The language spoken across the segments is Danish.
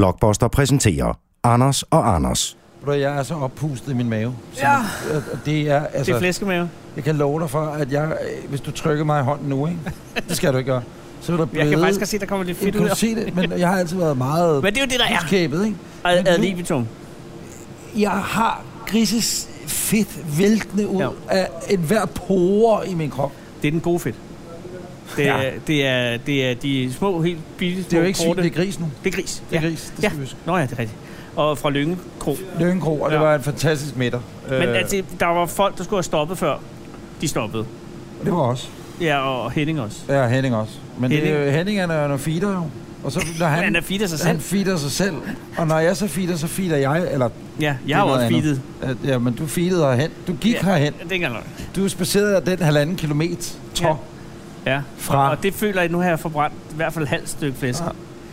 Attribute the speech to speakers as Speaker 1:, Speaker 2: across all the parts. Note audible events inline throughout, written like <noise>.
Speaker 1: Blockbuster præsenterer Anders og Anders.
Speaker 2: Ved du hvad, Jeg er så oppustet i min mave. Som,
Speaker 3: Ja.
Speaker 2: og- og det er,
Speaker 3: Det
Speaker 2: altså,
Speaker 3: er
Speaker 2: det
Speaker 3: flæskemave.
Speaker 2: jeg kan love dig for, at jeg, øh, hvis du trykker mig i hånden nu, ikke? det skal du ikke gøre, så vil der blive...
Speaker 3: Jeg kan faktisk godt se, der kommer lidt fedt ud.
Speaker 2: kan du
Speaker 3: af-
Speaker 2: se det, men jeg har altid været meget
Speaker 3: <laughs> Men det er jo det, der er.
Speaker 2: skæbet, ikke?
Speaker 3: Ad,
Speaker 2: Men
Speaker 3: ad
Speaker 2: nu-
Speaker 3: libitum.
Speaker 2: Jeg har grises fedt væltende ud
Speaker 3: Ja.
Speaker 2: ja. af enhver pore i min krop.
Speaker 3: Det er den gode fedt. Det er, ja.
Speaker 2: Ja.
Speaker 3: det er, det er de små, helt billige, små
Speaker 2: Det er jo ikke svin,
Speaker 3: korte-
Speaker 2: det er gris nu.
Speaker 3: det er gris.
Speaker 2: Det er ja. gris, Øh. det skal
Speaker 3: Ja.
Speaker 2: ja. vi huske.
Speaker 3: Nå ja, det er rigtigt. Og fra Lønge Kro.
Speaker 2: Lønkro, og ja.
Speaker 3: Ja.
Speaker 2: det var en fantastisk middag.
Speaker 3: Men
Speaker 2: Øh,
Speaker 3: altså, der var folk, der skulle have stoppet før. De stoppede.
Speaker 2: Det var også.
Speaker 3: Ja, og Henning også.
Speaker 2: Ja, Henning også. Men Henning, det er jo, Henning han er jo noget feeder jo. Og så når
Speaker 3: Han,
Speaker 2: han,
Speaker 3: han er fedt af sig
Speaker 2: han
Speaker 3: selv.
Speaker 2: feeder sig selv. Og når jeg så feeder, så feeder jeg. Eller,
Speaker 3: Ja,
Speaker 2: er
Speaker 3: jeg har jo
Speaker 2: noget
Speaker 3: også
Speaker 2: andet.
Speaker 3: feedet.
Speaker 2: øh, ja, men du feedede herhen. Du gik
Speaker 3: Ja.
Speaker 2: ja. herhen.
Speaker 3: Det er ikke engang løgn.
Speaker 2: Du spacerede den halvanden kilometer tår.
Speaker 3: Ja.
Speaker 2: Ja.
Speaker 3: Ja,
Speaker 2: Fra-
Speaker 3: og det føler jeg, at nu har jeg forbrændt i hvert fald et halvt stykke flæsk.
Speaker 2: Ja.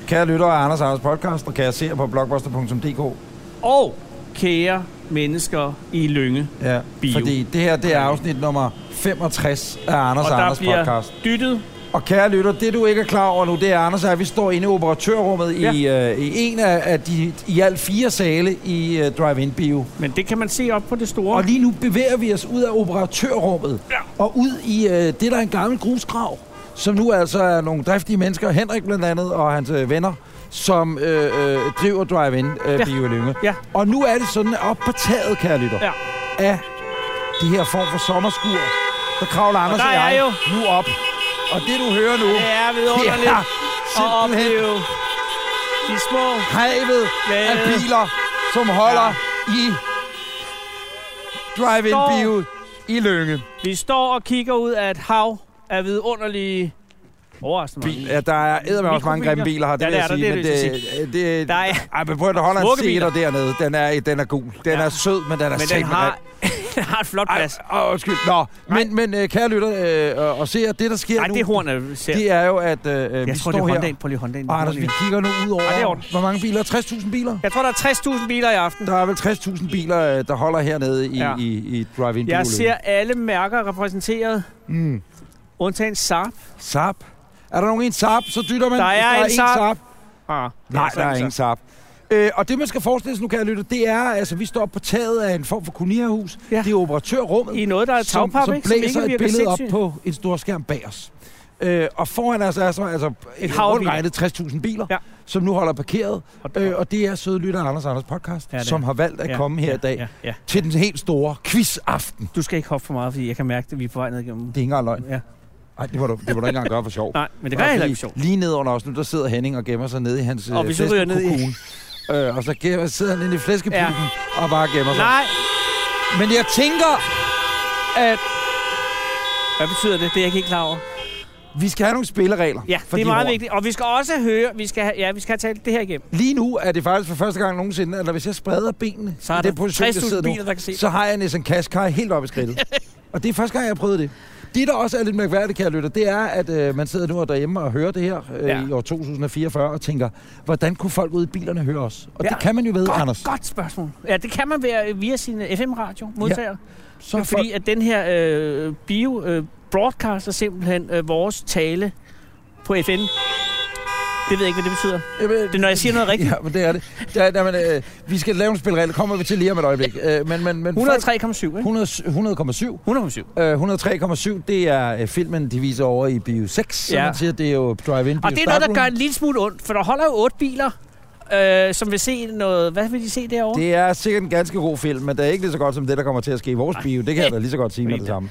Speaker 2: Kære lyttere af Anders Anders podcast, og kan jeg se på blogbuster.dk.
Speaker 3: Og kære mennesker i Lønge.
Speaker 2: Ja,
Speaker 3: Bio.
Speaker 2: fordi det her det er afsnit nummer 65 af Anders
Speaker 3: og
Speaker 2: og
Speaker 3: der
Speaker 2: Anders
Speaker 3: bliver
Speaker 2: podcast.
Speaker 3: dyttet.
Speaker 2: Og kære lytter, det du ikke er klar over nu, det er, Anders, er, at vi står inde i operatørrummet ja. i, øh, i en af, af de i alt fire sale i øh, Drive-In Bio.
Speaker 3: Men det kan man se op på det store.
Speaker 2: Og lige nu bevæger vi os ud af operatørrummet
Speaker 3: Ja.
Speaker 2: og ud i øh, det, der er en gammel grusgrav, som nu altså er nogle driftige mennesker, Henrik blandt andet og hans øh, venner, som øh, øh, driver Drive-In øh,
Speaker 3: Ja.
Speaker 2: ja. Bio i Lynge.
Speaker 3: Ja.
Speaker 2: Og nu er det sådan, at oppe på taget, kære lytter,
Speaker 3: Ja.
Speaker 2: af det her form for sommerskur, der kravler Anders
Speaker 3: der
Speaker 2: og,
Speaker 3: er
Speaker 2: jeg
Speaker 3: jo-
Speaker 2: nu op. Og det, du hører nu,
Speaker 3: Det er vidunderligt
Speaker 2: Ja,
Speaker 3: at
Speaker 2: simpelthen
Speaker 3: opleve de små
Speaker 2: havet af
Speaker 3: glade.
Speaker 2: biler, som holder ja. i drive-in
Speaker 3: Står.
Speaker 2: bio i Lønge.
Speaker 3: Vi står og kigger ud af et hav af vidunderlige overraskende
Speaker 2: Bil,
Speaker 3: mange.
Speaker 2: ja, der er eddermame også mange grimme
Speaker 3: Mikrobiler.
Speaker 2: biler her, det
Speaker 3: Ja,
Speaker 2: vil
Speaker 3: det
Speaker 2: jeg
Speaker 3: er der,
Speaker 2: sige. men
Speaker 3: det vil jeg
Speaker 2: det, det,
Speaker 3: Der er-
Speaker 2: Ej, men prøv at holde en
Speaker 3: Smukke
Speaker 2: seter
Speaker 3: biler.
Speaker 2: dernede. Den er, den er gul. Den
Speaker 3: Ja.
Speaker 2: er sød, men den er
Speaker 3: Men den
Speaker 2: simpelthen-
Speaker 3: har, <laughs> Altså- den har et flot
Speaker 2: Ej,
Speaker 3: plads.
Speaker 2: åh, undskyld. Nå, men, men øh, kære lytter øh, og- og se, at det, der sker
Speaker 3: Nej,
Speaker 2: nu,
Speaker 3: det er horn, jeg ser.
Speaker 2: det er jo, at øh, vi
Speaker 3: jeg tror,
Speaker 2: står
Speaker 3: det er
Speaker 2: her,
Speaker 3: Hondaen. Prøv lige Hondaen.
Speaker 2: og Anders, vi kigger nu ud over,
Speaker 3: Ej, det er orden.
Speaker 2: hvor mange biler? 60.000 biler?
Speaker 3: Jeg tror, der er 60.000 biler i aften.
Speaker 2: Der er vel 60.000 biler, øh, der holder hernede i,
Speaker 3: Ja.
Speaker 2: ja. i, i drive-in
Speaker 3: Jeg
Speaker 2: Bio-løbet.
Speaker 3: ser alle mærker repræsenteret.
Speaker 2: Mm.
Speaker 3: Undtagen Saab. Ah,
Speaker 2: Sap. Er der nogen en sap, så dytter man.
Speaker 3: Der
Speaker 2: Hvis
Speaker 3: er en
Speaker 2: én
Speaker 3: Saab.
Speaker 2: Saab.
Speaker 3: Ah,
Speaker 2: Nej, der er ingen sap. Øh, og det, man skal forestille sig nu, kan jeg lytte, det er, altså, vi står på taget af en form for kolonierhus.
Speaker 3: Ja.
Speaker 2: Ja. Det er operatørrummet,
Speaker 3: I noget, der er
Speaker 2: som,
Speaker 3: tagpap,
Speaker 2: som
Speaker 3: ikke?
Speaker 2: blæser
Speaker 3: ikke
Speaker 2: et
Speaker 3: virker
Speaker 2: billede op
Speaker 3: sindssygt.
Speaker 2: på en stor skærm bag os. Øh, og foran os er så altså
Speaker 3: Et
Speaker 2: et
Speaker 3: hav af biler.
Speaker 2: regnet 60.000 biler,
Speaker 3: Ja.
Speaker 2: ja. som nu holder parkeret.
Speaker 3: Og-
Speaker 2: Øh, og det er søde lytter Anders Anders podcast,
Speaker 3: Ja,
Speaker 2: ja,
Speaker 3: det er.
Speaker 2: som har valgt at ja, komme her
Speaker 3: ja,
Speaker 2: i dag
Speaker 3: Ja, ja.
Speaker 2: til den helt store quizaften. Det
Speaker 3: Du skal ikke hoppe for meget, fordi jeg kan mærke, at vi er på vej ned igennem.
Speaker 2: er ikke engang løgn.
Speaker 3: Ja.
Speaker 2: Ej, det må du, det må du ikke engang gøre for sjov.
Speaker 3: Nej, men det gør jeg heller ikke sjovt.
Speaker 2: Lige ned under os nu, der sidder Henning og gemmer sig nede i hans
Speaker 3: Og
Speaker 2: øh,
Speaker 3: vi så ryger ned i-
Speaker 2: flæskekokon. Øh, og så gemmer, sidder han inde i flæskepuppen ja. og bare gemmer sig.
Speaker 3: Nej,
Speaker 2: Men jeg tænker, at
Speaker 3: hvad betyder det? Det er jeg ikke helt klar over.
Speaker 2: vi skal have nogle spilleregler.
Speaker 3: Ja,
Speaker 2: for
Speaker 3: det
Speaker 2: de
Speaker 3: er meget
Speaker 2: ord.
Speaker 3: vigtigt. Og vi skal også høre, vi skal have, ja, vi skal have talt det her igennem.
Speaker 2: Lige nu er det faktisk for første gang nogensinde, at når hvis jeg spreder benene
Speaker 3: Så er
Speaker 2: i den
Speaker 3: der
Speaker 2: position, jeg
Speaker 3: 60.000
Speaker 2: sidder nu,
Speaker 3: biler, der kan se.
Speaker 2: så har jeg næsten kaskar helt op i
Speaker 3: <laughs>
Speaker 2: skridtet. og det er første gang, jeg har prøvet det. Det, der også er lidt mærkværdigt, kære lytter, det er, at øh, man sidder nu og derhjemme og hører det her øh,
Speaker 3: Ja.
Speaker 2: ja. i år 2044 og tænker, hvordan kunne folk ude i bilerne høre os? Og
Speaker 3: Ja.
Speaker 2: ja. det kan man jo ved,
Speaker 3: Godt,
Speaker 2: Anders.
Speaker 3: godt spørgsmål. Ja, det kan man være øh, via sin FM-radio modtager.
Speaker 2: Så
Speaker 3: Ja,
Speaker 2: er folk-
Speaker 3: fordi at den her øh, bio øh, broadcaster simpelthen øh, vores tale på FM. Det ved jeg ikke, hvad det betyder.
Speaker 2: Jamen,
Speaker 3: Det er, når jeg siger noget rigtigt.
Speaker 2: Ja, men det er det. Der, der, men, øh, vi skal lave en spilleregel. Kommer vi til lige om et øjeblik. Øh, men, men, men
Speaker 3: 103,7, ikke?
Speaker 2: 100, 100,7.
Speaker 3: 107.
Speaker 2: Øh, 103,7, det er øh, filmen, de viser over i Bio 6, ja.
Speaker 3: Ja.
Speaker 2: som man siger, det er jo Drive-In
Speaker 3: Og
Speaker 2: Bio
Speaker 3: det er noget, der
Speaker 2: Startroom.
Speaker 3: gør en lille smule ondt, for der holder jo otte biler, øh, som vil se noget... Hvad vil de se derovre?
Speaker 2: Det er sikkert en ganske god film, men det er ikke lige så godt som det, der kommer til at ske i vores
Speaker 3: Nej.
Speaker 2: bio. Det kan jeg da lige så godt sige med det samme.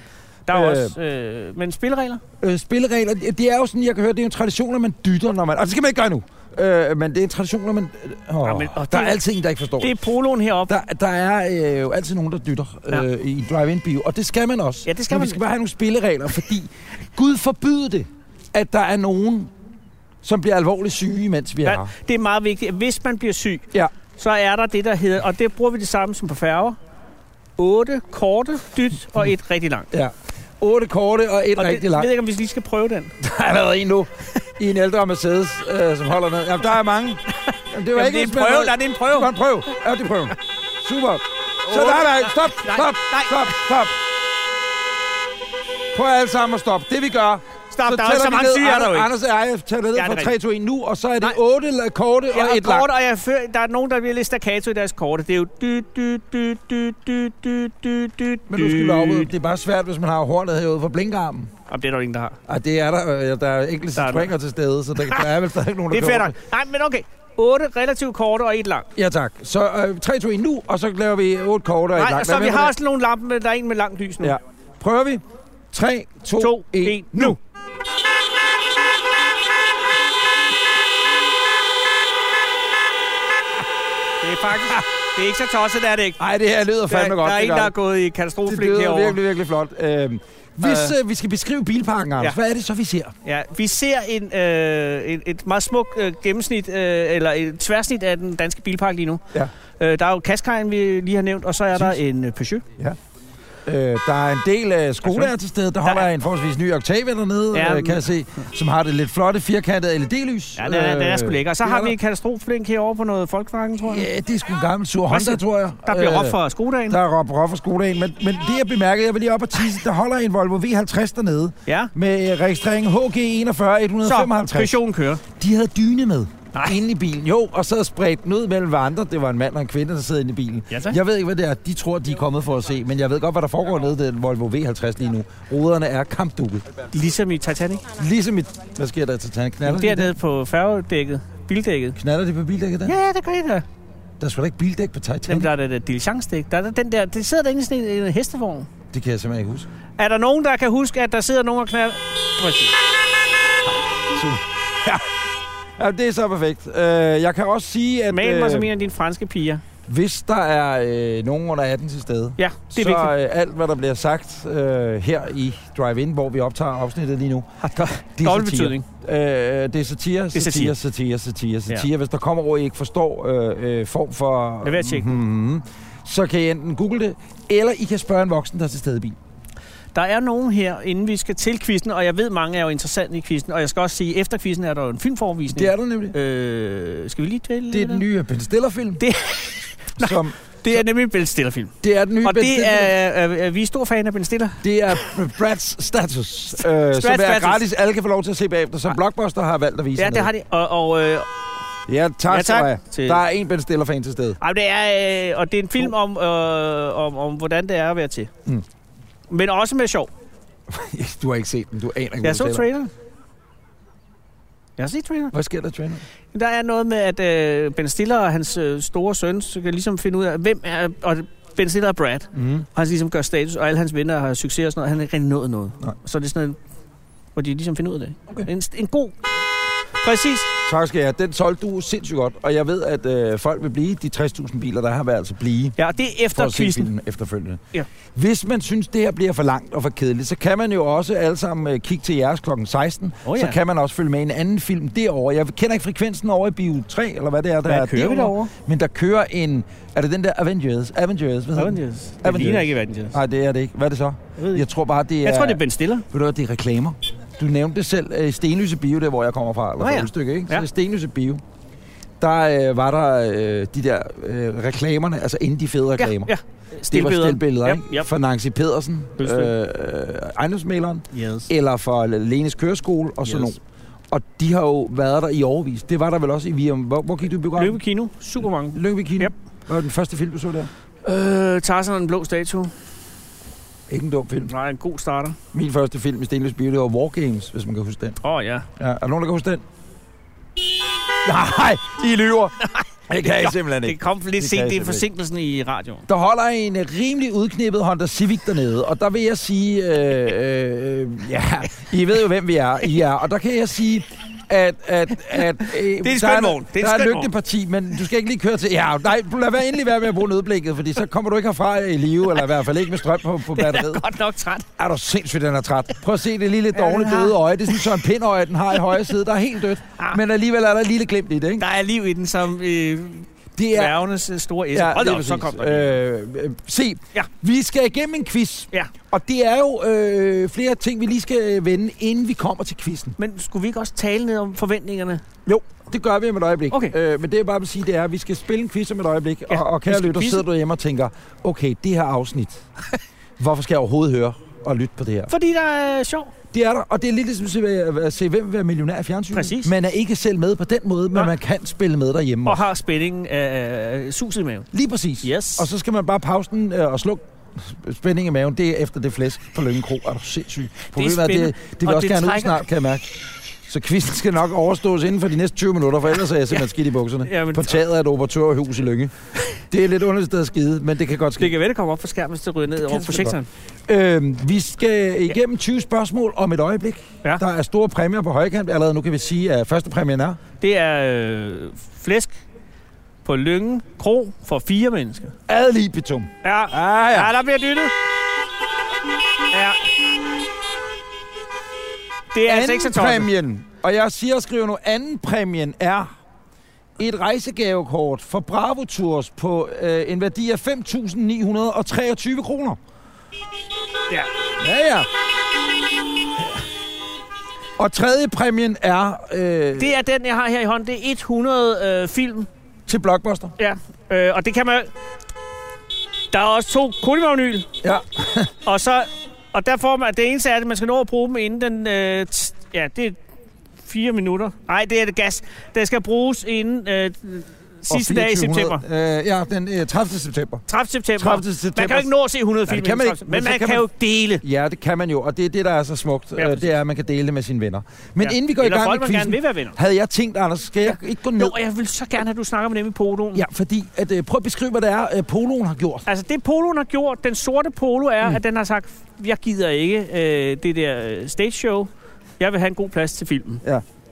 Speaker 3: der er jo
Speaker 2: øh,
Speaker 3: også... Øh, men spilleregler?
Speaker 2: Øh, spilleregler, det er jo sådan, jeg kan høre, det er jo en tradition, at man dytter, når man... Og det skal man ikke gøre nu. Øh, men det er en tradition, når man... Øh, åh,
Speaker 3: Ja, men- og
Speaker 2: der er
Speaker 3: det-
Speaker 2: altid en, der ikke forstår.
Speaker 3: Det er poloen heroppe.
Speaker 2: Der, der er øh, jo altid nogen, der dytter
Speaker 3: Ja.
Speaker 2: øh, i drive-in bio, og det skal man også.
Speaker 3: Ja, det skal
Speaker 2: Men
Speaker 3: man.
Speaker 2: vi skal bare have nogle spilleregler, fordi Gud forbyde det, at der er nogen, som bliver alvorligt syge, mens vi er
Speaker 3: Ja.
Speaker 2: her.
Speaker 3: Det er meget vigtigt. at Hvis man bliver syg,
Speaker 2: Ja.
Speaker 3: så er der det, der hedder... Og det bruger vi det samme som på færger. Otte korte, dyt og et rigtig langt.
Speaker 2: Ja. Otte korte og et
Speaker 3: Og
Speaker 2: og
Speaker 3: det,
Speaker 2: rigtig
Speaker 3: jeg
Speaker 2: langt.
Speaker 3: ved ikke, om vi lige skal prøve den.
Speaker 2: Der er allerede en nu i en ældre Mercedes, øh, som holder ned. Jamen, der er mange. Jamen, det var
Speaker 3: Jamen,
Speaker 2: ikke
Speaker 3: det er en prøve. Nej, det er en prøve.
Speaker 2: Det var en prøve. Ja, det er prøven. Super. Så der er der. Stop,
Speaker 3: Nej,
Speaker 2: stop,
Speaker 3: nej.
Speaker 2: stop, stop. Prøv alle sammen at stoppe. Det vi gør,
Speaker 3: stop. Der er jo
Speaker 2: tæller vi
Speaker 3: så mange
Speaker 2: ned.
Speaker 3: syge, er der jo ikke.
Speaker 2: Anders og jeg tæller ned
Speaker 3: Ja, det er
Speaker 2: fra 3,
Speaker 3: rigtigt.
Speaker 2: 2, 1 nu, og så er det
Speaker 3: Nej.
Speaker 2: 8 korte
Speaker 3: Jeg
Speaker 2: og
Speaker 3: har
Speaker 2: et langt.
Speaker 3: kort, og jeg før, der er nogen, der bliver lidt staccato i deres korte. Det er jo... Dy, dy, dy, dy, dy, dy, dy, dy,
Speaker 2: Men du skal lave det er bare svært, hvis man har hornet herude fra blinkarmen.
Speaker 3: Jamen, det er der jo ingen, der har.
Speaker 2: Ej, det er der. øh, Der er enkelte
Speaker 3: Der er
Speaker 2: springer til stede, så der, der er vel stadig
Speaker 3: <laughs>
Speaker 2: nogen, der
Speaker 3: Det er fedt
Speaker 2: køber
Speaker 3: nok. Nej, men okay. Otte relativt korte og et langt.
Speaker 2: den. Ja, tak. Så øh, 3, 2, 1 nu, og så laver vi 8 korte og et
Speaker 3: Nej,
Speaker 2: langt.
Speaker 3: og så
Speaker 2: Hvad
Speaker 3: vi
Speaker 2: med
Speaker 3: har
Speaker 2: det?
Speaker 3: også nogle lampe, men der er en med langt lys nu.
Speaker 2: Ja. Prøver vi? 3, 2,
Speaker 3: To,
Speaker 2: 1,
Speaker 3: en,
Speaker 2: nu!
Speaker 3: Det er faktisk... Det er ikke så tosset, det er det ikke.
Speaker 2: Ej, det her lyder
Speaker 3: Der,
Speaker 2: fandme
Speaker 3: der
Speaker 2: godt.
Speaker 3: er
Speaker 2: det
Speaker 3: en,
Speaker 2: gør
Speaker 3: der er
Speaker 2: det.
Speaker 3: gået i
Speaker 2: Det
Speaker 3: katastrofeflink
Speaker 2: lyder
Speaker 3: herovre.
Speaker 2: virkelig, virkelig flot. Øhm, hvis øh, vi skal beskrive bilparken, Anders,
Speaker 3: Ja.
Speaker 2: hvad er det så, vi ser?
Speaker 3: Ja, vi ser en, øh, et, et meget smukt øh, gennemsnit, øh, eller et tværsnit af den danske bilpark lige nu.
Speaker 2: Ja.
Speaker 3: Øh, der er jo Kaskajen, vi lige har nævnt, og så er der
Speaker 2: Præcis.
Speaker 3: en øh, Peugeot.
Speaker 2: Øh, der er en del øh, skoler til stede. Der holder
Speaker 3: er-
Speaker 2: en forholdsvis ny Octavia dernede,
Speaker 3: Ja,
Speaker 2: ja, øh, kan
Speaker 3: men-
Speaker 2: jeg se, som har det lidt flotte firkantede LED-lys.
Speaker 3: Ja, den er, den er sgu
Speaker 2: Øh,
Speaker 3: lækker. Og så
Speaker 2: det
Speaker 3: har
Speaker 2: er
Speaker 3: vi
Speaker 2: der.
Speaker 3: et katastrofeflink herovre på noget Volkswagen, tror jeg.
Speaker 2: Ja, det er sgu en gammel sur
Speaker 3: Hvad siger
Speaker 2: Honda, tror jeg.
Speaker 3: Der bliver
Speaker 2: Øh,
Speaker 3: råbt fra skodagen.
Speaker 2: Der er råbt råb for skoledagen, men, men det jeg bemærkede, jeg var lige op og tisse, der holder en Volvo V50 dernede
Speaker 3: Ja.
Speaker 2: med øh, registrering HG 41
Speaker 3: Så,
Speaker 2: 155.
Speaker 3: Peugeoten kører.
Speaker 2: De havde dyne med.
Speaker 3: Nej.
Speaker 2: Inde i bilen. Jo, og så spredte den ud mellem andre. Det var en mand og en kvinde, der sidder inde i bilen.
Speaker 3: Ja, tak.
Speaker 2: jeg ved ikke, hvad det er, de tror, de er kommet for at se, men jeg ved godt, hvad der foregår nede i den Volvo V50 lige nu. Ruderne er kampdukket.
Speaker 3: Ligesom i Titanic.
Speaker 2: Ligesom et... Hvad sker der til Titanic? Knaller, de,
Speaker 3: Dernede på færgedækket. Bildækket.
Speaker 2: knaller de på bildækket der?
Speaker 3: Ja, det gør det da.
Speaker 2: Der er sgu da ikke bildæk på Titanic.
Speaker 3: Jamen, der er det der diligencedæk. Der er der den der, det sidder derinde i sådan en, en hestevogn.
Speaker 2: Det kan jeg simpelthen ikke huske.
Speaker 3: Er der nogen, der kan huske, at der sidder nogen og knalder? Præcis.
Speaker 2: Ja, det er så perfekt. Øh, jeg kan også sige, at
Speaker 3: Mal mig som en
Speaker 2: øh,
Speaker 3: af dine franske piger.
Speaker 2: hvis der er øh, nogen under 18 til stede,
Speaker 3: Ja, det er
Speaker 2: så
Speaker 3: vigtigt.
Speaker 2: øh, alt, hvad der bliver sagt øh, her i Drive-In, hvor vi optager afsnittet lige nu, det er satire.
Speaker 3: Dobbelt betydning.
Speaker 2: Øh, det er satire, satire,
Speaker 3: er satire.
Speaker 2: satire, satire,
Speaker 3: Ja.
Speaker 2: satire. Ja. Hvis der kommer ord, I ikke forstår øh, øh, form for...
Speaker 3: Lad være at tjekke
Speaker 2: mm-hmm, så kan I enten google det, eller I kan spørge en voksen, der er til stede i bilen.
Speaker 3: Der er nogen her, inden vi skal til quizzen, og jeg ved, mange er jo interessante i quizzen. Og jeg skal også sige, at efter quizzen er der jo en filmforvisning.
Speaker 2: Det er der nemlig.
Speaker 3: Øh, skal vi lige tale
Speaker 2: Det er den nye Ben Stiller-film. <laughs>
Speaker 3: Det-
Speaker 2: som,
Speaker 3: det er nemlig en Ben Stiller-film.
Speaker 2: det er den nye
Speaker 3: Og
Speaker 2: ben
Speaker 3: det
Speaker 2: Stiller-
Speaker 3: er, er, er, vi er stor fan af Ben Stiller.
Speaker 2: det er Brad's Status, øh, som er
Speaker 3: Status. Ah.
Speaker 2: gratis. Alle kan få lov til at se bagefter, som Blockbuster har valgt at vise
Speaker 3: Ja, det har de. Og, og, øh,
Speaker 2: de. Ja, tak,
Speaker 3: Ja,
Speaker 2: ja,
Speaker 3: tak.
Speaker 2: tak.
Speaker 3: Til-
Speaker 2: Der er en Ben Stiller-fan til stede. <laughs>
Speaker 3: ej, det er øh, og det er en film om, øh, om, om, hvordan det er at være til.
Speaker 2: Mm.
Speaker 3: Men også med sjov.
Speaker 2: Du har ikke set den, du aner ikke, hvad
Speaker 3: Jeg
Speaker 2: du
Speaker 3: så
Speaker 2: taler om.
Speaker 3: traileren. Jeg har set traileren.
Speaker 2: Hvad sker der, trainer?
Speaker 3: Der er noget med, at øh, Ben Stiller og hans øh, store søn så kan ligesom finde ud af, hvem er... Og ben Stiller er Brad,
Speaker 2: Mm.
Speaker 3: og han ligesom gør status, og alle hans venner har succes og sådan noget. Han har ikke rigtig nået noget.
Speaker 2: Nej.
Speaker 3: Så det er sådan en, hvor de ligesom finder ud af det.
Speaker 2: Okay.
Speaker 3: En, en god... Præcis.
Speaker 2: Tak skal jeg. have. Den solgte du sindssygt godt, og jeg ved, at øh, folk vil blive. De 60.000 biler, der har været altså blive
Speaker 3: Ja, og det er
Speaker 2: for
Speaker 3: efter
Speaker 2: at se
Speaker 3: quizzen.
Speaker 2: filmen efterfølgende.
Speaker 3: Ja.
Speaker 2: Hvis man synes, det her bliver for langt og for kedeligt, så kan man jo også alle sammen øh, kigge til jeres klokken 16.
Speaker 3: Åh,
Speaker 2: Så
Speaker 3: ja.
Speaker 2: kan man også følge med i en anden film derovre. Jeg kender ikke frekvensen over i Bio 3, eller hvad det er, der er
Speaker 3: Hvad kører vi derovre?
Speaker 2: Men der kører en... Er det den der Avengers? Avengers? Hvad hedder den?
Speaker 3: Avengers. Det
Speaker 2: Avengers.
Speaker 3: ligner ikke Avengers.
Speaker 2: Nej, det er det ikke. Hvad er det så?
Speaker 3: Jeg, ved
Speaker 2: Jeg
Speaker 3: ikke.
Speaker 2: tror bare, det er...
Speaker 3: jeg tror, det er Ben Stiller.
Speaker 2: Ved du hvad, det er reklamer. Du nævnte det selv. Øh, Stenlyse Bio, der hvor jeg kommer fra, eller
Speaker 3: Nå ja.
Speaker 2: fra Ølstykke, ikke?
Speaker 3: Ja.
Speaker 2: Så Stenlyse Bio, der øh, var der øh, de der øh, reklamerne, altså inden de fede reklamer.
Speaker 3: Ja,
Speaker 2: Det var
Speaker 3: Stilbilleder.
Speaker 2: stillbilleder,
Speaker 3: Ja,
Speaker 2: ikke?
Speaker 3: ja.
Speaker 2: For Nancy Pedersen, øh,
Speaker 3: Fuldstændig.
Speaker 2: ejendomsmaleren,
Speaker 3: Yes.
Speaker 2: eller for Lenes Køreskole og sådan
Speaker 3: Yes.
Speaker 2: yes. Og de har jo været der i overvis. Det var der vel også i Virum. Hvor, hvor gik du i biografen?
Speaker 3: Løbe Kino. Super mange.
Speaker 2: Løbe i Kino.
Speaker 3: Yep.
Speaker 2: Hvad var den første film, du så der?
Speaker 3: Øh, Tarzan og den blå statue.
Speaker 2: Ikke en dum film.
Speaker 3: Nej, en god starter.
Speaker 2: Min første film i Stenløs Bio, det var War Games, hvis man kan huske den.
Speaker 3: Åh, oh, ja.
Speaker 2: Ja, er der nogen, der kan huske
Speaker 3: <laughs>
Speaker 2: den? Nej, I <laughs> lyver. Det kan jeg simpelthen
Speaker 3: Det
Speaker 2: ikke.
Speaker 3: kom lidt
Speaker 2: Det kan jeg
Speaker 3: sent. Det er
Speaker 2: simpelthen
Speaker 3: forsinkelsen i radioen.
Speaker 2: Der holder en øh, rimelig udknippet Honda Civic dernede, og der vil jeg sige, øh, øh, øh, ja, I ved jo, hvem vi er, I er, og der kan jeg sige, at, at, at øh, det
Speaker 3: skøn
Speaker 2: der,
Speaker 3: vogn. Det er en
Speaker 2: der er
Speaker 3: skøn
Speaker 2: et
Speaker 3: vogn.
Speaker 2: lygteparti, men du skal ikke lige køre til... Ja, nej, lad være endelig være med at bruge nødblikket, fordi så kommer du ikke herfra i live, eller i hvert fald ikke med strøm på, på
Speaker 3: <laughs>
Speaker 2: batteriet.
Speaker 3: Godt nok træt.
Speaker 2: Er du sindssygt, den er træt. Prøv at se det lille
Speaker 3: <laughs> Ja,
Speaker 2: dovne
Speaker 3: den har-
Speaker 2: døde øje. Det er sådan, så en pindøje, den har i højre side. Der er helt dødt.
Speaker 3: Ah.
Speaker 2: Men alligevel er der et lille glimt i det, ikke?
Speaker 3: Der er liv i den, som øh,
Speaker 2: Det er...
Speaker 3: dværgenes øh, store æske. Ja, Hold da
Speaker 2: lige
Speaker 3: op, så
Speaker 2: præcis.
Speaker 3: kom der. Øh,
Speaker 2: øh, øh, Se, ja.
Speaker 3: Ja.
Speaker 2: vi skal igennem en quiz.
Speaker 3: Ja.
Speaker 2: Og det er jo øh, flere ting, vi lige skal vende, inden vi kommer til quizzen.
Speaker 3: men skulle vi ikke også tale ned om forventningerne?
Speaker 2: Jo, det gør vi om et øjeblik.
Speaker 3: Okay.
Speaker 2: Øh, men det jeg bare vil sige, det er, at vi skal spille en quiz om et øjeblik.
Speaker 3: Ja,
Speaker 2: Ja, og, og
Speaker 3: vi
Speaker 2: kære
Speaker 3: skal
Speaker 2: lytter,
Speaker 3: quizze. <laughs>
Speaker 2: sidder du hjemme og tænker, okay, det her afsnit, hvorfor skal jeg overhovedet høre? at lytte på det her.
Speaker 3: Fordi der er øh, sjov.
Speaker 2: Det er der, og det er lidt ligesom at se, at se hvem vil være millionær i fjernsynet.
Speaker 3: Præcis.
Speaker 2: Man er ikke selv med på den måde, men
Speaker 3: Nej.
Speaker 2: man kan spille med derhjemme.
Speaker 3: Og
Speaker 2: også.
Speaker 3: har spændingen af øh, suset i maven.
Speaker 2: Lige præcis.
Speaker 3: Yes.
Speaker 2: Og så skal man bare pause den øh, og slukke spænding i maven. Det er efter det flæsk på Lønge Kro. Er du sindssyg? Problemet er, det,
Speaker 3: spændende,
Speaker 2: det vil
Speaker 3: og
Speaker 2: også
Speaker 3: det
Speaker 2: gerne ud
Speaker 3: trækker-
Speaker 2: snart, kan jeg mærke. Så kvisten skal nok overstås inden for de næste 20 minutter, for ellers er jeg simpelthen skidt i bukserne.
Speaker 3: Jamen,
Speaker 2: På taget af et operatørhus i Lønge. Det er lidt underligt sted at skide, men det kan godt ske.
Speaker 3: Det kan være, det kommer op på skærmen, hvis det ryger ned over
Speaker 2: selvfølgelig
Speaker 3: projektoren.
Speaker 2: Øh, vi skal igennem 20 spørgsmål om et øjeblik.
Speaker 3: Ja.
Speaker 2: Der er store præmier på højkant. Allerede nu kan vi sige, at første præmien er...
Speaker 3: Det er øh, flæsk på Lyngen Kro for fire mennesker.
Speaker 2: Ad libitum.
Speaker 3: Ja,
Speaker 2: Ah, ja.
Speaker 3: ja der bliver dyttet. Ja. Det er altså ikke så
Speaker 2: Anden
Speaker 3: toppen.
Speaker 2: præmien, og jeg siger og skriver nu, anden præmien er et rejsegavekort for Bravo Tours på øh, en værdi af 5.923 kroner.
Speaker 3: Ja.
Speaker 2: Ja, ja. Og tredje præmien er øh, det...
Speaker 3: Det er den, jeg har her i hånden. Det er 100 øh, film.
Speaker 2: til Blockbuster.
Speaker 3: Ja. Øh, og det kan man... Der er også to kulimagnyl.
Speaker 2: Ja.
Speaker 3: Og så... Og der får man... Det eneste er, at man skal nå at bruge dem inden den... Øh, t- ja, det er fire minutter. Nej, det er det gas. Det skal bruges inden øh,
Speaker 2: Og
Speaker 3: sidste dag
Speaker 2: 2400,
Speaker 3: i september.
Speaker 2: Øh, ja, den øh, 30. september.
Speaker 3: 30. september.
Speaker 2: 30.
Speaker 3: Man
Speaker 2: september.
Speaker 3: kan jo ikke nå at se 100
Speaker 2: Nej,
Speaker 3: film.
Speaker 2: det kan man
Speaker 3: inden
Speaker 2: ikke,
Speaker 3: 30.
Speaker 2: men
Speaker 3: Men
Speaker 2: så
Speaker 3: man
Speaker 2: kan
Speaker 3: kan
Speaker 2: man-
Speaker 3: jo dele.
Speaker 2: Ja, det kan man jo, og det er det, der er så smukt.
Speaker 3: Ja,
Speaker 2: Ja, det er, at man kan dele det med sine venner. Men ja.
Speaker 3: Ja.
Speaker 2: inden vi går i
Speaker 3: Eller
Speaker 2: gang
Speaker 3: folk,
Speaker 2: med
Speaker 3: man gerne
Speaker 2: quizzen,
Speaker 3: vil være venner.
Speaker 2: havde jeg tænkt, Anders, skal jeg ikke gå ned?
Speaker 3: Jo, og jeg vil så gerne have, at du snakker med dem i poloen.
Speaker 2: Ja, fordi at, øh, prøv at beskrive, hvad det er, øh, poloen har gjort.
Speaker 3: Altså det poloen har gjort, den sorte polo er, mm. at den har sagt, jeg gider ikke øh, det der øh, stage show. Jeg vil have en god plads til filmen.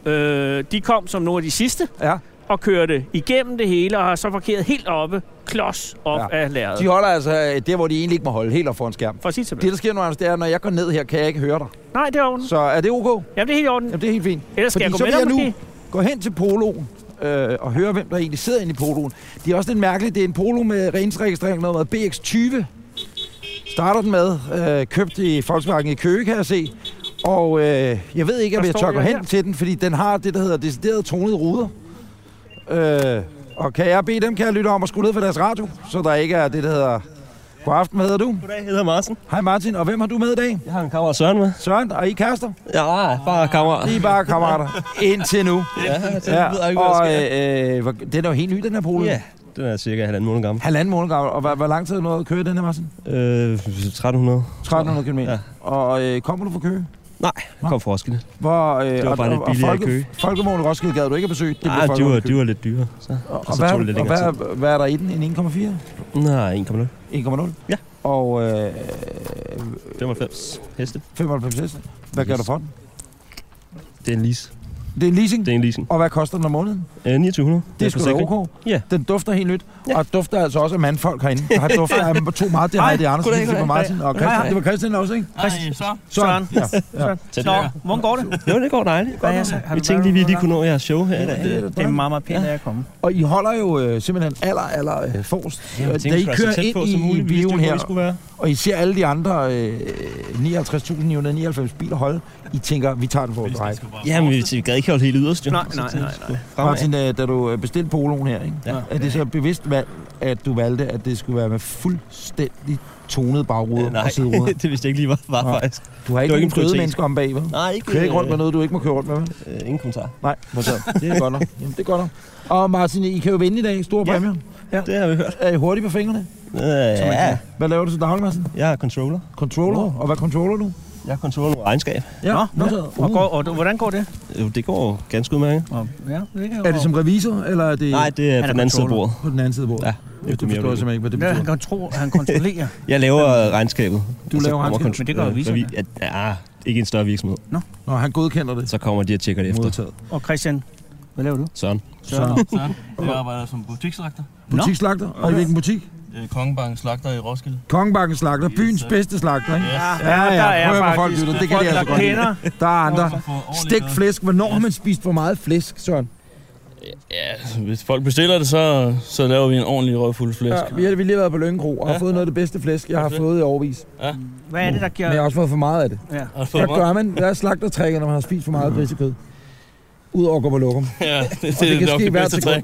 Speaker 2: Ja.
Speaker 3: Øh, de kom som nogle af de sidste
Speaker 2: Ja.
Speaker 3: og kørte igennem det hele og har så parkeret helt oppe, klods op
Speaker 2: Ja.
Speaker 3: ja. af lærredet.
Speaker 2: De holder altså øh, der, hvor de egentlig ikke må holde, helt op foran skærmen.
Speaker 3: For at sige det,
Speaker 2: Det,
Speaker 3: det...
Speaker 2: der sker nu, Anders, det er, at når jeg går ned her, kan jeg ikke høre dig.
Speaker 3: Nej, det er i orden.
Speaker 2: Så er det ok?
Speaker 3: Jamen, det er helt i orden.
Speaker 2: Jamen, det er helt fint.
Speaker 3: Ellers
Speaker 2: Fordi
Speaker 3: skal jeg gå
Speaker 2: så
Speaker 3: med
Speaker 2: vil jeg
Speaker 3: dig,
Speaker 2: nu
Speaker 3: måske.
Speaker 2: gå hen til poloen øh, og høre, hvem der egentlig sidder inde i poloen. Det er også lidt mærkeligt. Det er en polo med rensregistrering noget med BX20. Starter den med. Øh, købt i Volkswagen i Køge, kan jeg se. Og øh, jeg ved ikke, om
Speaker 3: Der
Speaker 2: jeg
Speaker 3: står
Speaker 2: tør gå
Speaker 3: jeg
Speaker 2: hen
Speaker 3: her.
Speaker 2: til den, fordi den har det, der hedder decideret tonede ruder. Øh, og kan jeg bede dem, kan jeg lytte om at skrue ned for deres radio, så der ikke er det, der hedder... God aften, hvad hedder du?
Speaker 4: Goddag, jeg hedder Martin.
Speaker 2: Hej Martin, og hvem har du med i dag?
Speaker 4: Jeg har en kammerat Søren med.
Speaker 2: Søren, og I er kærester?
Speaker 4: Ja, bare kammerat.
Speaker 2: I er bare kammerater. Indtil nu.
Speaker 4: Ja, det
Speaker 2: Ja,
Speaker 4: ved jeg ikke, hvad
Speaker 2: og
Speaker 4: jeg skal.
Speaker 2: øh, øh, hvor- den er jo helt ny, den her polo.
Speaker 4: Ja, den er cirka halvanden måned gammel.
Speaker 2: Halvanden måned gammel. Og hvor, hvor lang tid har du nået at køre den her, Martin?
Speaker 4: Øh, 1300.
Speaker 2: 1300 km. Ja.
Speaker 4: Ja.
Speaker 2: Og øh, kommer du fra Køge?
Speaker 4: Nej, jeg kom fra Roskilde.
Speaker 2: Hvor, øh,
Speaker 4: var
Speaker 2: og-
Speaker 4: bare lidt
Speaker 2: og,
Speaker 4: billigere i Køge.
Speaker 2: Folkemål Roskilde gad du ikke at besøge. Det
Speaker 4: Nej, de var,
Speaker 2: Folkevogn i
Speaker 4: de var lidt dyrere. Så.
Speaker 2: Og, og,
Speaker 4: så
Speaker 2: hvad,
Speaker 4: tog det lidt
Speaker 2: og
Speaker 4: længere
Speaker 2: hvad, hvad er der i den? En 1,4?
Speaker 4: Nej, 1,0.
Speaker 2: 1,0?
Speaker 4: Ja.
Speaker 2: Og øh,
Speaker 4: 95 heste.
Speaker 2: 95 heste. Hvad gør du for den?
Speaker 4: Det er en lease.
Speaker 2: Det er en leasing.
Speaker 4: Det er en leasing.
Speaker 2: Og hvad koster den om måneden?
Speaker 4: Øh, 2900.
Speaker 2: Det er sgu da ok.
Speaker 4: Ja.
Speaker 2: Den dufter helt nyt. Ja.
Speaker 4: Ja.
Speaker 2: Og dufter altså også af mandfolk herinde. Der har dufter
Speaker 4: <laughs>
Speaker 2: af to meget. Det har
Speaker 3: Hej,
Speaker 2: det Andersen,
Speaker 4: goddag,
Speaker 2: det var
Speaker 4: goddag.
Speaker 2: Martin. Og
Speaker 4: Hej,
Speaker 2: Christian,
Speaker 4: hej.
Speaker 2: det var Christian også, ikke?
Speaker 3: Ej, så.
Speaker 2: Søren.
Speaker 3: Søren.
Speaker 2: Ja,
Speaker 4: <laughs>
Speaker 2: ja.
Speaker 4: Tæt.
Speaker 3: Nå, hvordan går det?
Speaker 4: Jo, det går dejligt.
Speaker 3: Hvad er så?
Speaker 4: Vi tænkte lige, vi lige kunne nå jeres show her i dag.
Speaker 5: Det er meget, meget pænt af at komme.
Speaker 2: Og I holder jo øh, simpelthen aller, aller øh, forrest.
Speaker 4: Jamen,
Speaker 2: Jamen,
Speaker 4: jeg
Speaker 2: da I
Speaker 4: tænkte, vi skulle være
Speaker 2: kører
Speaker 4: så tæt
Speaker 2: ind
Speaker 4: på som
Speaker 2: i, i
Speaker 4: muligt, vi vidste jo,
Speaker 2: bioen
Speaker 4: hvor
Speaker 2: her,
Speaker 4: vi skulle være.
Speaker 2: og I ser alle de andre øh, 59.999 biler holde, I tænker, vi tager den for at dreje.
Speaker 4: Jamen, vi, vi gad ikke holde helt yderst, jo.
Speaker 3: Nej, nej, nej, nej.
Speaker 4: Martin.
Speaker 2: Martin, øh, da du øh, bestilte poloen her, ikke?
Speaker 4: Ja.
Speaker 2: er det så et bevidst valg, at du valgte, at det skulle være med fuldstændig tonet bagruder
Speaker 4: Nej,
Speaker 2: og
Speaker 4: <laughs>
Speaker 2: sideruder?
Speaker 4: det vidste jeg ikke lige, var, var
Speaker 2: Nej.
Speaker 4: faktisk.
Speaker 2: Du har ikke
Speaker 4: var
Speaker 2: nogen
Speaker 4: ikke en
Speaker 2: døde
Speaker 4: prioritet.
Speaker 2: mennesker om bag, vel? Du
Speaker 4: Nej, ikke,
Speaker 2: kører ikke rundt
Speaker 4: øh,
Speaker 2: med noget, du ikke må køre rundt med, vel?
Speaker 4: øh, ingen kommentar.
Speaker 2: Nej, modtaget. Det er godt nok. <laughs> Jamen, det er godt nok. Og Martin, I kan jo vinde i dag. Store
Speaker 4: Ja.
Speaker 2: præmier.
Speaker 4: Det har vi hørt.
Speaker 2: Er I hurtige på fingrene?
Speaker 4: Øh, ja,
Speaker 2: Hvad laver du til daglig, Martin?
Speaker 4: jeg er controller.
Speaker 2: Controller? Og hvad controller du?
Speaker 4: Jeg controller noget regnskab.
Speaker 2: Ja,
Speaker 5: Nå,
Speaker 2: modtaget.
Speaker 3: Og, går, og hvordan går det?
Speaker 4: Jo, det går jo ganske udmærket.
Speaker 5: Og, ja, det kan
Speaker 2: Uh. Er det som revisor, eller er det
Speaker 4: Nej, det er
Speaker 5: er
Speaker 4: på den anden side af
Speaker 5: controller.
Speaker 4: bordet.
Speaker 2: på den anden side af bordet?
Speaker 4: Ja,
Speaker 2: det
Speaker 4: det
Speaker 2: forstår jeg simpelthen ikke, hvad det
Speaker 5: Ja, han,
Speaker 2: betyder.
Speaker 5: kontro- han kontrollerer.
Speaker 4: Jeg laver øh, regnskabet.
Speaker 2: Du
Speaker 4: og så
Speaker 2: laver
Speaker 4: kommer
Speaker 2: regnskabet,
Speaker 4: kontro-
Speaker 5: men det gør
Speaker 4: øh,
Speaker 5: revisoren,
Speaker 4: revi- at- Ja, ikke en større virksomhed.
Speaker 2: Nå, han godkender det.
Speaker 4: Så kommer de og tjekker det efter.
Speaker 2: Modtaget.
Speaker 5: og Christian, hvad laver du?
Speaker 4: Sådan.
Speaker 5: Søren.
Speaker 6: Søren, jeg arbejder som butiksslagter.
Speaker 2: Butikslagter? Og i hvilken butik?
Speaker 6: Øh, Kongebanken slagter i Roskilde.
Speaker 2: Kongebakken slagter. Byens bedste slagter, ikke?
Speaker 6: Yes.
Speaker 2: Ja, ja.
Speaker 3: der er
Speaker 2: Prøv at høre, hvor folk
Speaker 3: faktisk
Speaker 2: lytter. Det kan
Speaker 3: folk,
Speaker 2: de altså
Speaker 3: der
Speaker 2: godt lide.
Speaker 3: kender.
Speaker 2: Der er andre.
Speaker 6: For ordentligt
Speaker 2: Stik
Speaker 6: noget.
Speaker 2: flæsk. Hvornår har man spist for meget flæsk, Søren?
Speaker 6: Ja, hvis folk bestiller det, så, så laver vi en ordentlig røvfuld flæsk.
Speaker 2: Ja, vi har vi har lige været på Løngebro og har fået noget af det bedste flæsk, jeg har fået i overvis.
Speaker 5: Hvad er det, der giver...
Speaker 2: Men jeg har også fået for meget af det.
Speaker 5: Ja.
Speaker 6: Har du fået
Speaker 2: Hvad
Speaker 6: meget?
Speaker 2: gør man? Hvad er slagtertrækket, når man har spist for meget grisekød? ud over Gummerlokum.
Speaker 6: <laughs> Ja, det, det,
Speaker 2: kan
Speaker 6: det er nok
Speaker 2: ske
Speaker 6: det
Speaker 2: hvert
Speaker 6: bedste
Speaker 2: sekund.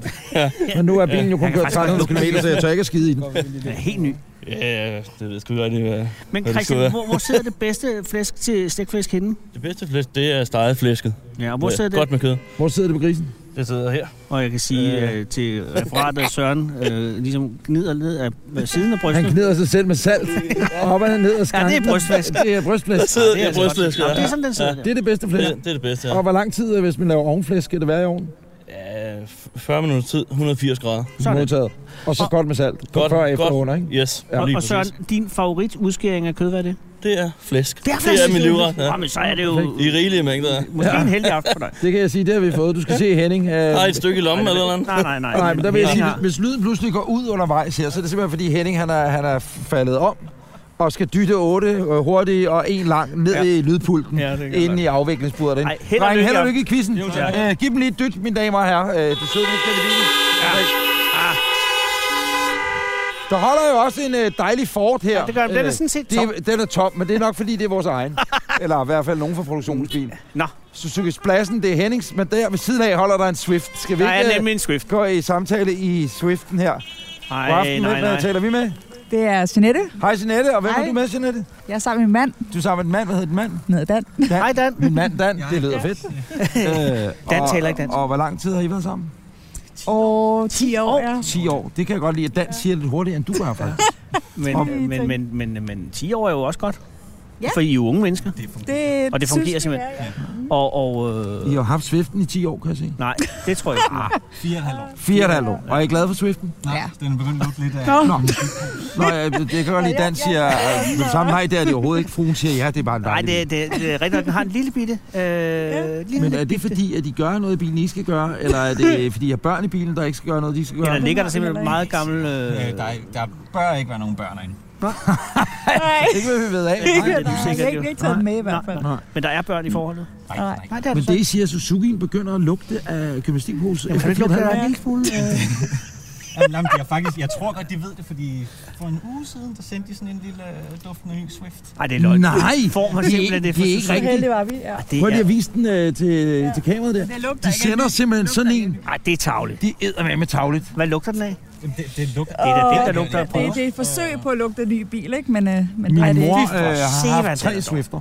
Speaker 2: <laughs>
Speaker 6: trick.
Speaker 2: Men nu er bilen jo kun
Speaker 7: kan
Speaker 2: kørt
Speaker 7: faktisk godt
Speaker 2: 300 km, så jeg tør ikke at skide i den.
Speaker 3: Den er helt ny.
Speaker 6: Ja, ja, det ved sgu godt, det er.
Speaker 3: Men
Speaker 6: Hvad er det,
Speaker 3: Christian,
Speaker 6: du sidder?
Speaker 3: hvor, hvor sidder det bedste flæsk til stikflæsk henne?
Speaker 6: Det bedste flæsk, det er steget flæsket.
Speaker 3: Ja, og hvor
Speaker 6: Det er
Speaker 3: sidder det?
Speaker 6: Godt med kød.
Speaker 2: Hvor sidder det på grisen?
Speaker 6: Det sidder her.
Speaker 3: Og jeg kan sige øh. Øh, til referatet, at Søren øh, ligesom gnider ned af af siden af
Speaker 2: Han
Speaker 3: brystet.
Speaker 2: gnider sig selv med salt, og op og ned og
Speaker 3: Ja,
Speaker 2: skanker.
Speaker 3: det er brystflæsk.
Speaker 2: Det er brystflæsk.
Speaker 6: Der sidder det
Speaker 3: altså
Speaker 6: er brystflæsk.
Speaker 3: godt.
Speaker 6: Ja.
Speaker 3: Nå, Det er sådan, den sidder
Speaker 2: Det
Speaker 3: der.
Speaker 2: er det bedste flæsk.
Speaker 6: Det, det er det bedste, ja.
Speaker 2: Og hvor lang tid, øh, hvis man laver ovenflæsk, skal det være i ovnen?
Speaker 6: ja. 40 minutter tid, 180 grader.
Speaker 3: Sådan.
Speaker 2: Modtaget. Og så godt med salt. Godt,
Speaker 6: Godt,
Speaker 2: før, efter
Speaker 6: godt.
Speaker 2: og under, ikke?
Speaker 6: Yes,
Speaker 2: Ja.
Speaker 6: ja.
Speaker 3: Og,
Speaker 6: lige
Speaker 3: og
Speaker 6: præcis.
Speaker 3: Søren, din favoritudskæring af kød, hvad er det?
Speaker 6: Det er flæsk.
Speaker 3: Det er
Speaker 6: det
Speaker 3: flæsk.
Speaker 6: er min livret. Ja.
Speaker 3: Ja. men så er det jo
Speaker 6: I rigelige mængder. ja.
Speaker 3: måske en heldig aften for dig.
Speaker 2: Det kan jeg sige, det har vi fået. Du skal se Henning. Øh,
Speaker 6: Har I et stykke i lommen eller noget?
Speaker 3: Nej, nej, nej.
Speaker 2: Nej, men der vil jeg sige,
Speaker 3: Hænger.
Speaker 2: hvis, hvis lyden pludselig går ud undervejs her, så er det simpelthen fordi Henning han er, han er faldet om og skal dytte otte øh, hurtigt og en lang ned ja.
Speaker 3: Ja.
Speaker 2: i lydpulten
Speaker 3: Ja,
Speaker 2: ja,
Speaker 3: det kan
Speaker 2: inden
Speaker 3: godt.
Speaker 2: i afviklingsbordet.
Speaker 3: Ej,
Speaker 2: derinde.
Speaker 3: held og
Speaker 2: Drenge,
Speaker 3: lykke.
Speaker 2: held og lykke i quizzen.
Speaker 3: Jo, tak.
Speaker 2: Øh, giv dem lige et dyt, mine damer og herrer. Øh, det søde mennesker, det lille. Der holder jo også en øh, dejlig Ford her. Ja,
Speaker 3: Det gør, den er sådan set
Speaker 2: det
Speaker 3: tom.
Speaker 2: er, den er tom, men det er nok, fordi det er vores
Speaker 3: <laughs>
Speaker 2: egen. Eller i hvert fald nogen fra produktionsbilen.
Speaker 3: Nå.
Speaker 2: Suzuki Spladsen, det er Hennings, men der ved siden af holder der en Swift. Skal vi
Speaker 3: Der er
Speaker 2: ikke øh,
Speaker 3: nemlig en Swift.
Speaker 2: gå i samtale i Swiften her?
Speaker 3: Nej,
Speaker 2: God aften,
Speaker 3: nej,
Speaker 2: hvem øh,
Speaker 3: nej.
Speaker 2: taler vi med?
Speaker 8: Det er Jeanette.
Speaker 2: Hej Jeanette, og hvem er
Speaker 8: Hej.
Speaker 2: du med, Jeanette?
Speaker 8: Jeg er sammen med min mand
Speaker 2: Du er sammen med en mand, hvad hedder den mand?
Speaker 8: nede Dan.
Speaker 2: Dan.
Speaker 3: Hej, Dan.
Speaker 2: Min mand Dan, det lyder
Speaker 8: <laughs>
Speaker 2: fedt. Øh,
Speaker 3: Dan
Speaker 2: og-
Speaker 3: taler ikke dansk.
Speaker 2: Og hvor lang tid har I været sammen?
Speaker 8: Og 10 år, ja.
Speaker 2: 10 år. Det kan jeg godt lide, at Dan siger lidt hurtigere, end du gør, faktisk. Om-
Speaker 3: Men, men, men, men, men, men 10 år er jo også godt.
Speaker 8: Ja.
Speaker 3: For I er jo unge mennesker.
Speaker 8: Det,
Speaker 3: Og det fungerer
Speaker 8: synes vi,
Speaker 3: simpelthen.
Speaker 8: ja, ja.
Speaker 3: Og, og
Speaker 2: I
Speaker 3: øh,
Speaker 2: har haft Swiften i 10 år, kan jeg se.
Speaker 3: nej, det tror
Speaker 4: <laughs>
Speaker 3: jeg
Speaker 4: Ah,
Speaker 3: ikke.
Speaker 2: Fire og et halvt år. Og er I glade for Swiften?
Speaker 8: Ja.
Speaker 4: Den er begyndt at lugte lidt af...
Speaker 8: Nå,
Speaker 2: Nå, Nå jeg, det kan jeg godt lide, Dan siger, øh, men sammen nej, det er det overhovedet ikke. Fruen siger, ja, det er bare en
Speaker 3: Nej,
Speaker 2: dejlig
Speaker 3: det, det, det er rigtigt, at den har en lille bitte. Øh, ja.
Speaker 2: bil.
Speaker 3: lille,
Speaker 2: Men er det fordi, at de gør noget i bilen, I skal gøre? Eller er det fordi, I har børn i bilen, der ikke skal gøre noget, de skal gøre?
Speaker 3: ja, der ligger der
Speaker 8: Heller
Speaker 3: simpelthen
Speaker 8: ikke.
Speaker 3: meget gammel... Øh,
Speaker 4: Øh, der, er- der bør ikke være nogen børn herinde.
Speaker 8: nej.
Speaker 2: Ikke hvad vi ved af.
Speaker 3: Nej, det er
Speaker 8: Nej,
Speaker 3: du sikkert,
Speaker 8: jeg har ikke
Speaker 3: jo.
Speaker 8: ikke taget den med i hvert
Speaker 3: Nej,
Speaker 8: fald.
Speaker 2: nej.
Speaker 3: men der er børn i
Speaker 4: Mm.
Speaker 3: forholdet.
Speaker 4: Nej,
Speaker 8: Nej.
Speaker 4: nej.
Speaker 3: Nej, det er
Speaker 2: Men
Speaker 3: der så
Speaker 2: det, I
Speaker 3: ikke.
Speaker 2: siger, at Suzuki'en begynder at lugte af gymnastikpose.
Speaker 3: Jamen, kan du ikke lukke det der en lille smule? Øh,
Speaker 4: <laughs> Jamen, jamen, jeg, faktisk, jeg tror godt, de ved det, fordi for en uge siden, der sendte de sådan en lille øh, duftende ny Swift.
Speaker 3: Nej, det er løgn.
Speaker 2: Nej,
Speaker 3: Får man
Speaker 2: det er
Speaker 3: simpelthen
Speaker 2: ikke-
Speaker 3: det for
Speaker 2: det er ikke
Speaker 8: Så
Speaker 3: Suzuki?
Speaker 2: rigtigt.
Speaker 8: heldig var vi, ja.
Speaker 3: Det
Speaker 2: Prøv lige
Speaker 3: er,
Speaker 2: at vise den øh, til, til kameraet der.
Speaker 8: Det lugter
Speaker 2: De sender simpelthen sådan en.
Speaker 3: ej, det er tavligt.
Speaker 2: De æder med med tavligt.
Speaker 3: Hvad lugter den af?
Speaker 4: Jamen, det, det lugter.
Speaker 3: Det er da det,
Speaker 8: Åh,
Speaker 3: der lugter af
Speaker 8: Det,
Speaker 3: prøver.
Speaker 8: det er et forsøg på at lugte en ny bil, ikke? Men, øh, men nej,
Speaker 2: Min
Speaker 8: det er
Speaker 2: mor
Speaker 8: ikke.
Speaker 2: øh,
Speaker 3: se,
Speaker 2: har
Speaker 3: hvad
Speaker 2: haft
Speaker 3: den er
Speaker 2: tre Swifter.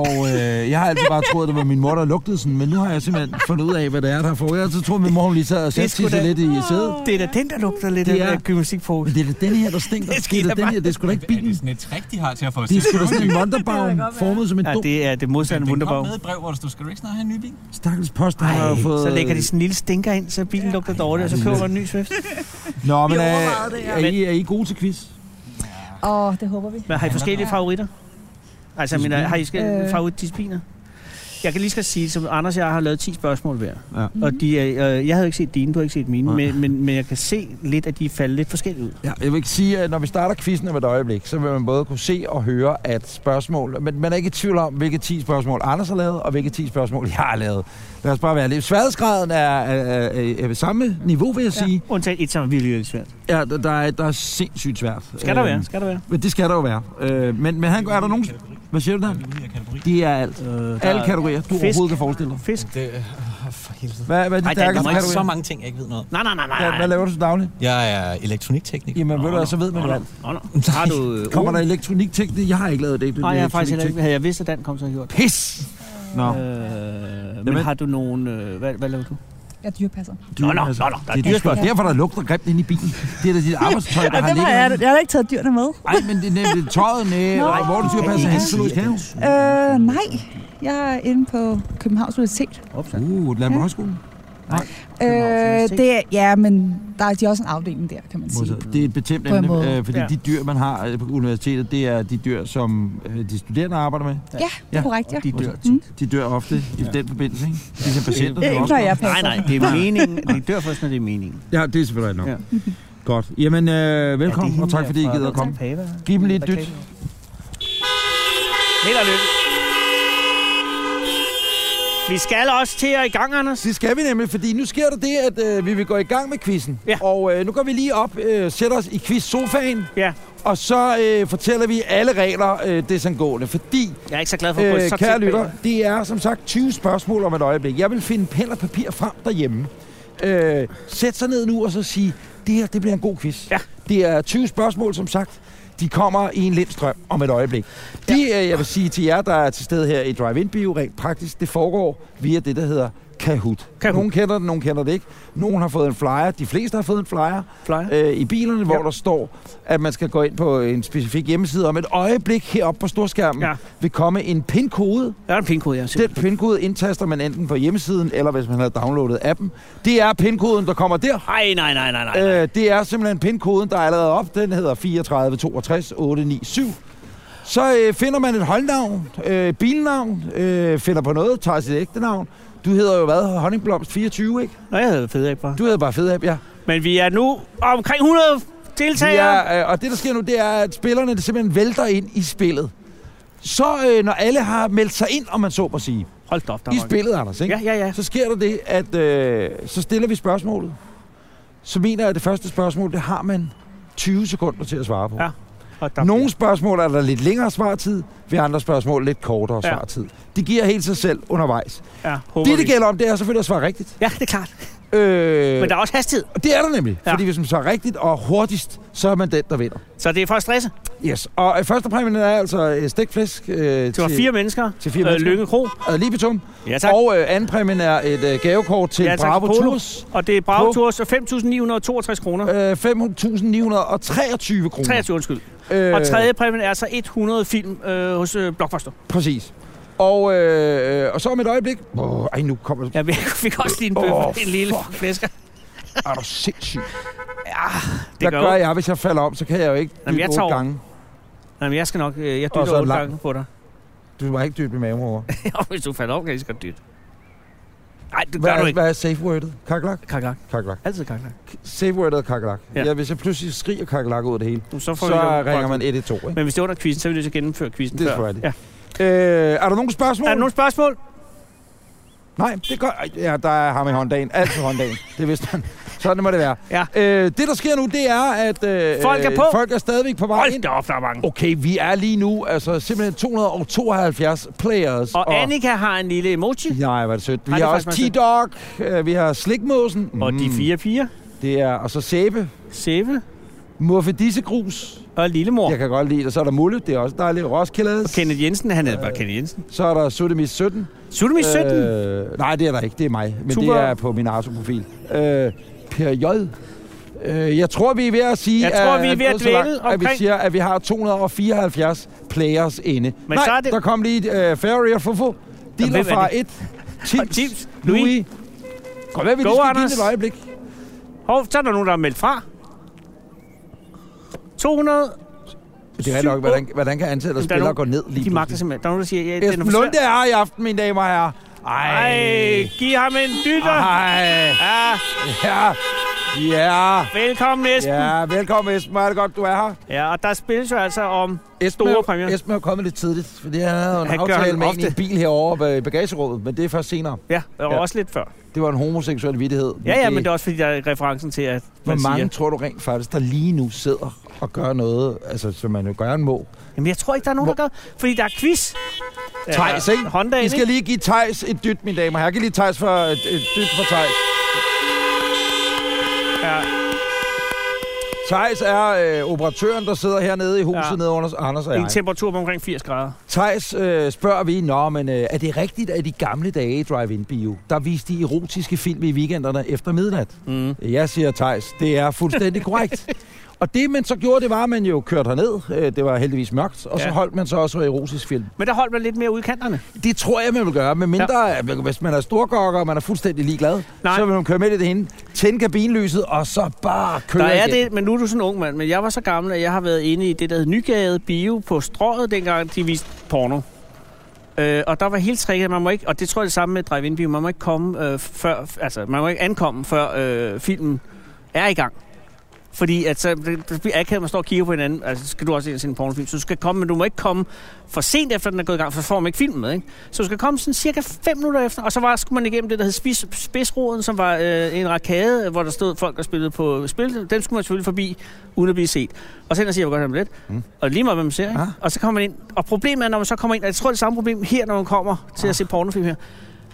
Speaker 2: Og øh, jeg har altid bare troet, at det var min mor, der lugtede sådan, men nu har jeg simpelthen fundet ud af, hvad det er, der har fået. Jeg har altid troet, at min mor hun lige sad og
Speaker 3: er
Speaker 2: satte
Speaker 3: sgu
Speaker 2: sig
Speaker 3: da-
Speaker 2: lidt i sædet.
Speaker 3: Det er da den, der lugter lidt
Speaker 2: Det
Speaker 3: af
Speaker 2: er-
Speaker 3: øh, gymnastikpose.
Speaker 2: Men det er da den her, der stinker.
Speaker 3: Det
Speaker 2: Det,
Speaker 3: skal
Speaker 2: er da
Speaker 3: jeg
Speaker 2: den
Speaker 3: bare-
Speaker 2: her, det er sgu da ikke
Speaker 4: Er det
Speaker 2: bilen.
Speaker 4: sådan et trick, de har til at få os
Speaker 2: Det er
Speaker 4: til
Speaker 2: sgu da sådan en
Speaker 8: Det kan
Speaker 2: wonderbaum
Speaker 8: da godt være.
Speaker 2: formet som en
Speaker 3: Ja,
Speaker 2: dum.
Speaker 3: det er det modsatte
Speaker 4: Den kom
Speaker 3: wunderbaum.
Speaker 4: med i brev, hvor der stod, skal du ikke snart have en ny bil?
Speaker 2: Stakkels post, han har jo
Speaker 3: Ej,
Speaker 2: fået...
Speaker 3: så lægger de sådan en lille stinker ind, så bilen lugter dårligt, og så køber man en ny Swift.
Speaker 2: Nå, men øh,
Speaker 8: overvejede det, ja.
Speaker 2: er, I, er I gode til quiz?
Speaker 8: Åh, det håber vi.
Speaker 3: Men har I forskellige favoritter? Altså, jeg mener, har I forskellige
Speaker 8: Øh.
Speaker 3: favoritdiscipliner? Jeg kan lige skal sige, som Anders og jeg har lavet 10 spørgsmål hver.
Speaker 2: Ja.
Speaker 3: Og de er, øh, jeg havde ikke set dine, du har ikke set mine,
Speaker 2: Nej.
Speaker 3: men, men, men jeg kan se lidt, at de er faldet lidt forskelligt ud.
Speaker 2: Ja, jeg vil ikke sige, at når vi starter quizzen om et øjeblik, så vil man både kunne se og høre, at spørgsmål... Men man er ikke i tvivl om, hvilke 10 spørgsmål Anders har lavet, og hvilke 10 spørgsmål jeg har lavet. Lad os bare være lidt. Sværhedsgraden er, er, er, er ved samme niveau, vil jeg ja. sige.
Speaker 3: Undtagen et, som er virkelig, virkelig svært.
Speaker 2: Ja, der, der, er, der er sindssygt svært.
Speaker 3: Skal der
Speaker 2: Øhm,
Speaker 3: være? Skal der være?
Speaker 2: Men det skal der jo være. Øh, men, men han, er der nogen... Hvad siger du der? Det er alt.
Speaker 3: Øh,
Speaker 2: Alle kategorier, du
Speaker 3: fisk.
Speaker 2: overhovedet kan forestille dig.
Speaker 3: Fisk?
Speaker 4: Det, øh, for helvede.
Speaker 2: Hvad, hvad er de
Speaker 3: Ej, der er
Speaker 2: stærkeste
Speaker 3: ikke
Speaker 2: kategorier?
Speaker 4: mange ting, jeg ikke ved noget om.
Speaker 3: Nej, nej, nej,
Speaker 2: Hvad-
Speaker 3: nej.
Speaker 2: Hvad
Speaker 3: nej.
Speaker 2: laver du til daglig?
Speaker 4: Jeg er elektroniktekniker.
Speaker 2: Jamen, ved du
Speaker 3: nå,
Speaker 2: hvad, så ved man
Speaker 3: nå,
Speaker 2: det
Speaker 3: nå,
Speaker 2: alt.
Speaker 3: nå, nå. Har du... øh,
Speaker 2: Kommer der elektronikteknik? Jeg har ikke lavet det.
Speaker 3: Nej, jeg har faktisk heller ikke. Havde jeg vidst, at den kom, så havde jeg gjort det.
Speaker 2: Pis! Nå,
Speaker 3: Øh, men
Speaker 2: Jamen.
Speaker 3: har du nogen... Øh, hvad, hvad laver du?
Speaker 8: Jeg dyrepasser.
Speaker 2: dyr,
Speaker 3: nå, nå, nå, der er
Speaker 2: altså, det
Speaker 3: dyr-
Speaker 2: sgu- Derfor der lugter grimt ind i bilen. Det er da dit arbejdstøj, der
Speaker 8: Ej,
Speaker 2: har
Speaker 8: det var jeg.
Speaker 2: ligget.
Speaker 8: Jeg har da ikke taget dyrene med.
Speaker 2: Nej, men det er nemlig tøjet,
Speaker 8: Nå.
Speaker 2: nej. Hvor er det dyrpasser
Speaker 8: Kan I
Speaker 2: hen? Så
Speaker 8: ikke
Speaker 2: kan jo.
Speaker 8: Øh, nej. Jeg er inde på Københavns Universitet.
Speaker 2: Uh, Landbrug Højskolen.
Speaker 8: Øh,
Speaker 3: Universitet?
Speaker 8: det er, ja, men der er de har også en afdeling der, kan man sige.
Speaker 2: Modtaget. Det er et bestemt
Speaker 8: På en
Speaker 2: emne,
Speaker 8: måde.
Speaker 2: øh, fordi
Speaker 3: Ja.
Speaker 2: de dyr, man har øh, på universitetet, det er de dyr, som øh, de studerende arbejder med.
Speaker 8: Ja, det er korrekt, ja. Mm.
Speaker 3: De dør.
Speaker 2: De dør ofte i den forbindelse, ikke? Ligesom patienter. det er
Speaker 8: Ikke
Speaker 2: også
Speaker 8: når jeg
Speaker 3: Nej,
Speaker 8: passer.
Speaker 3: nej, det
Speaker 8: <laughs>
Speaker 3: er meningen. De dør først, når det er meningen.
Speaker 2: Ja, det er selvfølgelig nok. <laughs> Godt. Jamen, øh, velkommen, ja, og tak fordi I gider at komme. Giv dem lige et dyt.
Speaker 3: Held og lykke. Vi skal også til at i gang, Anders.
Speaker 2: Det skal vi nemlig, fordi nu sker der det, at øh, vi vil gå i gang med quizzen.
Speaker 3: Ja.
Speaker 2: Og øh, nu går vi lige op, øh, sætter os i quiz-sofaen,
Speaker 3: Ja,
Speaker 2: og så øh, fortæller vi alle regler øh, desangående. Fordi,
Speaker 3: jeg er ikke så glad for at gå
Speaker 2: øh,
Speaker 3: så
Speaker 2: kære
Speaker 3: tæt
Speaker 2: lytter,
Speaker 3: bag.
Speaker 2: det er som sagt 20 spørgsmål om et øjeblik. Jeg vil finde pen og papir frem derhjemme. Øh, sæt sig ned nu og så sige, det her det bliver en god quiz.
Speaker 3: Ja.
Speaker 2: Det er 20 spørgsmål, som sagt. De kommer i en lindstrøm om et øjeblik. De, øh, jeg vil sige til jer, der er til stede her i Drive-In-bio, rent praktisk, det foregår via det, der hedder Kahoot.
Speaker 3: Kahoot.
Speaker 2: Nogen kender det, nogen kender det ikke. Nogen har fået en flyer. De fleste har fået en flyer øh, i bilerne, ja. hvor der står, at man skal gå ind på en specifik hjemmeside. Om et øjeblik heroppe på storskærmen ja.
Speaker 3: Ja.
Speaker 2: vil komme en pin-kode.
Speaker 3: Der er en pinkode, jeg
Speaker 2: Den pin-kode indtaster man enten på hjemmesiden, eller hvis man har downloadet appen. Det er pin-koden, der kommer der.
Speaker 3: Ej, nej, nej, nej, nej. Øh.
Speaker 2: Øh, det er simpelthen pin-koden, der er allerede op. Den hedder 3462897. Så øh, finder man et holdnavn, øh, bilnavn, øh, finder på noget, tager sit ægte navn. Du hedder jo hvad? Honningblomst 24, ikke?
Speaker 3: Nå, jeg havde fedt ikke bare.
Speaker 2: Du hedder bare Fedab, ja.
Speaker 3: Men vi er nu omkring 100 deltagere. Ja.
Speaker 2: Ja, øh, og det, der sker nu, det er, at spillerne det simpelthen vælter ind i spillet. Så øh, når alle har meldt sig ind, om man så må sige,
Speaker 3: Hold da op, der
Speaker 2: i
Speaker 3: var-
Speaker 2: spillet, Anders, ikke?
Speaker 3: Ja, ja, ja.
Speaker 2: så sker der det, at øh, så stiller vi spørgsmålet. Så mener jeg, at det første spørgsmål, det har man 20 sekunder til at svare på.
Speaker 3: Ja, Hold da op.
Speaker 2: Nogle spørgsmål er der lidt længere svartid, ved andre spørgsmål lidt kortere
Speaker 3: Ja.
Speaker 2: svartid. Det giver helt sig selv undervejs.
Speaker 3: Ja, håber
Speaker 2: Det, det
Speaker 3: vi.
Speaker 2: gælder om, det er selvfølgelig at svare rigtigt.
Speaker 3: Ja, det er klart.
Speaker 2: Øh,
Speaker 3: Men der er også hastighed.
Speaker 2: og det er der nemlig,
Speaker 3: Ja.
Speaker 2: fordi hvis man svarer rigtigt og hurtigst, så er man den, der vinder.
Speaker 3: Så det er for at stresse.
Speaker 2: Yes, og øh, første præmien er altså øh, stækflæsk øh,
Speaker 3: Det var
Speaker 2: til
Speaker 3: fire mennesker.
Speaker 2: til fire
Speaker 3: øh,
Speaker 2: mennesker.
Speaker 3: Lønge Kro.
Speaker 2: ad libitum.
Speaker 3: Ja, tak. Og,
Speaker 2: Og øh, anden præmien er et øh, gavekort til
Speaker 3: Ja, tak.
Speaker 2: Bravo
Speaker 3: Polo.
Speaker 2: Tours.
Speaker 3: og det er øh,
Speaker 2: På-
Speaker 3: Bravo Tours 5.962 kroner.
Speaker 2: Øh, 5.923 kroner.
Speaker 3: 23, undskyld.
Speaker 2: Øh,
Speaker 3: Og tredje præmien er så 100 film øh, hos øh, Blockbuster.
Speaker 2: Præcis. Og, øh, øh, og så om et øjeblik... Åh, ej, nu kommer det...
Speaker 3: Ja, vi <laughs> fik også lige en bøf,
Speaker 2: Åh,
Speaker 3: oh, en lille
Speaker 2: fuck.
Speaker 3: flæsker.
Speaker 2: Er du sindssyg?
Speaker 3: Det
Speaker 2: Hvad
Speaker 3: gør
Speaker 2: gør
Speaker 3: jeg.
Speaker 2: jeg, hvis jeg falder om? Så kan jeg jo ikke
Speaker 3: Jamen,
Speaker 2: dybe
Speaker 3: jeg
Speaker 2: otte
Speaker 3: tager over.
Speaker 2: gange.
Speaker 3: Jamen, jeg skal nok, øh, jeg
Speaker 2: Og så
Speaker 3: dytter
Speaker 2: en
Speaker 3: otte
Speaker 2: lang-
Speaker 3: gange på dig. <laughs>
Speaker 2: Du må ikke dybe i maven over.
Speaker 3: Og hvis du falder op, kan jeg lige så godt dytte. Nej, det
Speaker 2: Hvad
Speaker 3: gør du
Speaker 2: er,
Speaker 3: ikke.
Speaker 2: hvad er safe wordet? Kakelak?
Speaker 3: Kakelak.
Speaker 2: Kakelak.
Speaker 3: Altid kakelak.
Speaker 2: Safe wordet er kakelak. Ja.
Speaker 3: Ja.
Speaker 2: ja. hvis jeg pludselig skriger kakelak ud af det hele,
Speaker 3: Nu, Så, får vi
Speaker 2: så
Speaker 3: jo-
Speaker 2: ringer man 112, ikke?
Speaker 3: Men hvis det er under quizzen, så er vi nødt til at gennemføre quizzen
Speaker 2: Det er
Speaker 3: før.
Speaker 2: selvfølgelig
Speaker 3: ja.
Speaker 2: Øh, er der nogle spørgsmål?
Speaker 3: Er der nogle spørgsmål?
Speaker 2: Nej, det gør... Ej, Ja, der er ham i hånddagen. Altid
Speaker 3: <laughs>
Speaker 2: hånddagen. Det vidste han. Sådan må det være.
Speaker 3: Ja.
Speaker 2: Øh, det, der sker nu, det er, at... Øh,
Speaker 3: Folk er på.
Speaker 2: Folk er stadigvæk på vej
Speaker 3: Hold
Speaker 2: ind.
Speaker 3: da op, der er mange.
Speaker 2: Okay, vi er lige nu altså simpelthen 272 players.
Speaker 3: Og Annika har en lille emoji.
Speaker 2: Nej, hvor er det sødt. Vi
Speaker 3: Nej,
Speaker 2: har
Speaker 3: det er
Speaker 2: også
Speaker 3: faktisk
Speaker 2: T-Dog, øh, vi har Slikmåsen.
Speaker 3: Og de fire piger.
Speaker 2: Det er, og så Sæbe.
Speaker 3: Sæve
Speaker 2: Muffedissegrus.
Speaker 3: og Lillemor.
Speaker 2: Jeg kan godt lide det. Så er der Mulle, det er også dejligt. Roskilde.
Speaker 3: Og Kenneth Jensen, han hedder bare Kenneth Jensen.
Speaker 2: Så er der Sodomis 17.
Speaker 3: Sulemi 17.
Speaker 2: Øh, nej, det er der ikke. Det er mig. Men
Speaker 3: Tuborg.
Speaker 2: det er på min Arto-profil. Øh, per J. Øh, jeg tror, vi er ved at sige,
Speaker 3: Jeg tror,
Speaker 2: at,
Speaker 3: vi er ved at
Speaker 2: gået så langt,
Speaker 3: dvæle
Speaker 2: at vi
Speaker 3: omkring-
Speaker 2: siger, at vi har 274 players inde. Men nej,
Speaker 3: så er det-
Speaker 2: der kom lige øh, Ferry og Fofo.
Speaker 3: hvem
Speaker 2: Diller
Speaker 3: er
Speaker 2: fra
Speaker 3: det?
Speaker 2: 1. Tips,
Speaker 3: Tims,
Speaker 2: Louis.
Speaker 3: Louis.
Speaker 2: Louis. Godt, hvad vi
Speaker 3: Go,
Speaker 2: lige skal give
Speaker 3: Anders.
Speaker 2: det et øjeblik.
Speaker 3: Hov, så er der nogen, der er meldt fra. 200.
Speaker 2: Det er rigtig nok, hvordan, hvordan kan antallet af
Speaker 3: Men der er
Speaker 2: spillere
Speaker 3: nogen-
Speaker 2: gå ned lige
Speaker 3: De magter
Speaker 2: pludselig?
Speaker 3: simpelthen. Der er nogen, der siger, ja, den er
Speaker 2: Esben
Speaker 3: for
Speaker 2: Lunde
Speaker 3: svær.
Speaker 2: er her i aften, mine damer og herrer. Ej.
Speaker 3: Ej, giv ham en dytter.
Speaker 2: Ej.
Speaker 3: Ja,
Speaker 2: Ja. Ja.
Speaker 3: velkommen, Esben. Ja.
Speaker 2: Ja, velkommen Esben. Hvor er det godt, du er her.
Speaker 3: ja, og der spilles jo altså om...
Speaker 2: Esben,
Speaker 3: Store
Speaker 2: er-
Speaker 3: præmier.
Speaker 2: Esben er jo kommet lidt tidligt, fordi han havde jo en
Speaker 3: Han gør
Speaker 2: aftale
Speaker 3: han
Speaker 2: med en i
Speaker 3: ofte.
Speaker 2: en bil herovre i bagagerummet, men det er først senere.
Speaker 3: Ja, og
Speaker 2: Ja.
Speaker 3: ja. også lidt før.
Speaker 2: Det var en homoseksuel vittighed.
Speaker 3: Ja, ja, men det er også fordi, der er referencen til, at man
Speaker 2: Hvor mange
Speaker 3: siger...
Speaker 2: tror du rent faktisk, der lige nu sidder og gør noget, altså, som man jo gør en må?
Speaker 3: Jamen, jeg tror ikke, der er nogen, der gør... Fordi der er quiz.
Speaker 2: Thijs, ikke?
Speaker 3: Honda,
Speaker 2: I
Speaker 3: ikke?
Speaker 2: skal lige give Tejs et dyt, mine damer og herrer. Giv lige Tejs for et, et dyt for Tejs.
Speaker 3: Ja.
Speaker 2: Tejs er øh, operatøren, der sidder hernede i huset ja.
Speaker 3: Ja.
Speaker 2: nede under os- Anders og
Speaker 3: Det er en
Speaker 2: jeg.
Speaker 3: temperatur på omkring 80 grader.
Speaker 2: Thijs øh, spørger vi, Nå, men øh, er det rigtigt, at i de gamle dage i Drive-In-bio, der viste de erotiske film i weekenderne efter midnat?
Speaker 3: Mm.
Speaker 2: Jeg siger Tejs, det er
Speaker 3: <laughs>
Speaker 2: fuldstændig korrekt. Og det, man så gjorde, det var, at man jo kørte herned. Øh, Det var heldigvis mørkt. Og så
Speaker 3: Ja.
Speaker 2: holdt man så også erotisk film.
Speaker 3: Men der holdt man lidt mere ud i kanterne.
Speaker 2: Det tror jeg, man vil gøre. Med mindre, ja. hvis man er storgokker, og man er fuldstændig ligeglad, Nej.
Speaker 3: Nej.
Speaker 2: så vil man køre med i det hende, tænde kabinelyset, og så bare køre
Speaker 3: Der er
Speaker 2: igen.
Speaker 3: det, men nu er du sådan en ung mand, men jeg var så gammel, at jeg har været inde i det, der hed Nygade Bio på strået, dengang de viste porno. Øh, og der var helt tricket, at man må ikke, og det tror jeg det samme med Drive-In Bio, man må ikke komme øh, før, altså man må ikke ankomme, før øh, filmen er i gang. Fordi at så, det, det bliver akavet, at man står og kigger på hinanden. Altså, så skal du også ind og se en pornofilm. Så du skal komme, men du må ikke komme for sent efter, den er gået i gang, for så får man ikke filmen med. Ikke? Så du skal komme sådan cirka 5 minutter efter, og så var, skulle man igennem det, der hed spids, Spidsroden, som var øh, en rakade, hvor der stod folk, der spillede på spil. Dem skulle man selvfølgelig forbi, uden at blive set. Og så ind og siger, jeg vil godt have lidt. Mm. Og lige meget, hvad man ser. Ikke?
Speaker 2: Ah.
Speaker 3: Og så kommer man ind. Og problemet er, når man så kommer ind, og jeg tror, det er samme problem her, når man kommer til at se pornofilm her.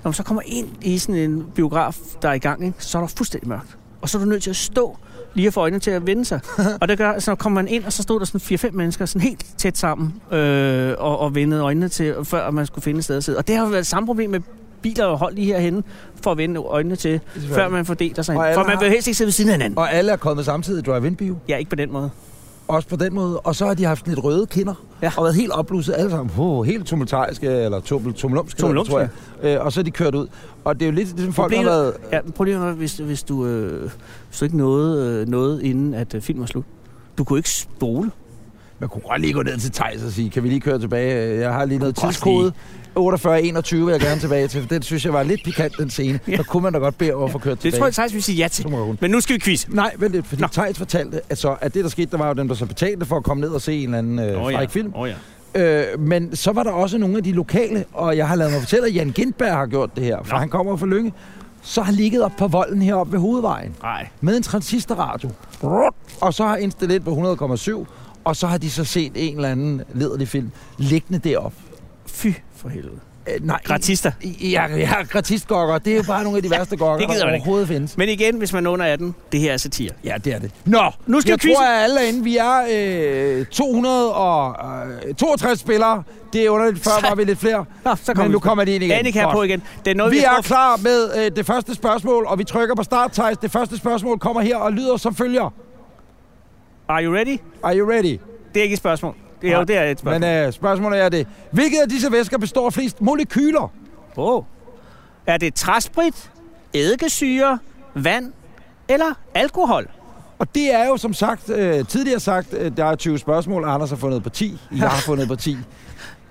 Speaker 3: Når man så kommer ind i sådan en biograf, der er i gang, ikke? så er der fuldstændig mørkt. Og så er du nødt til at stå lige at få øjnene til at vende sig. og det gør, så kommer man ind, og så stod der sådan 4-5 mennesker sådan helt tæt sammen øh, og, og vendede øjnene til, før man skulle finde et sted at sidde. Og det har jo været samme problem med biler og hold lige herhenne, for at vende øjnene til, før man fordeler sig.
Speaker 2: Og
Speaker 3: Hen.
Speaker 2: alle
Speaker 3: For man
Speaker 2: har-
Speaker 3: vil helst ikke sidde ved siden af hinanden.
Speaker 2: Og alle er kommet samtidig i drive-in-bio.
Speaker 3: Ja, ikke på den måde.
Speaker 2: Også på den måde. Og så har de haft sådan lidt røde kinder.
Speaker 3: Ja.
Speaker 2: Og været helt opblusset alle sammen. Oh, helt tumultariske, eller tumul, tumulumske,
Speaker 3: Tumulumske.
Speaker 2: tror jeg. Øh, og så er de kørt ud. Og det er jo lidt ligesom folk har
Speaker 3: Problemet-
Speaker 2: været...
Speaker 3: Ja, men problemet var, hvis, hvis, du, øh, hvis du ikke nåede øh, noget, inden at øh, filmen var slut. Du kunne ikke spole.
Speaker 2: Man kunne godt lige gå ned til Thijs og sige, kan vi lige køre tilbage? Jeg har lige noget
Speaker 3: Godt
Speaker 2: tidskode. 48-21 vil jeg gerne tilbage til, for den synes jeg var lidt pikant, den scene.
Speaker 3: Ja.
Speaker 2: Der kunne man da godt bede om at få kørt
Speaker 3: Det
Speaker 2: tilbage.
Speaker 3: tror jeg, Thijs vil sige ja til.
Speaker 2: Så må hun.
Speaker 3: Men nu skal vi quiz.
Speaker 2: Nej, vent lidt, fordi
Speaker 3: Nå.
Speaker 2: Thijs fortalte, at, så, at det, der skete, der var jo dem, der så betalte for at komme ned og se en eller anden øh, oh, ja. film.
Speaker 3: Oh, ja.
Speaker 2: Øh, men så var der også nogle af de lokale, og jeg har lavet mig fortælle, at Jan Gindberg har gjort det her, for han kommer fra Lønge. Så har ligget op på volden heroppe ved hovedvejen
Speaker 3: Nej.
Speaker 2: med en transistorradio. Og så har installeret på 100,7, og så har de så set en eller anden lederlig film liggende deroppe.
Speaker 3: Fy for helvede.
Speaker 2: Øh, nej,
Speaker 3: Gratister.
Speaker 2: Ja, ja, gratistgokker. Det er jo bare nogle af de værste gokker,
Speaker 3: det gider
Speaker 2: der
Speaker 3: man ikke.
Speaker 2: overhovedet findes.
Speaker 3: Men igen, hvis man er under 18, det her er satire.
Speaker 2: Ja, det er det. Nå,
Speaker 3: nu skal
Speaker 2: jeg
Speaker 3: vi quizze.
Speaker 2: tror, at alle er inde. Vi er øh, 262 øh, spillere. Det er underligt. Før
Speaker 3: Så-
Speaker 2: var vi lidt flere.
Speaker 3: Nå, så
Speaker 2: Men
Speaker 3: vi-
Speaker 2: nu kommer de ind igen.
Speaker 3: Annika er på
Speaker 2: Godt.
Speaker 3: igen. Det er noget, vi,
Speaker 2: Vi
Speaker 3: har
Speaker 2: er
Speaker 3: prøvet-
Speaker 2: klar med øh, det første spørgsmål, og vi trykker på start, Thijs. Det første spørgsmål kommer her og lyder som følger.
Speaker 3: Are you ready?
Speaker 2: Are you ready?
Speaker 3: Det er ikke et spørgsmål. Det er jo,
Speaker 2: Nej,
Speaker 3: det er et spørgsmål.
Speaker 2: Men øh, spørgsmålet er det. Hvilket af disse væsker består af flest molekyler?
Speaker 3: Åh. Er det træsprit, eddikesyre, vand eller alkohol?
Speaker 2: Og det er jo som sagt, øh, tidligere sagt, øh, der er 20 spørgsmål, og Anders har fundet på 10. Jeg har fundet på 10.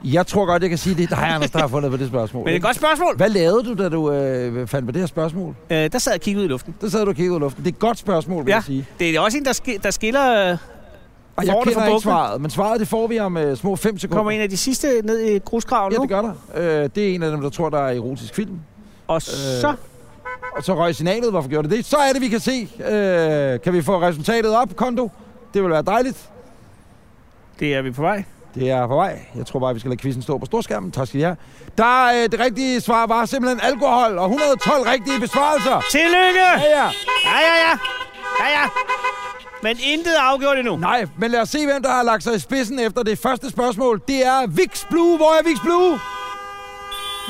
Speaker 2: Jeg tror godt, jeg kan sige, det er dig, Anders, der har fundet på det spørgsmål.
Speaker 3: Men det er et godt spørgsmål.
Speaker 2: Hvad lavede du, da du øh, fandt på det her spørgsmål?
Speaker 3: Øh, der sad jeg og kiggede ud i luften.
Speaker 2: Der sad du og kiggede ud i luften. Det er et godt spørgsmål, vil
Speaker 3: Ja.
Speaker 2: jeg sige.
Speaker 3: Det er også en, der, sk- der skiller... Øh,
Speaker 2: Og jeg
Speaker 3: Får det
Speaker 2: kender
Speaker 3: fra
Speaker 2: ikke
Speaker 3: bukken?
Speaker 2: svaret, men svaret det får vi om øh, små 5 sekunder.
Speaker 3: kommer en af de sidste ned i grusgraven
Speaker 2: Ja,
Speaker 3: nu.
Speaker 2: det gør der. Øh, det er en af dem, der tror, der er erotisk film.
Speaker 3: Og
Speaker 2: Øh.
Speaker 3: så...
Speaker 2: Og så røg signalet. Hvorfor gjorde det det? Så er det, vi kan se. Øh, kan vi få resultatet op, Kondo? Det vil være dejligt.
Speaker 3: Det er vi på vej.
Speaker 2: Det er på vej. Jeg tror bare, vi skal lade quizzen stå på storskærmen. Tak skal I have. Der, øh, det rigtige svar var simpelthen alkohol og 112 rigtige besvarelser.
Speaker 3: Tillykke!
Speaker 2: Ja, ja.
Speaker 3: Ja, ja, ja. Ja, ja. Men intet er afgjort endnu.
Speaker 2: Nej, men lad os se, hvem der har lagt sig i spidsen efter det første spørgsmål. Det er Vicks Blue. Hvor er Vicks Blue?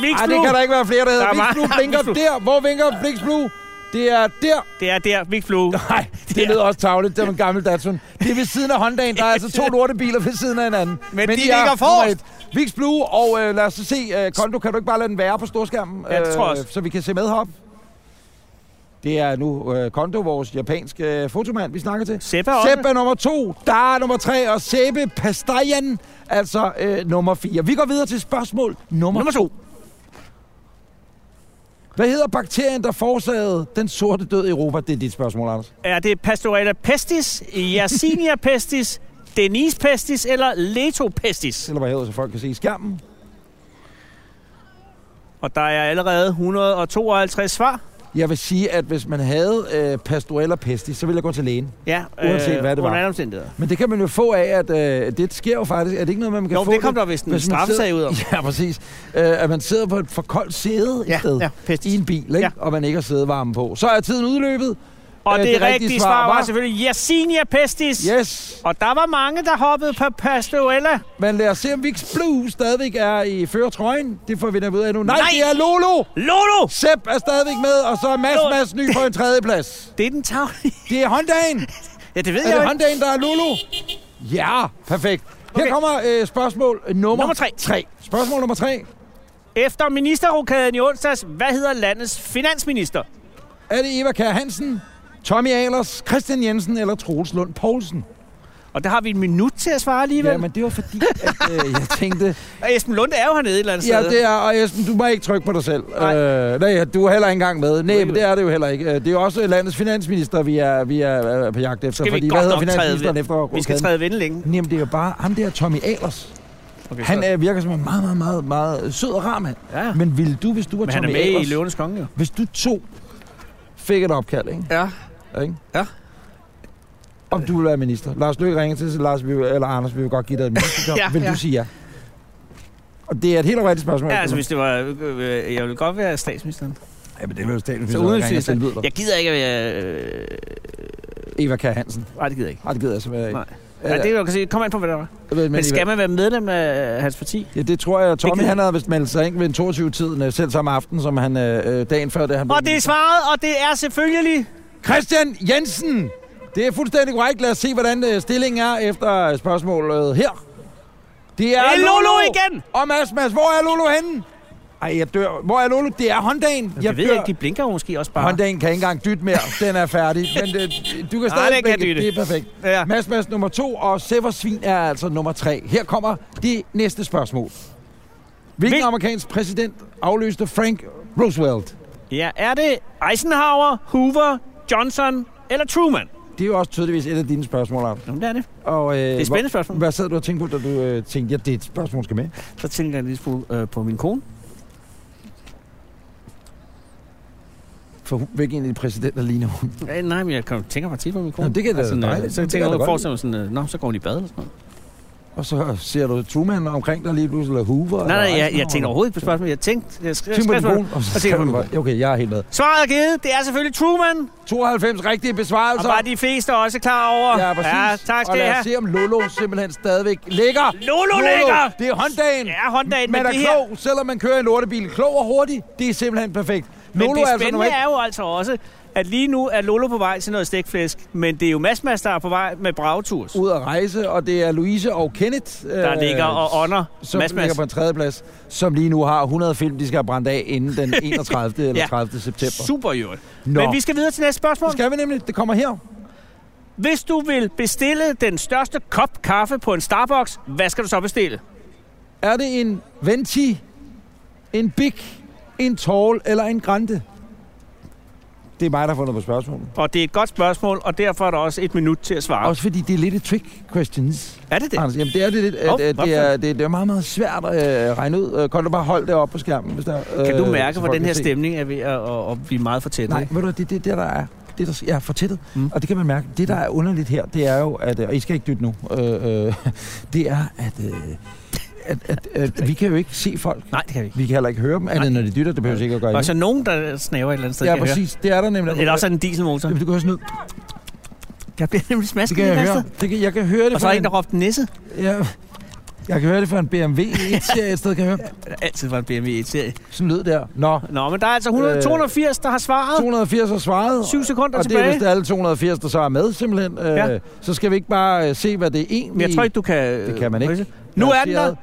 Speaker 3: Mix
Speaker 2: Ej,
Speaker 3: Blue.
Speaker 2: det kan der ikke være flere, der hedder.
Speaker 3: Der er
Speaker 2: Vicks
Speaker 3: mange-
Speaker 2: Blue blinker
Speaker 3: Vicks Blue.
Speaker 2: der. Hvor vinker Vicks Blue? Det er der.
Speaker 3: Det er der, Big Blue.
Speaker 2: Nej, det lyder også tavligt. Det er en gammel Datsun. Det er ved siden af Hondaen. Der er altså
Speaker 3: <laughs>
Speaker 2: to lortebiler ved siden af hinanden.
Speaker 3: Men de
Speaker 2: I er
Speaker 3: ligger forrest.
Speaker 2: nummer et. Vicks Blue, og øh, lad os så se. Øh, Kondo, kan du ikke bare lade den være på storskærmen? Øh,
Speaker 3: Ja, det tror jeg også.
Speaker 2: Så vi kan se med herop. Det er nu øh, Kondo, vores japanske øh, fotomand, vi snakker til.
Speaker 3: Seppe også.
Speaker 2: Sepp er nummer to, der er nummer tre, og Seppe Pastajan, altså øh, nummer fire. Vi går videre til spørgsmål nummer,
Speaker 3: Nummer to.
Speaker 2: Hvad hedder bakterien, der forårsagede den sorte død i Europa? Det er dit spørgsmål, Anders.
Speaker 3: Er det Pastorella pestis, Yersinia pestis, Denise pestis eller Leto pestis?
Speaker 2: Eller hvad hedder, så folk kan se i skærmen.
Speaker 3: Og der er allerede 152 svar.
Speaker 2: Jeg vil sige, at hvis man havde øh, pastorella pesti, så ville jeg gå til lægen.
Speaker 3: Ja,
Speaker 2: Uanset hvad det var.
Speaker 3: Øh, Under alle omstændigheder.
Speaker 2: Men det kan man jo få af, at øh, det sker jo faktisk. Er det ikke noget, man kan
Speaker 3: Jo,
Speaker 2: få?
Speaker 3: det kom der vist en
Speaker 2: hvis man
Speaker 3: straffesag
Speaker 2: sidder-
Speaker 3: ud om.
Speaker 2: <laughs> Ja, præcis. Øh, at man sidder på et for koldt sæde et sted
Speaker 3: ja, pestis.
Speaker 2: i en bil, ikke?
Speaker 3: Ja.
Speaker 2: og man ikke har sædevarme på. Så er tiden udløbet.
Speaker 3: Og
Speaker 2: Øh,
Speaker 3: det, det rigtige svar var
Speaker 2: var-
Speaker 3: selvfølgelig Yersinia pestis.
Speaker 2: Yes,
Speaker 3: Og der var mange, der hoppede på Pastorella.
Speaker 2: men lad os se, om Vicks Blue stadigvæk er i førertrøjen. Det får vi da ved af nu. Nej,
Speaker 3: Nej!
Speaker 2: det er Lolo!
Speaker 3: Lolo!
Speaker 2: Sepp er stadigvæk med, og så er Mads
Speaker 3: Lolo.
Speaker 2: Mads ny på en tredjeplads.
Speaker 3: Det er den tavlige.
Speaker 2: <laughs> Det er Hondaen.
Speaker 3: Ja, det ved
Speaker 2: Er
Speaker 3: jeg
Speaker 2: det
Speaker 3: jo ikke.
Speaker 2: Hondaen, der er Lulu? Ja, perfekt. Her
Speaker 3: Okay.
Speaker 2: kommer øh, spørgsmål nummer,
Speaker 3: Nummer tre.
Speaker 2: Spørgsmål nummer tre.
Speaker 3: Efter ministerrokaden i onsdags, hvad hedder landets finansminister?
Speaker 2: Er det Eva Kær Hansen, Tommy Ahlers, Christian Jensen eller Troels Lund Poulsen?
Speaker 3: Og der har vi en minut til at svare alligevel.
Speaker 2: Ja,
Speaker 3: Jamen.
Speaker 2: men det var fordi, at øh, jeg tænkte...
Speaker 3: Og Esben Lunde er jo hernede et eller andet
Speaker 2: Ja,
Speaker 3: sted.
Speaker 2: det er, og Esben, du må ikke trykke på dig selv.
Speaker 3: Nej.
Speaker 2: Øh, nej, du er heller ikke engang med. Nej, men det er det jo heller ikke. Øh, Det er jo også landets finansminister, vi er, vi er øh, på jagt efter.
Speaker 3: Skal vi
Speaker 2: fordi,
Speaker 3: godt
Speaker 2: hvad hedder
Speaker 3: nok træde
Speaker 2: finansministeren
Speaker 3: ved?
Speaker 2: efter
Speaker 3: Vi skal
Speaker 2: rokaden?
Speaker 3: træde vinde længe.
Speaker 2: Jamen, det er jo bare ham der, Tommy Ahlers. Okay, han øh, virker som en meget, meget, meget, meget sød og rar mand.
Speaker 3: Ja, men
Speaker 2: Men ville du, hvis du var
Speaker 3: han
Speaker 2: Tommy
Speaker 3: er med i
Speaker 2: Ahlers,
Speaker 3: Løvenes Konge, jo.
Speaker 2: hvis du to fik et opkald, ikke?
Speaker 3: Ja.
Speaker 2: ikke?
Speaker 3: Ja.
Speaker 2: Om du ville være minister. Lars Løkke ringer til, så Lars, vi vil, eller Anders, vi vil godt give dig et ministerjob.
Speaker 3: <laughs> Ja,
Speaker 2: ja, vil ja.
Speaker 3: ja.
Speaker 2: du sige ja? Og det er et helt rigtigt spørgsmål.
Speaker 3: Ja, altså hvis det var... øh, øh, Jeg ville godt være statsministeren.
Speaker 2: Ja, men det er jo
Speaker 3: Så
Speaker 2: statsminister, der ringer og
Speaker 3: udenrigsministeren.
Speaker 2: tilbyder dig.
Speaker 3: Jeg gider ikke at være... Øh,
Speaker 2: Eva Kjær Hansen.
Speaker 3: nej, det gider jeg ikke.
Speaker 2: Ej, det gider jeg simpelthen ikke.
Speaker 3: Nej. Ja, det er jo, kan sige. Kom an på, hvad der var.
Speaker 2: Øh, men,
Speaker 3: Men
Speaker 2: Eva-
Speaker 3: skal man være medlem af hans parti?
Speaker 2: Ja, det tror jeg. Tommy,
Speaker 3: gider-
Speaker 2: han havde vist meldt sig ind ved en 22-tiden, øh, selv samme aften, som han øh, øh, dagen før det, han blev
Speaker 3: Og det er
Speaker 2: minister.
Speaker 3: svaret, og det er selvfølgelig...
Speaker 2: Christian Jensen! Det er fuldstændig korrekt. Lad os se, hvordan øh, stillingen er efter øh, spørgsmålet her. Det er
Speaker 3: Det er Lolo igen!
Speaker 2: Og Mads, Mads, hvor er Lolo henne? Ej, jeg dør. Hvor er Lolo? Det er Hondaen.
Speaker 3: Jeg, jeg ved ikke, de blinker jo måske også bare.
Speaker 2: Hondaen kan ikke engang dytte mere. Den er færdig. Men det, du kan stadig
Speaker 3: den kan
Speaker 2: begge.
Speaker 3: dytte.
Speaker 2: Det er perfekt.
Speaker 3: Ja.
Speaker 2: Mads Mads nummer to, og Sever Svin er altså nummer tre. Her kommer det næste spørgsmål. Hvilken
Speaker 3: Hvil-
Speaker 2: amerikansk præsident afløste Frank Roosevelt?
Speaker 3: ja, er det Eisenhower, Hoover, Johnson eller Truman?
Speaker 2: Det er jo også tydeligvis et af dine spørgsmål, Arne.
Speaker 3: Nå, men det er det.
Speaker 2: Og, øh, det
Speaker 3: er et spændende spørgsmål.
Speaker 2: Hvad sad du og tænkte på, da du øh, tænkte, ja, det er et spørgsmål, skal med?
Speaker 3: Så tænker jeg lige på, øh, på min kone.
Speaker 2: For hun- hvilken af de præsidenter ligner hun?
Speaker 3: Ja, nej, men jeg kan- tænker bare tit på min kone.
Speaker 2: Nå, det kan da
Speaker 3: sådan,
Speaker 2: være
Speaker 3: øh,
Speaker 2: dejligt.
Speaker 3: Så
Speaker 2: Det
Speaker 3: tænker
Speaker 2: kan
Speaker 3: jeg,
Speaker 2: da godt
Speaker 3: jeg forestiller mig sådan, øh, nå, så går hun i bad eller sådan noget.
Speaker 2: Og så ser du Truman omkring dig lige pludselig, eller Hoover.
Speaker 3: Nej, nej, jeg, jeg
Speaker 2: Eisenhower.
Speaker 3: tænkte overhovedet ikke på spørgsmålet. Jeg tænkte... Jeg skrev,
Speaker 2: Tænk på
Speaker 3: skrev
Speaker 2: din
Speaker 3: spørgsmålet.
Speaker 2: kone, og så
Speaker 3: Og tænker
Speaker 2: tænker
Speaker 3: på
Speaker 2: du
Speaker 3: min
Speaker 2: bare, okay, jeg er helt med.
Speaker 3: Svaret er givet. Det er selvfølgelig Truman.
Speaker 2: 92 rigtige
Speaker 3: Og
Speaker 2: besvarelser.
Speaker 3: var de fleste også klar over.
Speaker 2: Ja, præcis.
Speaker 3: Ja, tak
Speaker 2: Og
Speaker 3: skal I
Speaker 2: lad os
Speaker 3: have.
Speaker 2: se, om Lolo simpelthen stadigvæk ligger.
Speaker 3: Lolo ligger!
Speaker 2: Det er Hondaen.
Speaker 3: Ja, Hondaen, men
Speaker 2: Man er
Speaker 3: det her...
Speaker 2: klog, selvom man kører en lortebil. Klog og hurtig, det er simpelthen perfekt.
Speaker 3: Men
Speaker 2: Lolo
Speaker 3: det
Speaker 2: er altså
Speaker 3: spændende
Speaker 2: nummer
Speaker 3: er
Speaker 2: et.
Speaker 3: jo altså også, at lige nu er Lolo på vej til noget stikflæsk, men det er jo Mads Mads, der er på vej med Bragetours,
Speaker 2: ud at rejse, og det er Louise og Kenneth,
Speaker 3: der
Speaker 2: øh,
Speaker 3: ligger og ånder
Speaker 2: som
Speaker 3: Mads
Speaker 2: ligger
Speaker 3: Mads.
Speaker 2: på en tredjeplads, som lige nu har 100 film, de skal have brændt af inden
Speaker 3: <laughs>
Speaker 2: den 31. eller
Speaker 3: Ja.
Speaker 2: 30. september.
Speaker 3: Super i øvrigt.
Speaker 2: Nå,
Speaker 3: Men vi skal videre til næste spørgsmål.
Speaker 2: det skal vi nemlig. Det kommer her.
Speaker 3: Hvis du vil bestille den største kop kaffe på en Starbucks, hvad skal du så bestille?
Speaker 2: Er det en Venti, en Big, en Tall eller en Grande? Det er mig, der har fundet på spørgsmålet.
Speaker 3: Og det er et godt spørgsmål, og derfor er der også et minut til at svare.
Speaker 2: Også fordi det er lidt et trick questions.
Speaker 3: Er det det?
Speaker 2: Anders, jamen det er det lidt.
Speaker 3: Hov,
Speaker 2: Oh, det,
Speaker 3: hvad
Speaker 2: det, er, det, det er meget, meget svært at øh, regne ud. Øh, Kan du bare holde det op på skærmen? Hvis der,
Speaker 3: Kan du
Speaker 2: øh,
Speaker 3: mærke,
Speaker 2: så
Speaker 3: hvor
Speaker 2: folk
Speaker 3: den her
Speaker 2: kan se?
Speaker 3: stemning er ved at, at, at blive meget for tæt?
Speaker 2: Nej,
Speaker 3: ikke?
Speaker 2: ved du, hvad, det er det, der, der er. Det, der er fortættet. Mm.
Speaker 3: Mm.
Speaker 2: Og det kan man mærke. Det, der er underligt her, det er jo, at... øh, Og I skal ikke dytte nu. Øh, øh, <laughs> det er, at, øh, at, at, at... Vi kan jo ikke se folk.
Speaker 3: Nej, det kan vi ikke.
Speaker 2: Vi kan heller ikke høre dem, andet end når de dytter. Det behøver vi ikke at gøre
Speaker 3: Der er
Speaker 2: endnu.
Speaker 3: så nogen, der snaver et eller andet sted,
Speaker 2: Ja,
Speaker 3: kan jeg høre.
Speaker 2: præcis. Det er der nemlig.
Speaker 3: Eller også er det en dieselmotor.
Speaker 2: Jamen, du kan høre sådan noget.
Speaker 3: Der bliver nemlig
Speaker 2: Det
Speaker 3: smasket
Speaker 2: kan
Speaker 3: et
Speaker 2: jeg
Speaker 3: eller andet
Speaker 2: høre.
Speaker 3: sted.
Speaker 2: Det kan, jeg kan høre det
Speaker 3: Og så er
Speaker 2: fra
Speaker 3: der en, der råbte nisse.
Speaker 2: Ja, jeg kan høre det fra en BMW
Speaker 3: <laughs>
Speaker 2: 1-serie et sted, kan jeg høre.
Speaker 3: Altid var en BMW 1-serie.
Speaker 2: Sådan lød der. Nå,
Speaker 3: Nå, men der er altså 100,
Speaker 2: Øh,
Speaker 3: 280, der har svaret.
Speaker 2: 280 har svaret.
Speaker 3: 7 sekunder
Speaker 2: Øh, og det er
Speaker 3: tilbage.
Speaker 2: vist alle 280, der så er med, simpelthen. Øh,
Speaker 3: Ja.
Speaker 2: Så skal vi ikke bare øh, se, hvad det
Speaker 3: Men
Speaker 2: egentlig...
Speaker 3: jeg tror ikke, du kan...
Speaker 2: Det kan man ikke.
Speaker 3: Risse. Nu er den der.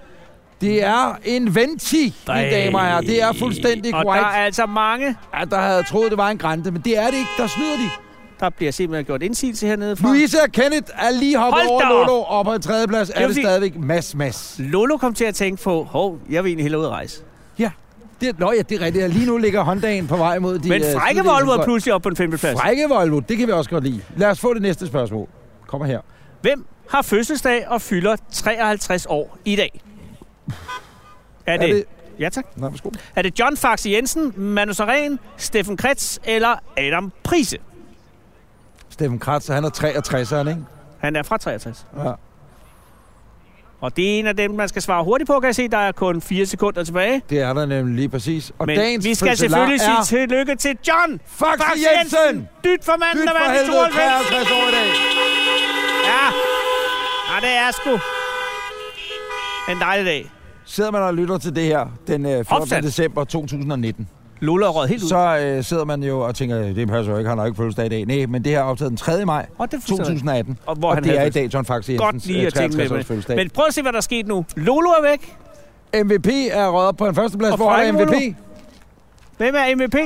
Speaker 2: Det er en Venti, mine damer og herrer. Det er fuldstændig
Speaker 3: Og der
Speaker 2: korrekt.
Speaker 3: er altså mange,
Speaker 2: Er... Ja, der havde troet, det var en Grande, men det er det ikke. Der snyder de.
Speaker 3: der bliver simpelthen gjort indsigelse hernede fra.
Speaker 2: Louise og Kenneth er lige hoppet
Speaker 3: Hold
Speaker 2: over
Speaker 3: da op.
Speaker 2: Lolo, og på en tredjeplads er
Speaker 3: vil
Speaker 2: det
Speaker 3: sige-
Speaker 2: stadigvæk Mads Mads.
Speaker 3: Lolo kom til at tænke på, hov, jeg vil egentlig hellere ud at rejse.
Speaker 2: Det, nå ja, det er rigtigt. Lige nu ligger Hondaen på vej mod de...
Speaker 3: Men
Speaker 2: øh,
Speaker 3: frække
Speaker 2: sydlige
Speaker 3: Volvo er
Speaker 2: folk.
Speaker 3: pludselig op på en femteplads.
Speaker 2: Frække Volvo, det kan vi også godt lide. Lad os få det næste spørgsmål. Kommer her.
Speaker 3: Hvem har fødselsdag og fylder 53 år i dag? Er det...
Speaker 2: Er det-
Speaker 3: Ja, tak.
Speaker 2: Nej, værsgo.
Speaker 3: Er det John Faxe Jensen, Manu Saren, Steffen Kretz eller Adam Prise?
Speaker 2: Steffen Kratz, han er 63'eren, ikke?
Speaker 3: Han er fra 63.
Speaker 2: Ja.
Speaker 3: Og det er en af dem, man skal svare hurtigt på, kan jeg se. Der er kun 4 sekunder tilbage.
Speaker 2: Det er der nemlig lige præcis. Og
Speaker 3: Men
Speaker 2: dagens
Speaker 3: vi skal
Speaker 2: fødselar
Speaker 3: selvfølgelig
Speaker 2: er...
Speaker 3: sige tillykke til John
Speaker 2: Faxe
Speaker 3: Faxe
Speaker 2: Jensen!
Speaker 3: Jensen! Dyt for manden,
Speaker 2: Dyt
Speaker 3: der
Speaker 2: for
Speaker 3: vandt i
Speaker 2: helvede,
Speaker 3: 92.
Speaker 2: 53 år i dag.
Speaker 3: Ja. ja, det er sgu en dejlig dag.
Speaker 2: Sidder man og lytter til det her den øh, 14.
Speaker 3: Opsat.
Speaker 2: december 2019,
Speaker 3: Lola er røget helt ud. Så,
Speaker 2: så øh, sidder man jo og tænker, det passer jo ikke, han har jo ikke fødselsdag i dag. Nej, men det her er optaget den 3. maj
Speaker 3: og det forstår jeg.
Speaker 2: 2018.
Speaker 3: Og hvor
Speaker 2: og
Speaker 3: han
Speaker 2: det
Speaker 3: havde
Speaker 2: er i
Speaker 3: fødselsdag.
Speaker 2: dag John Faxe
Speaker 3: Godt
Speaker 2: Jensens
Speaker 3: lige
Speaker 2: øh,
Speaker 3: at tænke med,
Speaker 2: 53 års
Speaker 3: med.
Speaker 2: fødselsdag.
Speaker 3: Men prøv at se, hvad der er sket nu. Lolo er væk.
Speaker 2: MVP er røget op på en førsteplads.
Speaker 3: Og
Speaker 2: Hvor er
Speaker 3: Frank
Speaker 2: MVP?
Speaker 3: Hvem er MVP?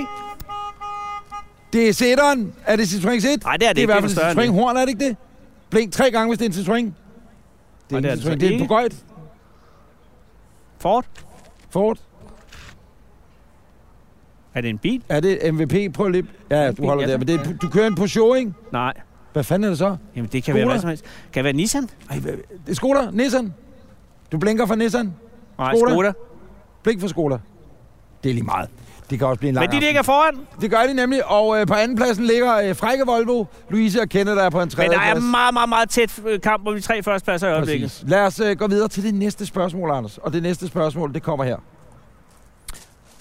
Speaker 2: Det er sætteren. Er det Citroën 1?
Speaker 3: Nej, det er
Speaker 2: Det er
Speaker 3: det
Speaker 2: i
Speaker 3: ikke.
Speaker 2: hvert
Speaker 3: Det
Speaker 2: fald
Speaker 3: er større end
Speaker 2: Citroën
Speaker 3: det.
Speaker 2: Horn, er det ikke det? Blink tre gange, hvis det er en Citroën. Det er,
Speaker 3: Og det
Speaker 2: det
Speaker 3: er
Speaker 2: er,
Speaker 3: det
Speaker 2: Citroën.
Speaker 3: så
Speaker 2: Det er en
Speaker 3: ikke.
Speaker 2: Peugeot.
Speaker 3: Ford?
Speaker 2: Ford.
Speaker 3: Er det en bil?
Speaker 2: Er det MVP? Prøv lige. Ja, du holder
Speaker 3: Ja,
Speaker 2: der.
Speaker 3: tak.
Speaker 2: Men det er, du kører en Peugeot, ikke?
Speaker 3: Nej.
Speaker 2: Hvad fanden er det så?
Speaker 3: Jamen, det kan
Speaker 2: Skoda?
Speaker 3: være hvad som helst. Kan det være Nissan?
Speaker 2: Ej, hvad, det er Skoda. Nissan. Du blinker for Nissan.
Speaker 3: Nej,
Speaker 2: Skoda.
Speaker 3: Skoda. Skoda.
Speaker 2: Blink for Skoda. Det er lige meget. Det kan også blive en lang
Speaker 3: Men de
Speaker 2: aften.
Speaker 3: ligger foran.
Speaker 2: Det gør de nemlig, og øh, på andenpladsen ligger øh, frække Volvo. Louise og Kenneth er på en
Speaker 3: Men
Speaker 2: tredje
Speaker 3: der er meget, meget, meget tæt øh, kamp om de tre førstepladser i øjeblikket.
Speaker 2: Præcis. Lad os øh, gå videre til det næste spørgsmål, Anders. Og det næste spørgsmål, det kommer her.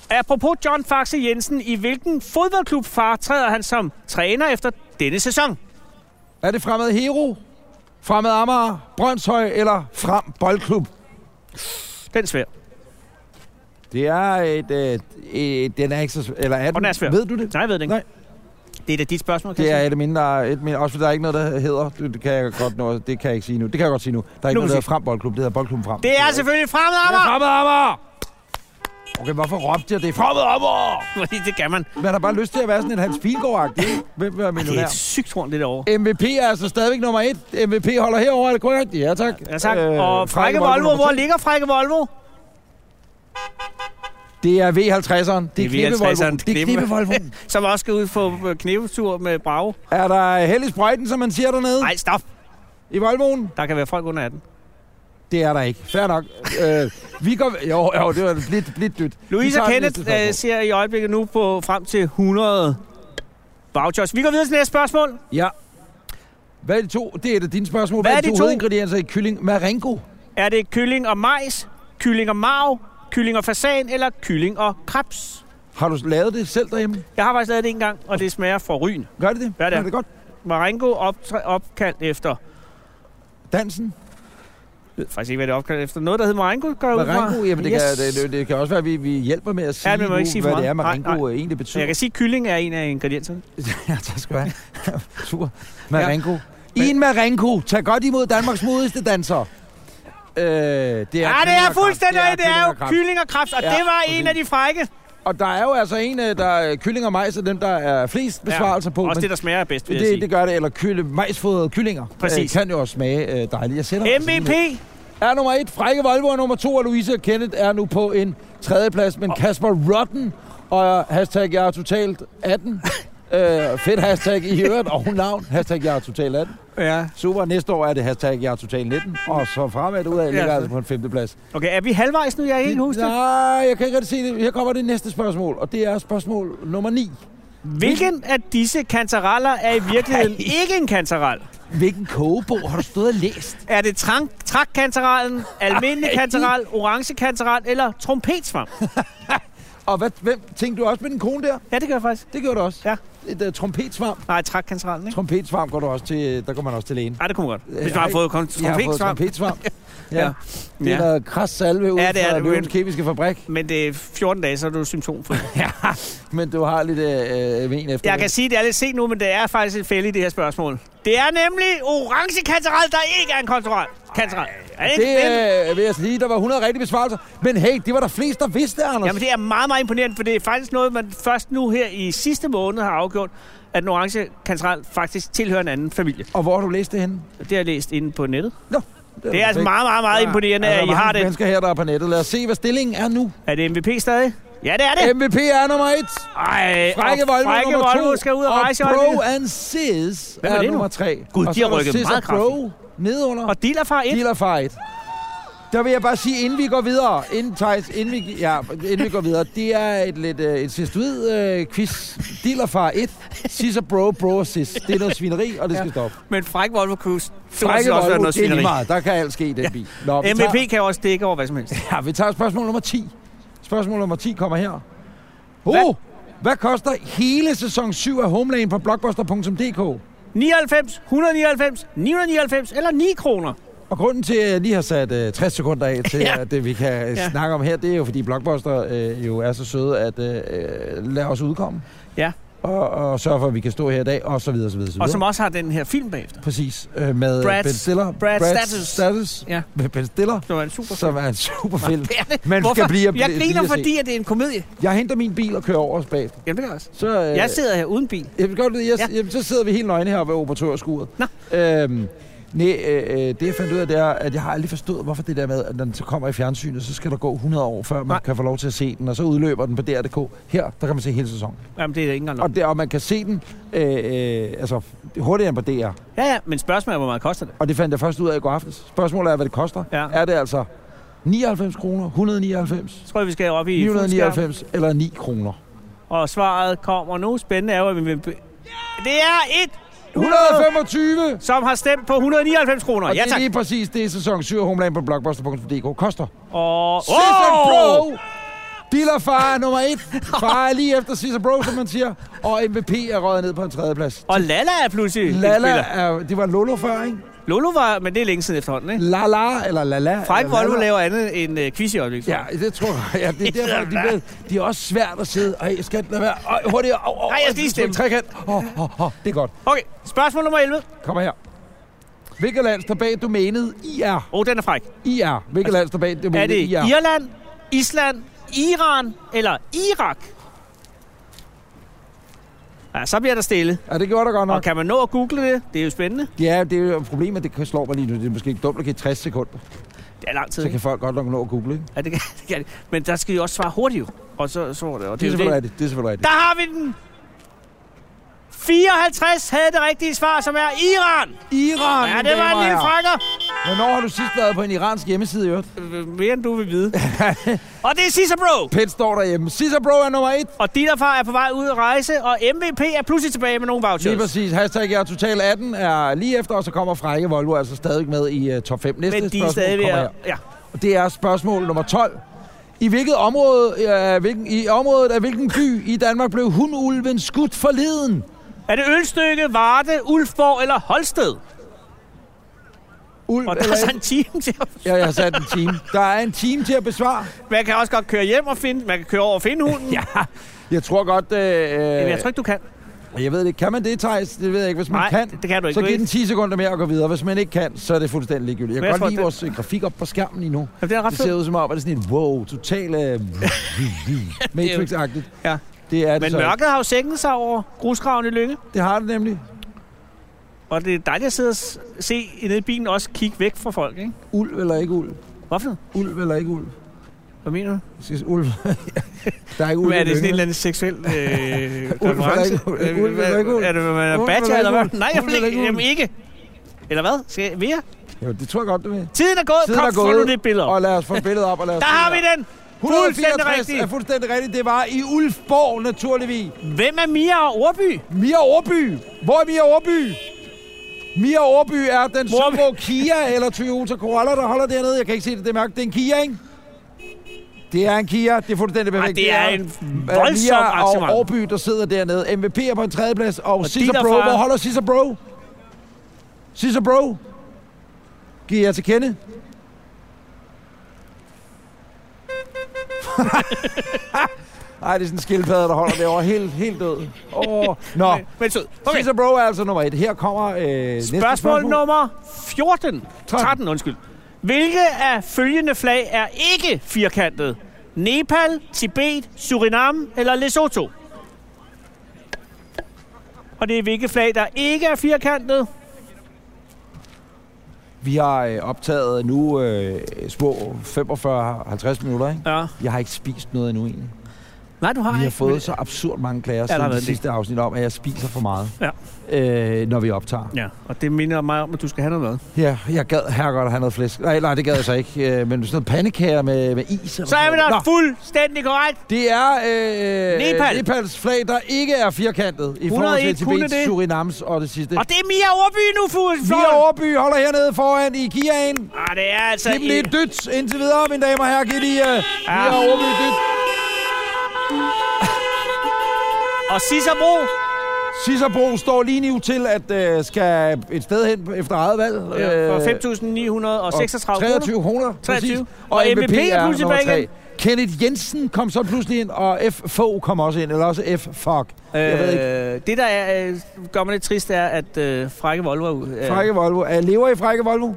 Speaker 3: Apropos John Faxe Jensen, i hvilken fodboldklub træder han som træner efter denne sæson?
Speaker 2: Er det fremad Hero, fremad Amager, Brøndshøj eller Frem Boldklub?
Speaker 3: Den er svær.
Speaker 2: Det er et... Øh, et den er ikke så... sv- Eller er den?
Speaker 3: Og den er svær.
Speaker 2: Ved du det?
Speaker 3: Nej, jeg ved det ikke.
Speaker 2: Nej.
Speaker 3: Det er da dit spørgsmål,
Speaker 2: Det
Speaker 3: Christian.
Speaker 2: er et af mine, der er et mindre, også fordi der er ikke noget, der hedder, det, det kan jeg godt nå, det kan jeg ikke sige nu, det kan jeg godt sige nu. Der er ikke
Speaker 3: Nu må
Speaker 2: noget,
Speaker 3: vi
Speaker 2: der hedder
Speaker 3: se.
Speaker 2: Frem Boldklub, det hedder Boldklubben Frem.
Speaker 3: Det er selvfølgelig fremmed Amager.
Speaker 2: Fremad Amager! Okay, hvorfor råbte jeg det? Fremad Amager!
Speaker 3: Fordi det kan man.
Speaker 2: Man har bare lyst til at være sådan en Hans Pilgaard-agtig. ikke? Hvem vil være
Speaker 3: Det er
Speaker 2: millionær?
Speaker 3: et sygt horn, det derovre.
Speaker 2: MVP er altså stadigvæk nummer et. MVP holder herover er det korrekt? Ja, tak. Øh,
Speaker 3: Ja, tak. og Frække
Speaker 2: nummer
Speaker 3: Volvo, hvor
Speaker 2: to.
Speaker 3: ligger Frække Volvo?
Speaker 2: Det er V50'eren. Det
Speaker 3: Det
Speaker 2: er
Speaker 3: er
Speaker 2: knippe Volvo.
Speaker 3: V50'eren.
Speaker 2: Det er knippe Volvo.
Speaker 3: <laughs> Som også skal ud på øh, knævetur med Bravo.
Speaker 2: Er der held i sprøjten, som man siger dernede?
Speaker 3: Nej, stop.
Speaker 2: I Volvoen?
Speaker 3: Der kan være folk under 18.
Speaker 2: Det er der ikke. Fair nok. øh, vi går... Jo, jo, det var blidt, blidt dyt. Vi
Speaker 3: Louise og
Speaker 2: tager det
Speaker 3: Kenneth
Speaker 2: næste spørgsmål.
Speaker 3: øh, ser i øjeblikket nu på frem til 100 vouchers. Vi går videre til næste spørgsmål.
Speaker 2: Ja. Hvad er de to? Det er et af dine spørgsmål.
Speaker 3: øh, Hvad
Speaker 2: Hvad,
Speaker 3: er
Speaker 2: er
Speaker 3: de
Speaker 2: de
Speaker 3: to?
Speaker 2: hovedingredienser i kylling marengo?
Speaker 3: Er det kylling og majs, kylling og marv, kylling og fasan eller kylling og krebs?
Speaker 2: Har du lavet det selv derhjemme?
Speaker 3: Jeg har faktisk lavet det en gang, og det smager for ryn.
Speaker 2: Gør det det?
Speaker 3: Ja, det er.
Speaker 2: det godt.
Speaker 3: Marengo optræ- opkaldt efter... Jeg
Speaker 2: Dansen?
Speaker 3: ved faktisk ikke, hvad det er opkaldt efter. Noget, der hedder Marengo, går jeg ud fra.
Speaker 2: Marengo? Jamen, det, yes.
Speaker 3: Yes.
Speaker 2: kan, det, det, det kan også være, at vi, vi hjælper med at sige,
Speaker 3: Ja, men man må
Speaker 2: nu,
Speaker 3: ikke sige for
Speaker 2: hvad det
Speaker 3: meget.
Speaker 2: er,
Speaker 3: Nej,
Speaker 2: marengo
Speaker 3: nej.
Speaker 2: egentlig
Speaker 3: Så
Speaker 2: betyder.
Speaker 3: jeg kan sige, at kylling er en af ingredienserne.
Speaker 2: <laughs> Ja, tak skal du have.
Speaker 3: <laughs>
Speaker 2: Super. Marengo. I en marengo. Tag godt imod Danmarks modigste danser. Øh, det er
Speaker 3: Ja, Ah, det er fuldstændig
Speaker 2: rigtigt.
Speaker 3: rigtigt. Det er jo kylling og krebs, og
Speaker 2: Ja,
Speaker 3: det var
Speaker 2: præcis.
Speaker 3: en af de frække.
Speaker 2: Og der er jo altså en, øh, der er kylling og majs, er dem, der er flest besvarelser på.
Speaker 3: Også
Speaker 2: men
Speaker 3: det, der smager bedst, vil jeg
Speaker 2: det,
Speaker 3: sige.
Speaker 2: det gør det, eller kylle, majsfodrede kyllinger.
Speaker 3: Præcis.
Speaker 2: Øh, kan jo også smage øh, dejligt. Jeg sætter altså
Speaker 3: MVP,
Speaker 2: lige her. Er nummer et, Frække Volvo, og nummer to, og Louise og Kenneth er nu på en tredjeplads, men Kasper Rotten, og hashtag jeg er totalt <laughs> 18. øh, fedt hashtag i øvrigt, og navn, hashtag jeg er totalt 18.
Speaker 3: Ja.
Speaker 2: Super, næste år er det hashtag jeg er totalt 19, og så fremad ud af ligger altså på en femteplads.
Speaker 3: Okay, er vi halvvejs nu? Jeg er ikke huske det.
Speaker 2: Nej, jeg kan ikke rigtig se det. Her kommer det næste spørgsmål, og det er spørgsmål nummer 9.
Speaker 3: Hvilken af disse kantareller er i virkeligheden ikke en kantarel?
Speaker 2: Hvilken kogebog har du stået og læst?
Speaker 3: Er det trang, <laughs> trakkantarellen, almindelig kantarel, orange kantarel eller trompetsvamp?
Speaker 2: Og hvad, hvem tænkte du også med din kone der?
Speaker 3: Ja, det gør jeg faktisk.
Speaker 2: Det gjorde du også.
Speaker 3: Ja.
Speaker 2: Et uh, trompetsvamp.
Speaker 3: Nej, trakkantarellen, ikke?
Speaker 2: Trompetsvamp går du også til, der går man også til lægen.
Speaker 3: Nej, det kunne man godt. Hvis man
Speaker 2: Ej,
Speaker 3: har fået kon-
Speaker 2: Jeg har fået
Speaker 3: trompetsvamp. <laughs>
Speaker 2: trompetsvamp. ja. ja. Det er
Speaker 3: Ja.
Speaker 2: noget kras salve ud
Speaker 3: Ja,
Speaker 2: ja,
Speaker 3: det er
Speaker 2: fra
Speaker 3: det.
Speaker 2: Løvens Kemiske Fabrik,
Speaker 3: Men det er 14 dage, så er du <laughs> symptomfri.
Speaker 2: men du har lidt øh, ven efter
Speaker 3: Jeg
Speaker 2: det.
Speaker 3: kan sige, det er lidt sent nu, men det er faktisk et fælde i det her spørgsmål. Det er nemlig orange kantarel, der ikke er en kantarel. kantarel. Er det, ikke fedt?
Speaker 2: Det øh, vil jeg sige, der var 100 rigtige besvarelser. Men hey, det var der flest, der vidste, Anders.
Speaker 3: Jamen, det er meget, meget imponerende, for det er faktisk noget, man først nu her i sidste måned har afgjort, at den orange kantarel faktisk tilhører en anden familie.
Speaker 2: Og hvor har du læst det henne?
Speaker 3: Det har jeg læst inde på nettet.
Speaker 2: er
Speaker 3: Det er altså
Speaker 2: perfekt.
Speaker 3: meget, meget, meget imponerende,
Speaker 2: Ja, der er
Speaker 3: at I
Speaker 2: mange
Speaker 3: har det.
Speaker 2: mennesker her, der er på nettet. Lad os se, hvad stillingen er nu.
Speaker 3: Er det MVP stadig? Ja, det er det.
Speaker 2: MVP er nummer et.
Speaker 3: Ej,
Speaker 2: Frække
Speaker 3: og
Speaker 2: Volvo
Speaker 3: Frække
Speaker 2: nummer
Speaker 3: Volvo
Speaker 2: to,
Speaker 3: skal ud og rejse i
Speaker 2: og Pro
Speaker 3: øjeblikket.
Speaker 2: and Sis
Speaker 3: Hvem er
Speaker 2: er,
Speaker 3: det nu?
Speaker 2: nummer tre.
Speaker 3: Gud,
Speaker 2: og
Speaker 3: de har
Speaker 2: så er der
Speaker 3: rykket
Speaker 2: Sis og
Speaker 3: meget
Speaker 2: Pro nedunder, og
Speaker 3: Og dealer fra et.
Speaker 2: Dealer Fight. Der vil jeg bare sige, inden vi går videre, inden, Thijs, inden, vi, ja, inden vi går videre, det er et lidt øh, et sidstuid øh, quiz. Dealer far 1, Sis og Bro, Bro og Sis. Det er noget svineri, og det skal stoppe.
Speaker 3: Men Fræk Volvo kunne
Speaker 2: Frække
Speaker 3: Frække også være
Speaker 2: Volvo,
Speaker 3: noget
Speaker 2: det er lige
Speaker 3: svineri.
Speaker 2: meget. Der kan alt ske i den bil. Nå, vi
Speaker 3: MVP kan jo også dække over hvad som helst.
Speaker 2: Ja, vi tager spørgsmål nummer 10. Spørgsmål nummer 10 kommer her. Oh,
Speaker 3: Hvad-
Speaker 2: hvad? hvad koster hele sæson 7 af Homeland på blockbuster.dk?
Speaker 3: 99, 199, 999 eller 9 kroner.
Speaker 2: Og grunden til, at jeg lige har sat øh, 60 sekunder af til, ja. at det, vi kan ja.
Speaker 3: <laughs> Ja.
Speaker 2: snakke om her, det er jo, fordi Blockbuster øh, jo er så søde, at øh, lade os udkomme.
Speaker 3: Ja.
Speaker 2: Og, og sørge for, at vi kan stå her i dag, og så videre, så videre, så videre.
Speaker 3: Og som også har den her film bagefter.
Speaker 2: Præcis, øh, med
Speaker 3: Brad-
Speaker 2: Ben Stiller.
Speaker 3: Brad
Speaker 2: Brads
Speaker 3: Status.
Speaker 2: Status.
Speaker 3: Ja.
Speaker 2: Med Ben Stiller,
Speaker 3: Det var en super
Speaker 2: som er en super
Speaker 3: <laughs>
Speaker 2: film.
Speaker 3: Det er det.
Speaker 2: Man
Speaker 3: Hvorfor?
Speaker 2: skal blive
Speaker 3: jeg
Speaker 2: blive-
Speaker 3: griner,
Speaker 2: lige at se.
Speaker 3: fordi at det er en komedie.
Speaker 2: Jeg henter min bil og kører over os bag.
Speaker 3: Jamen, det gør jeg også.
Speaker 2: Så, øh,
Speaker 3: Jeg sidder her uden bil.
Speaker 2: Jeg vil godt vide, jeg,
Speaker 3: Ja.
Speaker 2: ja. jamen, så sidder vi helt nøgne heroppe ved operatørskuret.
Speaker 3: Nå.
Speaker 2: Øhm, Nej, øh, øh, det jeg fandt ud af, det er, at jeg har aldrig forstået, hvorfor det der med, at når den så kommer i fjernsynet, så skal der gå 100 år, før man Nej.
Speaker 3: Nej.
Speaker 2: kan få lov til at se den, og så udløber den på DR.dk. Her, der kan man se hele sæsonen.
Speaker 3: Jamen, det er da ikke engang nok.
Speaker 2: Og, der, og man kan se den øh, øh, altså, hurtigere end på DR.
Speaker 3: Ja, ja, men spørgsmålet er, hvor meget koster det?
Speaker 2: Og det fandt jeg først ud af i går aftes. Spørgsmålet er, hvad det koster.
Speaker 3: Ja.
Speaker 2: Er det altså 99 kroner, 199,
Speaker 3: Jeg tror, vi skal op i fuld skærm.
Speaker 2: 999 eller 9 kroner?
Speaker 3: Og svaret kommer nu. Spændende er jo, at vi vil... be- Det er et,
Speaker 2: 125!
Speaker 3: som har stemt på 199 kroner.
Speaker 2: Og
Speaker 3: Ja,
Speaker 2: det er
Speaker 3: tak.
Speaker 2: lige præcis det, sæson 7 af Homeland på blockbuster.dk koster.
Speaker 3: Og...
Speaker 2: Scissor
Speaker 3: Åh!
Speaker 2: Bro! Dillerfar er nummer et. Far er lige efter Scissor Bro, som man siger. Og MVP er røget ned på en tredjeplads.
Speaker 3: Og Lala er pludselig
Speaker 2: Lala
Speaker 3: indspiller.
Speaker 2: er, det var Lolo før, ikke?
Speaker 3: Lolo var... Men det er længe siden efterhånden, ikke?
Speaker 2: Lala, eller Lala.
Speaker 3: Frank
Speaker 2: eller Lala.
Speaker 3: Volvo laver andet end øh, quiz i øjeblikket.
Speaker 2: Ja, det tror jeg. Ja, det er derfor, de, ved, de er også svært at sidde. Ej, jeg skal lade være. Ej, hurtigere. Au, au,
Speaker 3: Nej, jeg skal lige stemme.
Speaker 2: Trekant. Oh, oh, oh. Det er godt.
Speaker 3: Okay, spørgsmål nummer 11.
Speaker 2: Kom her. Hvilket land står bag domænet IR?
Speaker 3: Åh, oh, den er fræk.
Speaker 2: IR. Hvilket land står bag domænet
Speaker 3: Er det
Speaker 2: IR?
Speaker 3: Irland, Island, Iran eller Irak? Ja, så bliver der stille.
Speaker 2: Ja, det gjorde der godt nok.
Speaker 3: Og kan man nå at google det? Det er jo spændende.
Speaker 2: Ja, det er jo problemet, det kan- slår mig lige nu. Det er måske ikke dumt at give 60 sekunder.
Speaker 3: Det er lang
Speaker 2: Så
Speaker 3: tid. ikke?
Speaker 2: kan folk godt nok nå at google, ikke?
Speaker 3: Ja, det kan, det kan, det. men der skal jo også svare hurtigt. jo. Og så, så var det.
Speaker 2: Det
Speaker 3: Og
Speaker 2: er
Speaker 3: det, er jo
Speaker 2: selvfølgelig
Speaker 3: det.
Speaker 2: rigtigt. Det er selvfølgelig rigtigt.
Speaker 3: Der har vi den! 54 havde det rigtige svar, som er Iran.
Speaker 2: Iran,
Speaker 3: Ja, det var en lille frakker.
Speaker 2: Hvornår har du sidst været på en iransk hjemmeside, i øvrigt?
Speaker 3: Øh, Mere end du vil vide. og det er Cesar Bro.
Speaker 2: Pet står derhjemme. Cesar Bro er nummer et.
Speaker 3: Og din far er på vej ud at rejse, og MVP er pludselig tilbage med nogle
Speaker 2: Lige
Speaker 3: vouchers.
Speaker 2: præcis. Hashtag er total 18 er lige efter, og så kommer Frække Volvo altså stadig med i uh, top 5. Næste
Speaker 3: Men de er
Speaker 2: spørgsmål
Speaker 3: stadig ved
Speaker 2: kommer
Speaker 3: at...
Speaker 2: her.
Speaker 3: Ja.
Speaker 2: Og det er spørgsmål nummer 12. I hvilket område, øh, hvilken, i området af hvilken by i Danmark blev hundulven skudt forleden?
Speaker 3: Er det Ølstykke, Varde, Ulfborg eller
Speaker 2: <laughs>
Speaker 3: Holsted?
Speaker 2: Ulv,
Speaker 3: Og der er så en time til at...
Speaker 2: Ja, jeg har sat en time. Der er en time til at besvare.
Speaker 3: Man kan også godt køre hjem og finde... Man kan køre over og finde hunden. ja.
Speaker 2: Jeg tror godt... Øh,
Speaker 3: Men
Speaker 2: jeg,
Speaker 3: jeg tror ikke, du kan.
Speaker 2: jeg ved det ikke. Kan man det, Thijs? Det ved jeg ikke. Hvis man
Speaker 3: Nej,
Speaker 2: kan,
Speaker 3: det- det kan du ikke.
Speaker 2: så
Speaker 3: Du
Speaker 2: giv
Speaker 3: er
Speaker 2: den
Speaker 3: ikke-
Speaker 2: 10 sekunder mere og gå videre. Hvis man ikke kan, så er det fuldstændig ligegyldigt. Jeg
Speaker 3: Men jeg
Speaker 2: kan
Speaker 3: tror,
Speaker 2: godt lide
Speaker 3: det-
Speaker 2: vores øh, grafik op på skærmen lige nu.
Speaker 3: Jamen, det er ret
Speaker 2: Det ser
Speaker 3: fedt.
Speaker 2: ud som om, at det er sådan et wow, total
Speaker 3: <laughs>
Speaker 2: øh, Matrix-agtigt.
Speaker 3: Ja.
Speaker 2: Det er det
Speaker 3: Men
Speaker 2: så.
Speaker 3: mørket har jo sænket sig over grusgraven i Lynge.
Speaker 2: Det har det nemlig.
Speaker 3: Og det er dejligt at sidde og s- se nede i bilen også kigge væk fra folk, ikke?
Speaker 2: Ulv eller ikke ulv?
Speaker 3: Hvorfor?
Speaker 2: Ulv eller ikke ulv?
Speaker 3: Hvad mener du?
Speaker 2: Jeg Skal sige, ulv. <laughs> der er ikke ulv.
Speaker 3: Men er
Speaker 2: i
Speaker 3: det sådan en
Speaker 2: Lyngen.
Speaker 3: eller anden
Speaker 2: <laughs>
Speaker 3: seksuel øh,
Speaker 2: Ulf er
Speaker 3: reference?
Speaker 2: ikke- Ulf er
Speaker 3: Øh, hvad-
Speaker 2: ikke Ulf.
Speaker 3: Er det, hvad man
Speaker 2: Ulf er
Speaker 3: er badger,
Speaker 2: ikke
Speaker 3: eller hvad?
Speaker 2: Ulf.
Speaker 3: Nej, jeg
Speaker 2: Ulf er
Speaker 3: vil ikke.
Speaker 2: ikke Ulf.
Speaker 3: Jamen ikke. Eller hvad? Skal jeg mere?
Speaker 2: Jo, det tror jeg godt, du vil.
Speaker 3: Tiden er gået.
Speaker 2: Tiden
Speaker 3: Kom,
Speaker 2: er
Speaker 3: få
Speaker 2: gået,
Speaker 3: nu det billede op.
Speaker 2: Og lad os få billedet op. Og lad os
Speaker 3: Der har vi den. Fuldstændig
Speaker 2: 164
Speaker 3: rigtigt.
Speaker 2: er fuldstændig rigtigt. Det var i Ulfborg, naturligvis.
Speaker 3: Hvem er Mia og Orby?
Speaker 2: Mia Orby. Hvor er Mia Orby? Mia Orby er den
Speaker 3: Morby.
Speaker 2: Subaru Kia eller Toyota Corolla, der holder dernede. Jeg kan ikke se det, det er mærke. Det er en Kia, ikke? Det er en Kia. Det er fuldstændig perfekt.
Speaker 3: Ej, det er en
Speaker 2: øh,
Speaker 3: voldsom
Speaker 2: Mia
Speaker 3: arrangement.
Speaker 2: og Orby, der sidder dernede. MVP er på en tredjeplads, og, og Cesar
Speaker 3: dit og
Speaker 2: Bro.
Speaker 3: far-
Speaker 2: Hvor holder Cesar Bro? Cesar Bro? Giver jeg til
Speaker 3: <laughs>
Speaker 2: kende? Ej, det er sådan en skildpadde, der holder derovre. Helt, helt død. Åh, Nå,
Speaker 3: Men sød.
Speaker 2: Okay.
Speaker 3: Okay.
Speaker 2: Cesar Bro er altså nummer et. Her kommer øh, næste
Speaker 3: Spørgsmål nummer 14.
Speaker 2: 13.
Speaker 3: 13, undskyld. Hvilke af følgende flag er ikke firkantet? Nepal, Tibet, Surinam eller Lesotho? Og det er hvilke flag, der ikke er firkantet?
Speaker 2: Vi har øh, optaget nu øh, små 45-50 minutter, ikke?
Speaker 3: Ja.
Speaker 2: Jeg har ikke spist noget endnu egentlig.
Speaker 3: Nej, du har
Speaker 2: Vi har
Speaker 3: ikke. men-
Speaker 2: fået så absurd mange klager
Speaker 3: der har
Speaker 2: siden
Speaker 3: været
Speaker 2: det
Speaker 3: det.
Speaker 2: sidste afsnit om, at jeg spiser for meget,
Speaker 3: Ja.
Speaker 2: øh, når vi optager.
Speaker 3: Ja, og det minder mig om, at du skal have noget mad.
Speaker 2: Ja, jeg gad her godt at have noget flæsk. Nej, nej, det gad jeg så ikke. Øh, men sådan noget pandekager med, med is. Eller
Speaker 3: Så er vi
Speaker 2: sådan
Speaker 3: da
Speaker 2: noget. Nå,
Speaker 3: fuldstændig korrekt.
Speaker 2: det er øh,
Speaker 3: Nepal.
Speaker 2: Nepals flag, der ikke er firkantet i forhold
Speaker 3: 101
Speaker 2: til
Speaker 3: kunne
Speaker 2: Tibet,
Speaker 3: det.
Speaker 2: Surinams og det sidste.
Speaker 3: Og det er Mia Orby nu, Fugl.
Speaker 2: Mia Overby holder hernede foran i Kiaen.
Speaker 3: Ah, det er altså...
Speaker 2: Giv dem lige et dyt indtil videre, mine damer og herrer. Giv lige uh, ja. mere Aarby et dyt.
Speaker 3: Og Cicero,
Speaker 2: Cicero står lige nu til at uh, skal et sted hen efter eget valg.
Speaker 3: Ja, for
Speaker 2: Øh,
Speaker 3: 5.936 kroner.
Speaker 2: 23 kroner.
Speaker 3: 23.
Speaker 2: præcis.
Speaker 3: Og MVP er pludselig
Speaker 2: nummer
Speaker 3: tilbage
Speaker 2: tre.
Speaker 3: igen.
Speaker 2: Kenneth Jensen kom så pludselig ind, og F. Fogh kom også ind, eller også F. Fuck. Øh, jeg ved ikke.
Speaker 3: Øh, det, der er, øh, gør mig lidt trist, er, at øh, Frække Volvo... er ude. Øh,
Speaker 2: Frække Volvo. Er lever i Frække Volvo?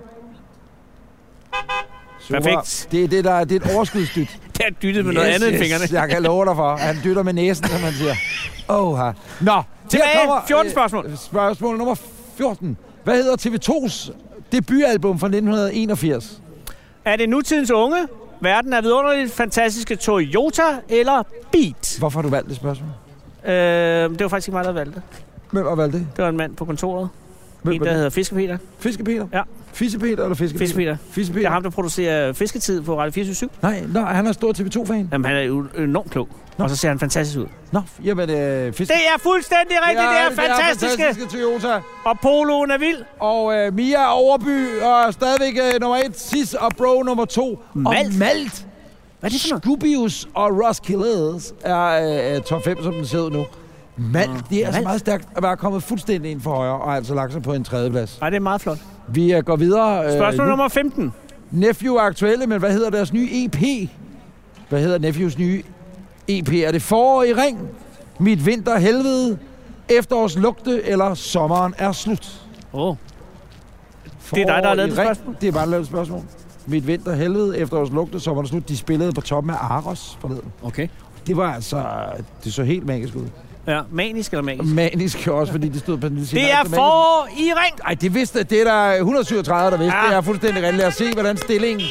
Speaker 2: Super.
Speaker 3: Perfekt.
Speaker 2: Det er det, der er, det er et overskudsdyt.
Speaker 3: <laughs> Der er dyttet med noget andet end fingrene.
Speaker 2: Jeg kan love dig for. Han dytter med næsen, som man siger. Åh, oh, Nå,
Speaker 3: Tilbage.
Speaker 2: her kommer,
Speaker 3: 14
Speaker 2: øh,
Speaker 3: spørgsmål.
Speaker 2: Spørgsmål nummer 14. Hvad hedder TV2's debutalbum fra 1981.
Speaker 3: Er det nutidens unge? Verden er vidunderligt fantastiske Toyota eller Beat?
Speaker 2: Hvorfor har du valgt det spørgsmål?
Speaker 3: Øh, det var faktisk ikke mig, der valgte det.
Speaker 2: Hvem har valgt det?
Speaker 3: Det var en mand på kontoret.
Speaker 2: Hvem
Speaker 3: en, der
Speaker 2: var det?
Speaker 3: hedder Fiskepeter.
Speaker 2: Fiskepeter?
Speaker 3: Ja.
Speaker 2: Fiskepeter eller Fiskepeter?
Speaker 3: Fiskepeter. Det er
Speaker 2: Fiskepeter.
Speaker 3: ham, der producerer Fisketid på Radio 24
Speaker 2: Nej, nå, han er stor TV2-fan.
Speaker 3: Jamen, han er jo enormt klog.
Speaker 2: Nå.
Speaker 3: Og så ser han fantastisk ud.
Speaker 2: Nå, jamen, øh, fisk...
Speaker 3: Det er fuldstændig rigtigt, ja, det er fantastiske.
Speaker 2: Det er fantastiske Toyota.
Speaker 3: Og poloen er vild.
Speaker 2: Og øh, Mia Overby og stadigvæk øh, nummer et, Sis og Bro nummer to. Og
Speaker 3: Malt.
Speaker 2: Malt. Hvad er det for noget? Scubius og Roskildes er øh, top 5, som den ser ud nu. Malt, det er altså
Speaker 3: Malt.
Speaker 2: meget stærkt at være kommet fuldstændig ind for højre, og har altså lagt sig på en tredjeplads.
Speaker 3: Nej, det er meget flot.
Speaker 2: Vi øh, går videre. Øh,
Speaker 3: Spørgsmål
Speaker 2: nu.
Speaker 3: nummer 15.
Speaker 2: Nephew er aktuelle, men hvad hedder deres nye EP? Hvad hedder Nephews nye EP? Er det forår i ring? Mit vinter helvede? Efterårs lugte? Eller sommeren er slut?
Speaker 3: Åh. Det er dig, der har
Speaker 2: Forår
Speaker 3: lavet
Speaker 2: i
Speaker 3: det
Speaker 2: ring.
Speaker 3: spørgsmål.
Speaker 2: Det er bare lavet et spørgsmål. Mit vinter helvede, efterårs lugte, sommeren er slut. De spillede på toppen af Aros forleden.
Speaker 3: Okay.
Speaker 2: Det var altså... Det så helt magisk ud.
Speaker 3: Ja, manisk eller magisk?
Speaker 2: Manisk også, fordi det stod på den lille
Speaker 3: Det er for i ring.
Speaker 2: Ej, det vidste Det er der 137, der vidste. Ja.
Speaker 3: Ja.
Speaker 2: Det er fuldstændig rigtigt. Lad os se, hvordan stillingen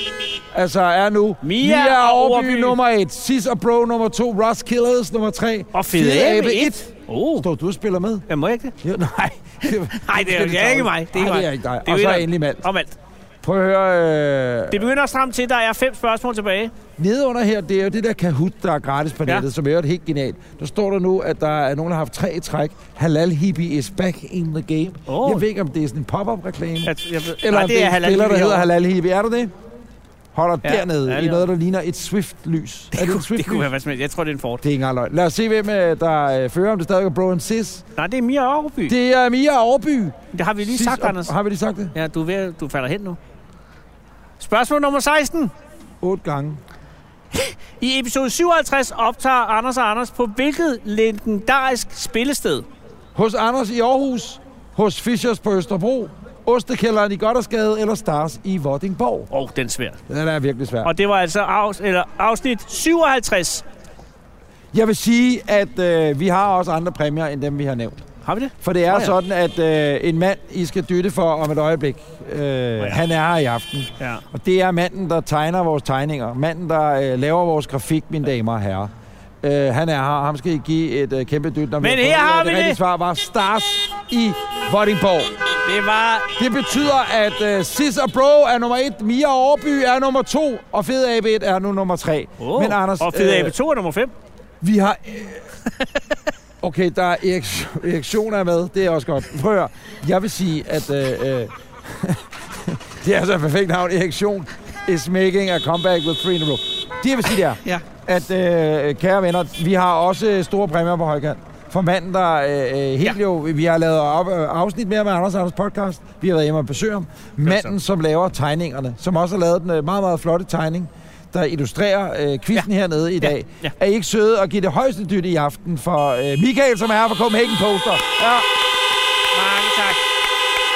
Speaker 2: altså er nu.
Speaker 3: Mia
Speaker 2: Mia Overby,
Speaker 3: Overby.
Speaker 2: nummer 1. Sis og Bro nummer 2. Ross Killers nummer 3.
Speaker 3: Og Fede Abe 1. Oh.
Speaker 2: Står du og spiller med?
Speaker 3: Ja, må jeg ikke det?
Speaker 2: Ja, nej.
Speaker 3: Nej, <laughs> det er, det er ikke mig. Det er,
Speaker 2: Ej,
Speaker 3: mig.
Speaker 2: det er ikke dig.
Speaker 3: Det er
Speaker 2: og
Speaker 3: jo
Speaker 2: så
Speaker 3: ikke-
Speaker 2: endelig mand.
Speaker 3: Omvendt.
Speaker 2: Prøv at høre... Øh,
Speaker 3: Det begynder at stramme til. Der er fem spørgsmål tilbage.
Speaker 2: Nede under her, det er jo det der Kahoot, der er gratis på
Speaker 3: Ja.
Speaker 2: nettet, ja. som er jo helt genialt. Der står der nu, at der er nogen, der har haft tre i træk. Halal hippie is back in the game.
Speaker 3: Åh.
Speaker 2: Jeg ved ikke, om det er sådan en pop-up reklame.
Speaker 3: Jeg, jeg, ved-
Speaker 2: Eller
Speaker 3: Nej,
Speaker 2: Nej, det er en
Speaker 3: halal
Speaker 2: spiller, der
Speaker 3: lige
Speaker 2: hedder
Speaker 3: herovre.
Speaker 2: Halal Hibi. Er du det? Holder
Speaker 3: Ja,
Speaker 2: ja, dernede
Speaker 3: ja,
Speaker 2: ja,
Speaker 3: det
Speaker 2: i
Speaker 3: er.
Speaker 2: noget, der ligner et Swift-lys. er det et
Speaker 3: Det kunne
Speaker 2: Swift-lys?
Speaker 3: være hvad som helst. Jeg tror, det er en Ford.
Speaker 2: Det er ikke engang løgn. Lad os se, hvem øh, der øh, fører, om det stadig er Bro and Sis.
Speaker 3: Nej, det er Mia Aarhuby. Det,
Speaker 2: Det er Mia Overby.
Speaker 3: det har vi lige
Speaker 2: Sis
Speaker 3: sagt,
Speaker 2: og-
Speaker 3: Anders.
Speaker 2: Har vi lige sagt det?
Speaker 3: Ja, du, er ved, at- du falder hen nu. Spørgsmål nummer 16.
Speaker 2: Otte gange.
Speaker 3: I episode 57 optager Anders og Anders på hvilket legendarisk spillested?
Speaker 2: Hos Anders i Aarhus. Hos Fischers på Østerbro. Ostekælderen i Goddersgade eller Stars i Vordingborg.
Speaker 3: Åh, oh, den er svær.
Speaker 2: Den er virkelig svær.
Speaker 3: Og det var altså afs- eller afsnit 57.
Speaker 2: Jeg vil sige, at øh, vi har også andre præmier, end dem vi har nævnt.
Speaker 3: Har vi det?
Speaker 2: For det er
Speaker 3: Nå ja.
Speaker 2: sådan, at øh, en mand, I skal dytte for om et øjeblik, øh, han er her i aften.
Speaker 3: Ja.
Speaker 2: Og det er manden, der tegner vores tegninger. Manden, der øh, laver vores grafik, mine damer og herrer. Øh, han er her, og ham skal I give et øh, kæmpe dyt. Når
Speaker 3: Men
Speaker 2: fundet
Speaker 3: her
Speaker 2: ud af,
Speaker 3: har
Speaker 2: at
Speaker 3: vi
Speaker 2: øh, det. rigtige
Speaker 3: det.
Speaker 2: svar var Stars i Vordingborg.
Speaker 3: Det var...
Speaker 2: Det betyder, at øh, Sis og Bro er nummer et, Mia Overby er nummer to, og Fed Abe 1 er nu nummer tre.
Speaker 3: Oh. Men Anders, og Fede øh, 2 er nummer 5.
Speaker 2: vi har... Øh, okay, der er erektion- erektioner med. Det er også godt. Prøv at høre. Jeg vil sige, at... Øh, øh, det er altså et perfekt navn. Erektion is making a comeback with three in a row. Det jeg vil sige, det er,
Speaker 3: Ja.
Speaker 2: at øh, kære venner, vi har også store præmier på højkant. For manden, der øh, øh, helt ja. jo... Vi har lavet op, øh, afsnit mere med Anders og Anders podcast. Vi har været hjemme og besøge ham. Manden, som laver tegningerne. Som også har lavet den øh, meget, meget flotte tegning der illustrerer øh, quizzen ja. hernede i dag. Ja.
Speaker 3: ja.
Speaker 2: Er I ikke søde at give det højeste dyt i aften for øh, Michael, som er her fra Copenhagen Poster? Ja.
Speaker 3: Mange tak.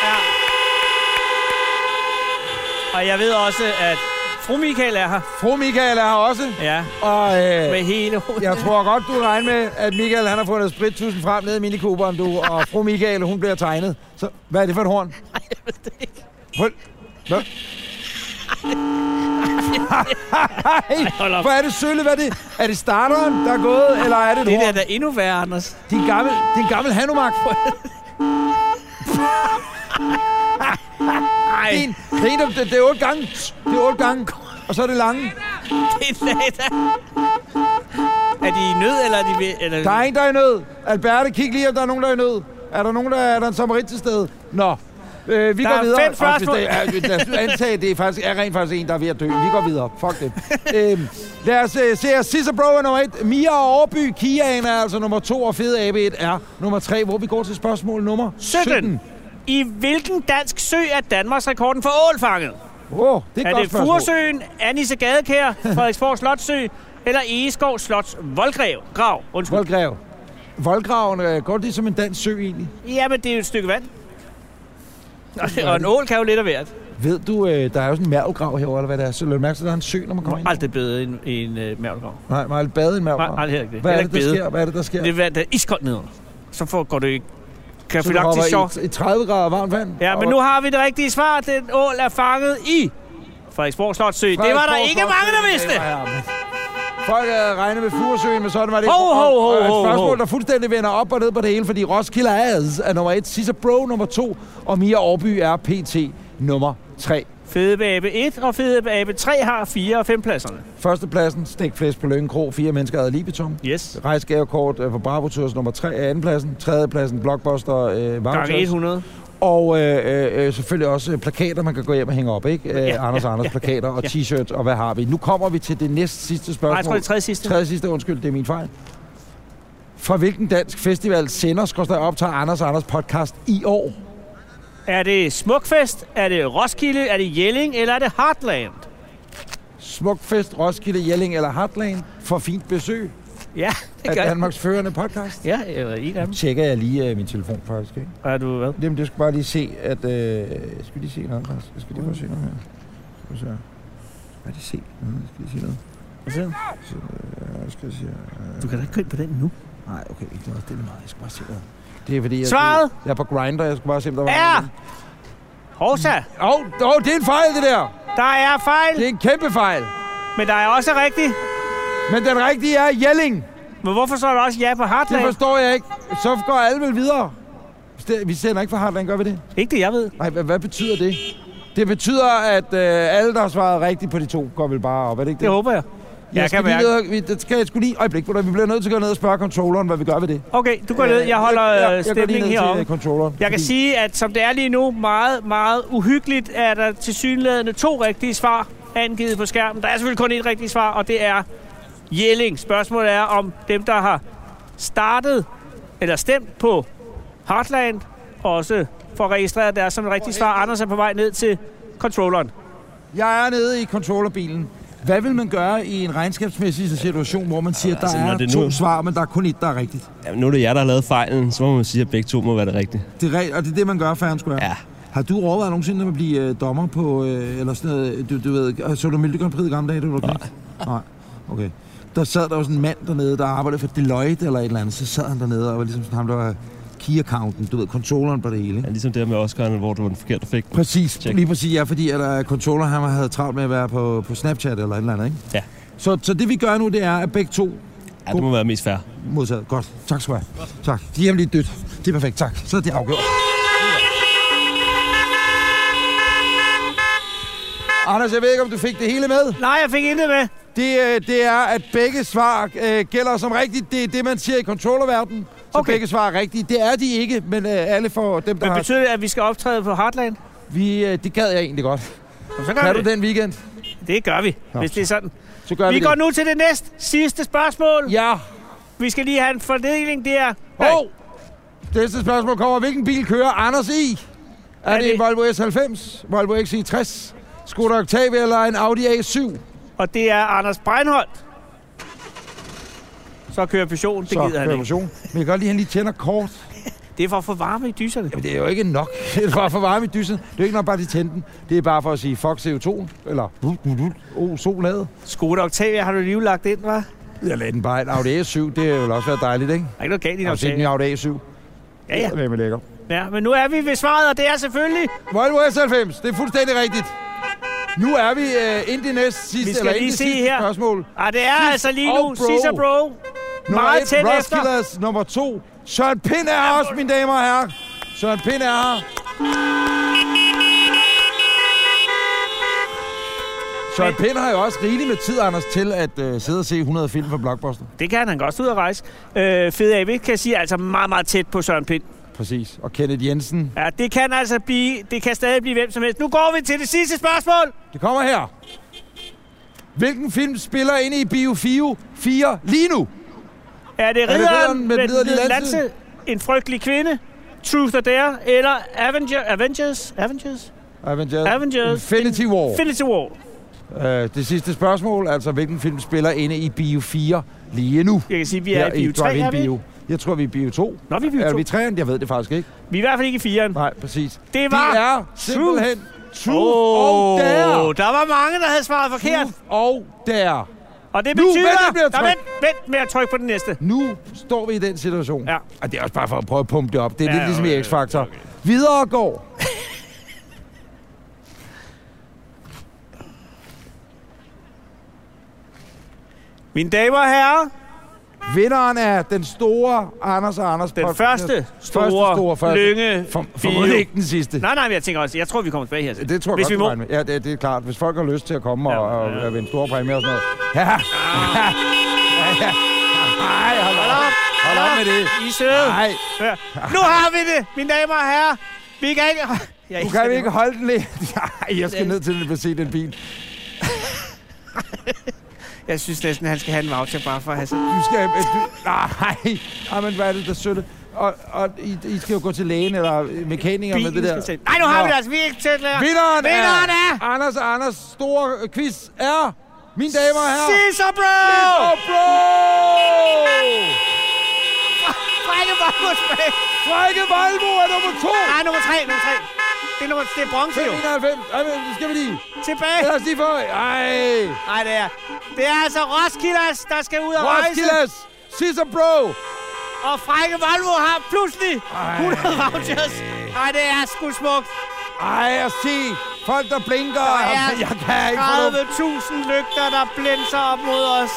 Speaker 3: Ja. Og jeg ved også, at fru Michael er her.
Speaker 2: Fru Michael er her også.
Speaker 3: Ja,
Speaker 2: Og
Speaker 3: med
Speaker 2: øh,
Speaker 3: hele hovedet.
Speaker 2: jeg tror godt, du regner med, at Michael han har fundet sprittusen frem nede i minikoberen, du. Og fru Michael, hun bliver tegnet. Så hvad er det for et horn? Nej, jeg ved det ikke. Hold.
Speaker 3: Hold op.
Speaker 2: Hvad? Hvor er det sølle? Hvad er det? Er det starteren, der er gået, eller er det et
Speaker 3: Det
Speaker 2: horn?
Speaker 3: der er da endnu værre, Anders.
Speaker 2: Det er en gammel, det er en gammel Hanumak. <laughs>
Speaker 3: Nej,
Speaker 2: Det er en, det er en, der- det er otte gange. Det er otte gange. Og så er det lange.
Speaker 3: det er da... Er de i nød, eller er de... ved- Eller...
Speaker 2: Der er en, der er i nød. Alberte, kig lige, om der er nogen, der er i nød. Er der nogen, der er der en sommerit til stede? Nå. Øh, vi
Speaker 3: Der
Speaker 2: går
Speaker 3: er
Speaker 2: videre.
Speaker 3: fem
Speaker 2: Og hvis
Speaker 3: spørgsmål.
Speaker 2: det er- Lad os nu antage, at det er, faktisk, er rent faktisk en, der er ved at dø. Vi går videre. Fuck det. øhm, lad os øh, se her. Sisse Bro er nummer et. Mia og Overby. Kiaen er altså nummer to, og Fede Abe 1 er nummer tre, hvor vi går til spørgsmål nummer 17.
Speaker 3: 17. I hvilken dansk sø er Danmarks rekorden for ålfanget?
Speaker 2: Åh, oh, det er et
Speaker 3: Er
Speaker 2: godt
Speaker 3: det
Speaker 2: spørgsmål.
Speaker 3: Furesøen, Annise Gadekær, Frederiksborg Slotsø eller Egeskov Slots Voldgrav? Grav, undskyld.
Speaker 2: Voldgrav. Voldgraven, øh, går det som en dansk sø egentlig?
Speaker 3: Jamen, det er jo et stykke vand. Og en ål kan jo lidt af hvert.
Speaker 2: Ved du, øh, der er jo sådan en mærvelgrav herovre, eller hvad det er? Så lød du mærke til, at der er en sø, når man kommer ind?
Speaker 3: Aldrig bedre end en uh, mærkelgrav.
Speaker 2: Nej, man har aldrig badet i en
Speaker 3: Nej,
Speaker 2: mærvelgrav.
Speaker 3: aldrig heller ikke det.
Speaker 2: Hvad er
Speaker 3: Heller
Speaker 2: det, der
Speaker 3: ikke bede.
Speaker 2: sker? Hvad er det, der sker?
Speaker 3: Det er vand, der er iskoldt nedenunder. Så får, går det
Speaker 2: Så der hopper
Speaker 3: Kafilaktisk chok.
Speaker 2: i, i 30 grader varmt vand.
Speaker 3: Ja, men nu har vi det rigtige svar. Den ål er fanget i Frederiksborg Slotssø. Det var der ikke mange, der vidste.
Speaker 2: Folk øh, regner med Furesøen, men sådan var det
Speaker 3: Hov, hov, hov,
Speaker 2: Og, øh,
Speaker 3: hov,
Speaker 2: Et spørgsmål,
Speaker 3: hov.
Speaker 2: der fuldstændig vender op og ned på det hele, fordi Roskilde Ads er nummer et, Sisse Bro nummer to, og Mia Aarby er PT nummer tre.
Speaker 3: Fede Abe 1 og Fede Abe 3 har 4 og 5 pladserne.
Speaker 2: Førstepladsen, stikflæs på Lønge Kro, fire mennesker ad libitum.
Speaker 3: Yes.
Speaker 2: Rejsgavekort øh, på Bravo Tours nummer 3 er andenpladsen. Tredjepladsen, Blockbuster øh,
Speaker 3: Gange
Speaker 2: Vouchers.
Speaker 3: 100.
Speaker 2: Og øh, øh, øh, selvfølgelig også øh, plakater, man kan gå hjem og hænge op, ikke? Øh, ja, Anders ja, Anders ja, plakater og
Speaker 3: <laughs> ja.
Speaker 2: t-shirts, og hvad har vi? Nu kommer vi til det næst sidste
Speaker 3: Nej,
Speaker 2: spørgsmål.
Speaker 3: jeg tror, det er tredje sidste.
Speaker 2: Tredje sidste, undskyld, det er min fejl. Fra hvilken dansk festival sender Skorstad optager Anders og Anders podcast i år?
Speaker 3: Er det Smukfest? Er det Roskilde? Er det Jelling? Eller er det Heartland?
Speaker 2: Smukfest, Roskilde, Jelling eller Heartland? For fint besøg
Speaker 3: Ja,
Speaker 2: af
Speaker 3: det gør
Speaker 2: Danmarks førende podcast.
Speaker 3: Ja, eller en af dem.
Speaker 2: Tjekker jeg lige øh, min telefon faktisk, ikke?
Speaker 3: Er du hvad?
Speaker 2: Jamen, det skal bare lige se, at... Øh, skal vi lige se noget, Lars? Jeg skal lige prøve at se noget her. Skal vi se her. Hvad er det se? Nå, Jeg skal lige se noget.
Speaker 3: Hvad siger du?
Speaker 2: Så, øh, jeg skal se her.
Speaker 3: Du kan da ikke gå ind på den nu.
Speaker 2: Nej, okay. Det er også det er lige meget. Jeg skal bare se noget. Det er fordi, jeg,
Speaker 3: Svaret?
Speaker 2: jeg er på grinder. Jeg skal bare se, om der var...
Speaker 3: Er...
Speaker 2: noget.
Speaker 3: Horsa,
Speaker 2: Åh, oh, oh, det er en fejl, det der.
Speaker 3: der er
Speaker 2: Det
Speaker 3: fejl,
Speaker 2: er en kæmpe fejl.
Speaker 3: men der er også rigtigt.
Speaker 2: Men den rigtige er Jelling.
Speaker 3: Men hvorfor så er der også ja på
Speaker 2: Det
Speaker 3: Heartland?
Speaker 2: forstår jeg ikke. Så går alle vel videre. Det- Vi sender ikke for Heartland, gør vi det?
Speaker 3: Ikke det, jeg ved.
Speaker 2: Nej, hvad, hvad betyder det? Det betyder, at øh, alle, der har svaret rigtigt på de to, går vel bare op. Er det ikke det?
Speaker 3: Det håber jeg.
Speaker 2: Jeg,
Speaker 3: Jeg
Speaker 2: skal
Speaker 3: kan
Speaker 2: lige
Speaker 3: mærke.
Speaker 2: ned, og- vi, det skal jeg sgu lige... Øjeblik, hvor vi bliver nødt til at gå ned og spørge controlleren, hvad vi gør ved det.
Speaker 3: Okay, du går ned. Jeg holder øh,
Speaker 2: jeg, jeg går lige
Speaker 3: stemningen
Speaker 2: ned
Speaker 3: heroppe.
Speaker 2: til controlleren.
Speaker 3: Jeg kan sige, at som det er lige nu, meget, meget uhyggeligt, er der til synlædende to rigtige svar angivet på skærmen. Der er selvfølgelig kun et rigtigt svar, og det er Jelling. Spørgsmålet er, om dem, der har startet eller stemt på Heartland, også får registreret deres som et rigtigt svar. Anders er på vej ned til controlleren.
Speaker 2: Jeg er nede i controllerbilen. Hvad vil man gøre i en regnskabsmæssig situation, hvor man siger, at der
Speaker 4: altså, når
Speaker 2: er
Speaker 4: det
Speaker 2: to
Speaker 4: nu-
Speaker 2: svar, men der er kun et, der er rigtigt?
Speaker 4: Jamen, nu er det jer, der har lavet fejlen, så må man sige, at begge to må være det rigtige.
Speaker 2: Det er, re- og det er det, man gør, fair and square.
Speaker 4: Ja.
Speaker 2: Har du overvejet nogensinde at blive øh, dommer på, øh, eller sådan noget, du, du ved, øh, så du Melodi Grand Prix i gamle dage, du var knægt? Nej. okay. Der sad der jo sådan en mand dernede, der arbejdede for Deloitte eller et eller andet, så sad han dernede og var ligesom sådan ham, der var key accounten, du ved, controlleren på det hele, ikke?
Speaker 4: Ja, ligesom det her med Oscar'en, hvor det var den forkerte, der fik den.
Speaker 2: Præcis, Check.
Speaker 4: Check.
Speaker 2: lige præcis, ja, fordi at øh, controller han havde travlt med at være på, på Snapchat eller et eller andet, ikke?
Speaker 4: Ja.
Speaker 2: Så, så det vi gør nu, det er, at begge to
Speaker 4: Ja, det må være mest fair.
Speaker 2: modtaget. Godt, tak skal du have. Tak. De er hjemme lige dødt. Det er perfekt, tak. Så er det afgjort. Anders, jeg ved ikke, om du fik det hele med.
Speaker 3: Nej, jeg fik intet med.
Speaker 2: Det, øh, det er, at begge svar øh, gælder som rigtigt. Det er det, man siger i controllerverdenen. Så okay.
Speaker 3: Okay.
Speaker 2: begge svar er rigtige. Det er de ikke, men øh, alle for dem, der
Speaker 3: Men
Speaker 2: har...
Speaker 3: betyder det, at vi skal optræde på Heartland?
Speaker 2: Vi, øh, det gad jeg egentlig godt.
Speaker 3: Så gør
Speaker 2: Kan
Speaker 3: vi
Speaker 2: du
Speaker 3: det.
Speaker 2: den weekend?
Speaker 3: Det gør vi,
Speaker 2: Nå.
Speaker 3: hvis det er sådan.
Speaker 2: Så gør vi,
Speaker 3: Vi
Speaker 2: det.
Speaker 3: går nu til det næst sidste spørgsmål.
Speaker 2: Ja.
Speaker 3: Vi skal lige have en fordeling der.
Speaker 2: Hov! Næste spørgsmål kommer. Hvilken bil kører Anders i? Er,
Speaker 3: Er
Speaker 2: det en
Speaker 3: det-
Speaker 2: Volvo S90, Volvo XC60, Skoda Octavia eller en Audi A7?
Speaker 3: Og det er Anders Breinholt. Så kører Peugeot, det
Speaker 2: Så
Speaker 3: gider han
Speaker 2: kører
Speaker 3: ikke.
Speaker 2: version. Men jeg kan godt lide, at han lige tænder kort.
Speaker 3: Det er for at få varme i dyserne.
Speaker 2: Jamen, det er jo ikke nok. <laughs> Det er bare for varme i dysen. Det er jo ikke nok bare at tænde den. Det er bare for at sige, fuck CO2. Eller, oh, solade.
Speaker 3: Skoda Octavia har du lige lagt ind, hva'? Der
Speaker 2: Jeg lagde den bare en Audi A7. Det vil også være dejligt, ikke?
Speaker 3: er ikke noget galt i en
Speaker 2: Jeg har set den i
Speaker 3: Octavia.
Speaker 2: Audi A7.
Speaker 3: Ja, ja.
Speaker 2: Det er lækker.
Speaker 3: ja, men nu er vi ved svaret, og det er selvfølgelig...
Speaker 2: Volvo S90. Det er fuldstændig rigtigt. Nu er vi øh, ind i næste sidste,
Speaker 3: Vi skal
Speaker 2: eller ind i
Speaker 3: lige se
Speaker 2: sidste
Speaker 3: her.
Speaker 2: spørgsmål.
Speaker 3: Ah, det er
Speaker 2: Sis
Speaker 3: altså lige
Speaker 2: og
Speaker 3: nu.
Speaker 2: bro.
Speaker 3: Sisa Bro.
Speaker 2: Nummer
Speaker 3: Meget tæt
Speaker 2: et,
Speaker 3: efter.
Speaker 2: Roskildes nummer to. Søren Pind er også, mine damer og herrer. Søren Pind er her. Søren Pind har jo også rigeligt med tid, Anders, til at øh, sidde og se 100 film fra Blockbuster.
Speaker 3: Det kan han godt ud og rejse. Øh, Fede AB kan jeg sige er altså meget, meget tæt på Søren Pind.
Speaker 2: Præcis. Og Kenneth Jensen.
Speaker 3: Ja, det kan altså blive... Det kan stadig blive hvem som helst. Nu går vi til det sidste spørgsmål.
Speaker 2: Det kommer her. Hvilken film spiller inde i Bio Fio 4 lige nu?
Speaker 3: Er det
Speaker 2: det
Speaker 3: ridderen
Speaker 2: ridderen med
Speaker 3: med
Speaker 2: den liderlige
Speaker 3: den
Speaker 2: lanse?
Speaker 3: lanse? En frygtelig kvinde? Truth or Dare? Eller Avenger, Avengers? Avengers?
Speaker 2: Avengers.
Speaker 3: Avengers.
Speaker 2: Infinity War.
Speaker 3: Infinity War.
Speaker 2: Øh, det sidste spørgsmål, altså hvilken film spiller inde i Bio 4 lige nu?
Speaker 3: Jeg kan sige, at vi er i bio 3, er vi?
Speaker 2: Bio. Jeg tror, vi er i Bio 2.
Speaker 3: Nå, vi er i bio
Speaker 2: Er
Speaker 3: 2.
Speaker 2: vi i 3'eren? Jeg ved det faktisk ikke.
Speaker 3: Vi er i hvert fald ikke i 4'eren.
Speaker 2: Nej, præcis. De
Speaker 3: Det var...
Speaker 2: er simpelthen Truth
Speaker 3: Åh,
Speaker 2: og Dare.
Speaker 3: der var mange, der havde svaret forkert.
Speaker 2: Truth og Dare.
Speaker 3: Og det
Speaker 2: Nu,
Speaker 3: betyder...
Speaker 2: vent lidt med at
Speaker 3: Nå,
Speaker 2: trykke.
Speaker 3: vent, vent med at trykke på den næste.
Speaker 2: Nu står vi i den situation.
Speaker 3: Ja.
Speaker 2: Og det er også bare for at prøve at pumpe det op. Det er ja,
Speaker 3: Ja,
Speaker 2: lidt ligesom
Speaker 3: okay,
Speaker 2: i X-Factor. Okay. Videre går.
Speaker 3: Mine damer og herrer,
Speaker 2: Vinderen af den store Anders og Anders.
Speaker 3: den
Speaker 2: podcast.
Speaker 3: første store,
Speaker 2: første store første.
Speaker 3: lynge
Speaker 2: For,
Speaker 3: bio.
Speaker 2: formodentlig ikke den sidste.
Speaker 3: Nej, nej, men jeg tænker også, jeg tror, vi kommer tilbage her. til.
Speaker 2: Det tror jeg
Speaker 3: Hvis
Speaker 2: godt,
Speaker 3: vi
Speaker 2: du
Speaker 3: må.
Speaker 2: regner med. Ja, det, det er klart. Hvis folk har lyst til at komme
Speaker 3: Ja,
Speaker 2: og, og,
Speaker 3: ja. Ah.
Speaker 2: og vinde store præmier og sådan noget. Ja. ja. ja. Nej, hold op. Hold op med det.
Speaker 3: I er søde.
Speaker 2: Nej,
Speaker 3: Hør. Nu har vi det, mine damer og herrer. Vi kan ikke... Jeg
Speaker 2: nu kan vi ikke holde den lidt. <laughs> Nej, jeg skal ned til den for at se den bil.
Speaker 3: Jeg synes næsten, han skal have en voucher bare for at have sig.
Speaker 2: Du skal... øh, Du, nej, Ej, men hvad er det, der sølle? Og, og I, I skal jo gå til lægen eller mekaniker med det
Speaker 3: Bilen
Speaker 2: der.
Speaker 3: skal sætte. Nej, nu har
Speaker 2: Nå.
Speaker 3: vi det altså. Vi er ikke tæt længere.
Speaker 2: Vinderen,
Speaker 3: Vinderen
Speaker 2: er,
Speaker 3: er-
Speaker 2: Anders og Anders store quiz er... Mine damer og herrer...
Speaker 3: Sidst og bro!
Speaker 2: Sidder Bro!
Speaker 3: Frække Valmos bag.
Speaker 2: Frække Valbo er nummer to!
Speaker 3: Nej, nummer tre, nummer tre. Det er, nummer, det er bronze jo.
Speaker 2: 91. Ej, men det skal vi lige.
Speaker 3: Tilbage.
Speaker 2: Lad os lige få... Ej!
Speaker 3: Nej, det er. Det er altså Roskildes, der skal ud og rejse.
Speaker 2: Roskildes! Sidder Bro!
Speaker 3: Og Frække Valmo har pludselig 100 vouchers. Nej, det er sgu smukt.
Speaker 2: Ej, og se! Folk, der blinker!
Speaker 3: Der er
Speaker 2: Jamen, jeg kan ikke få dem.
Speaker 3: 30.000 lygter, der blænser op mod os.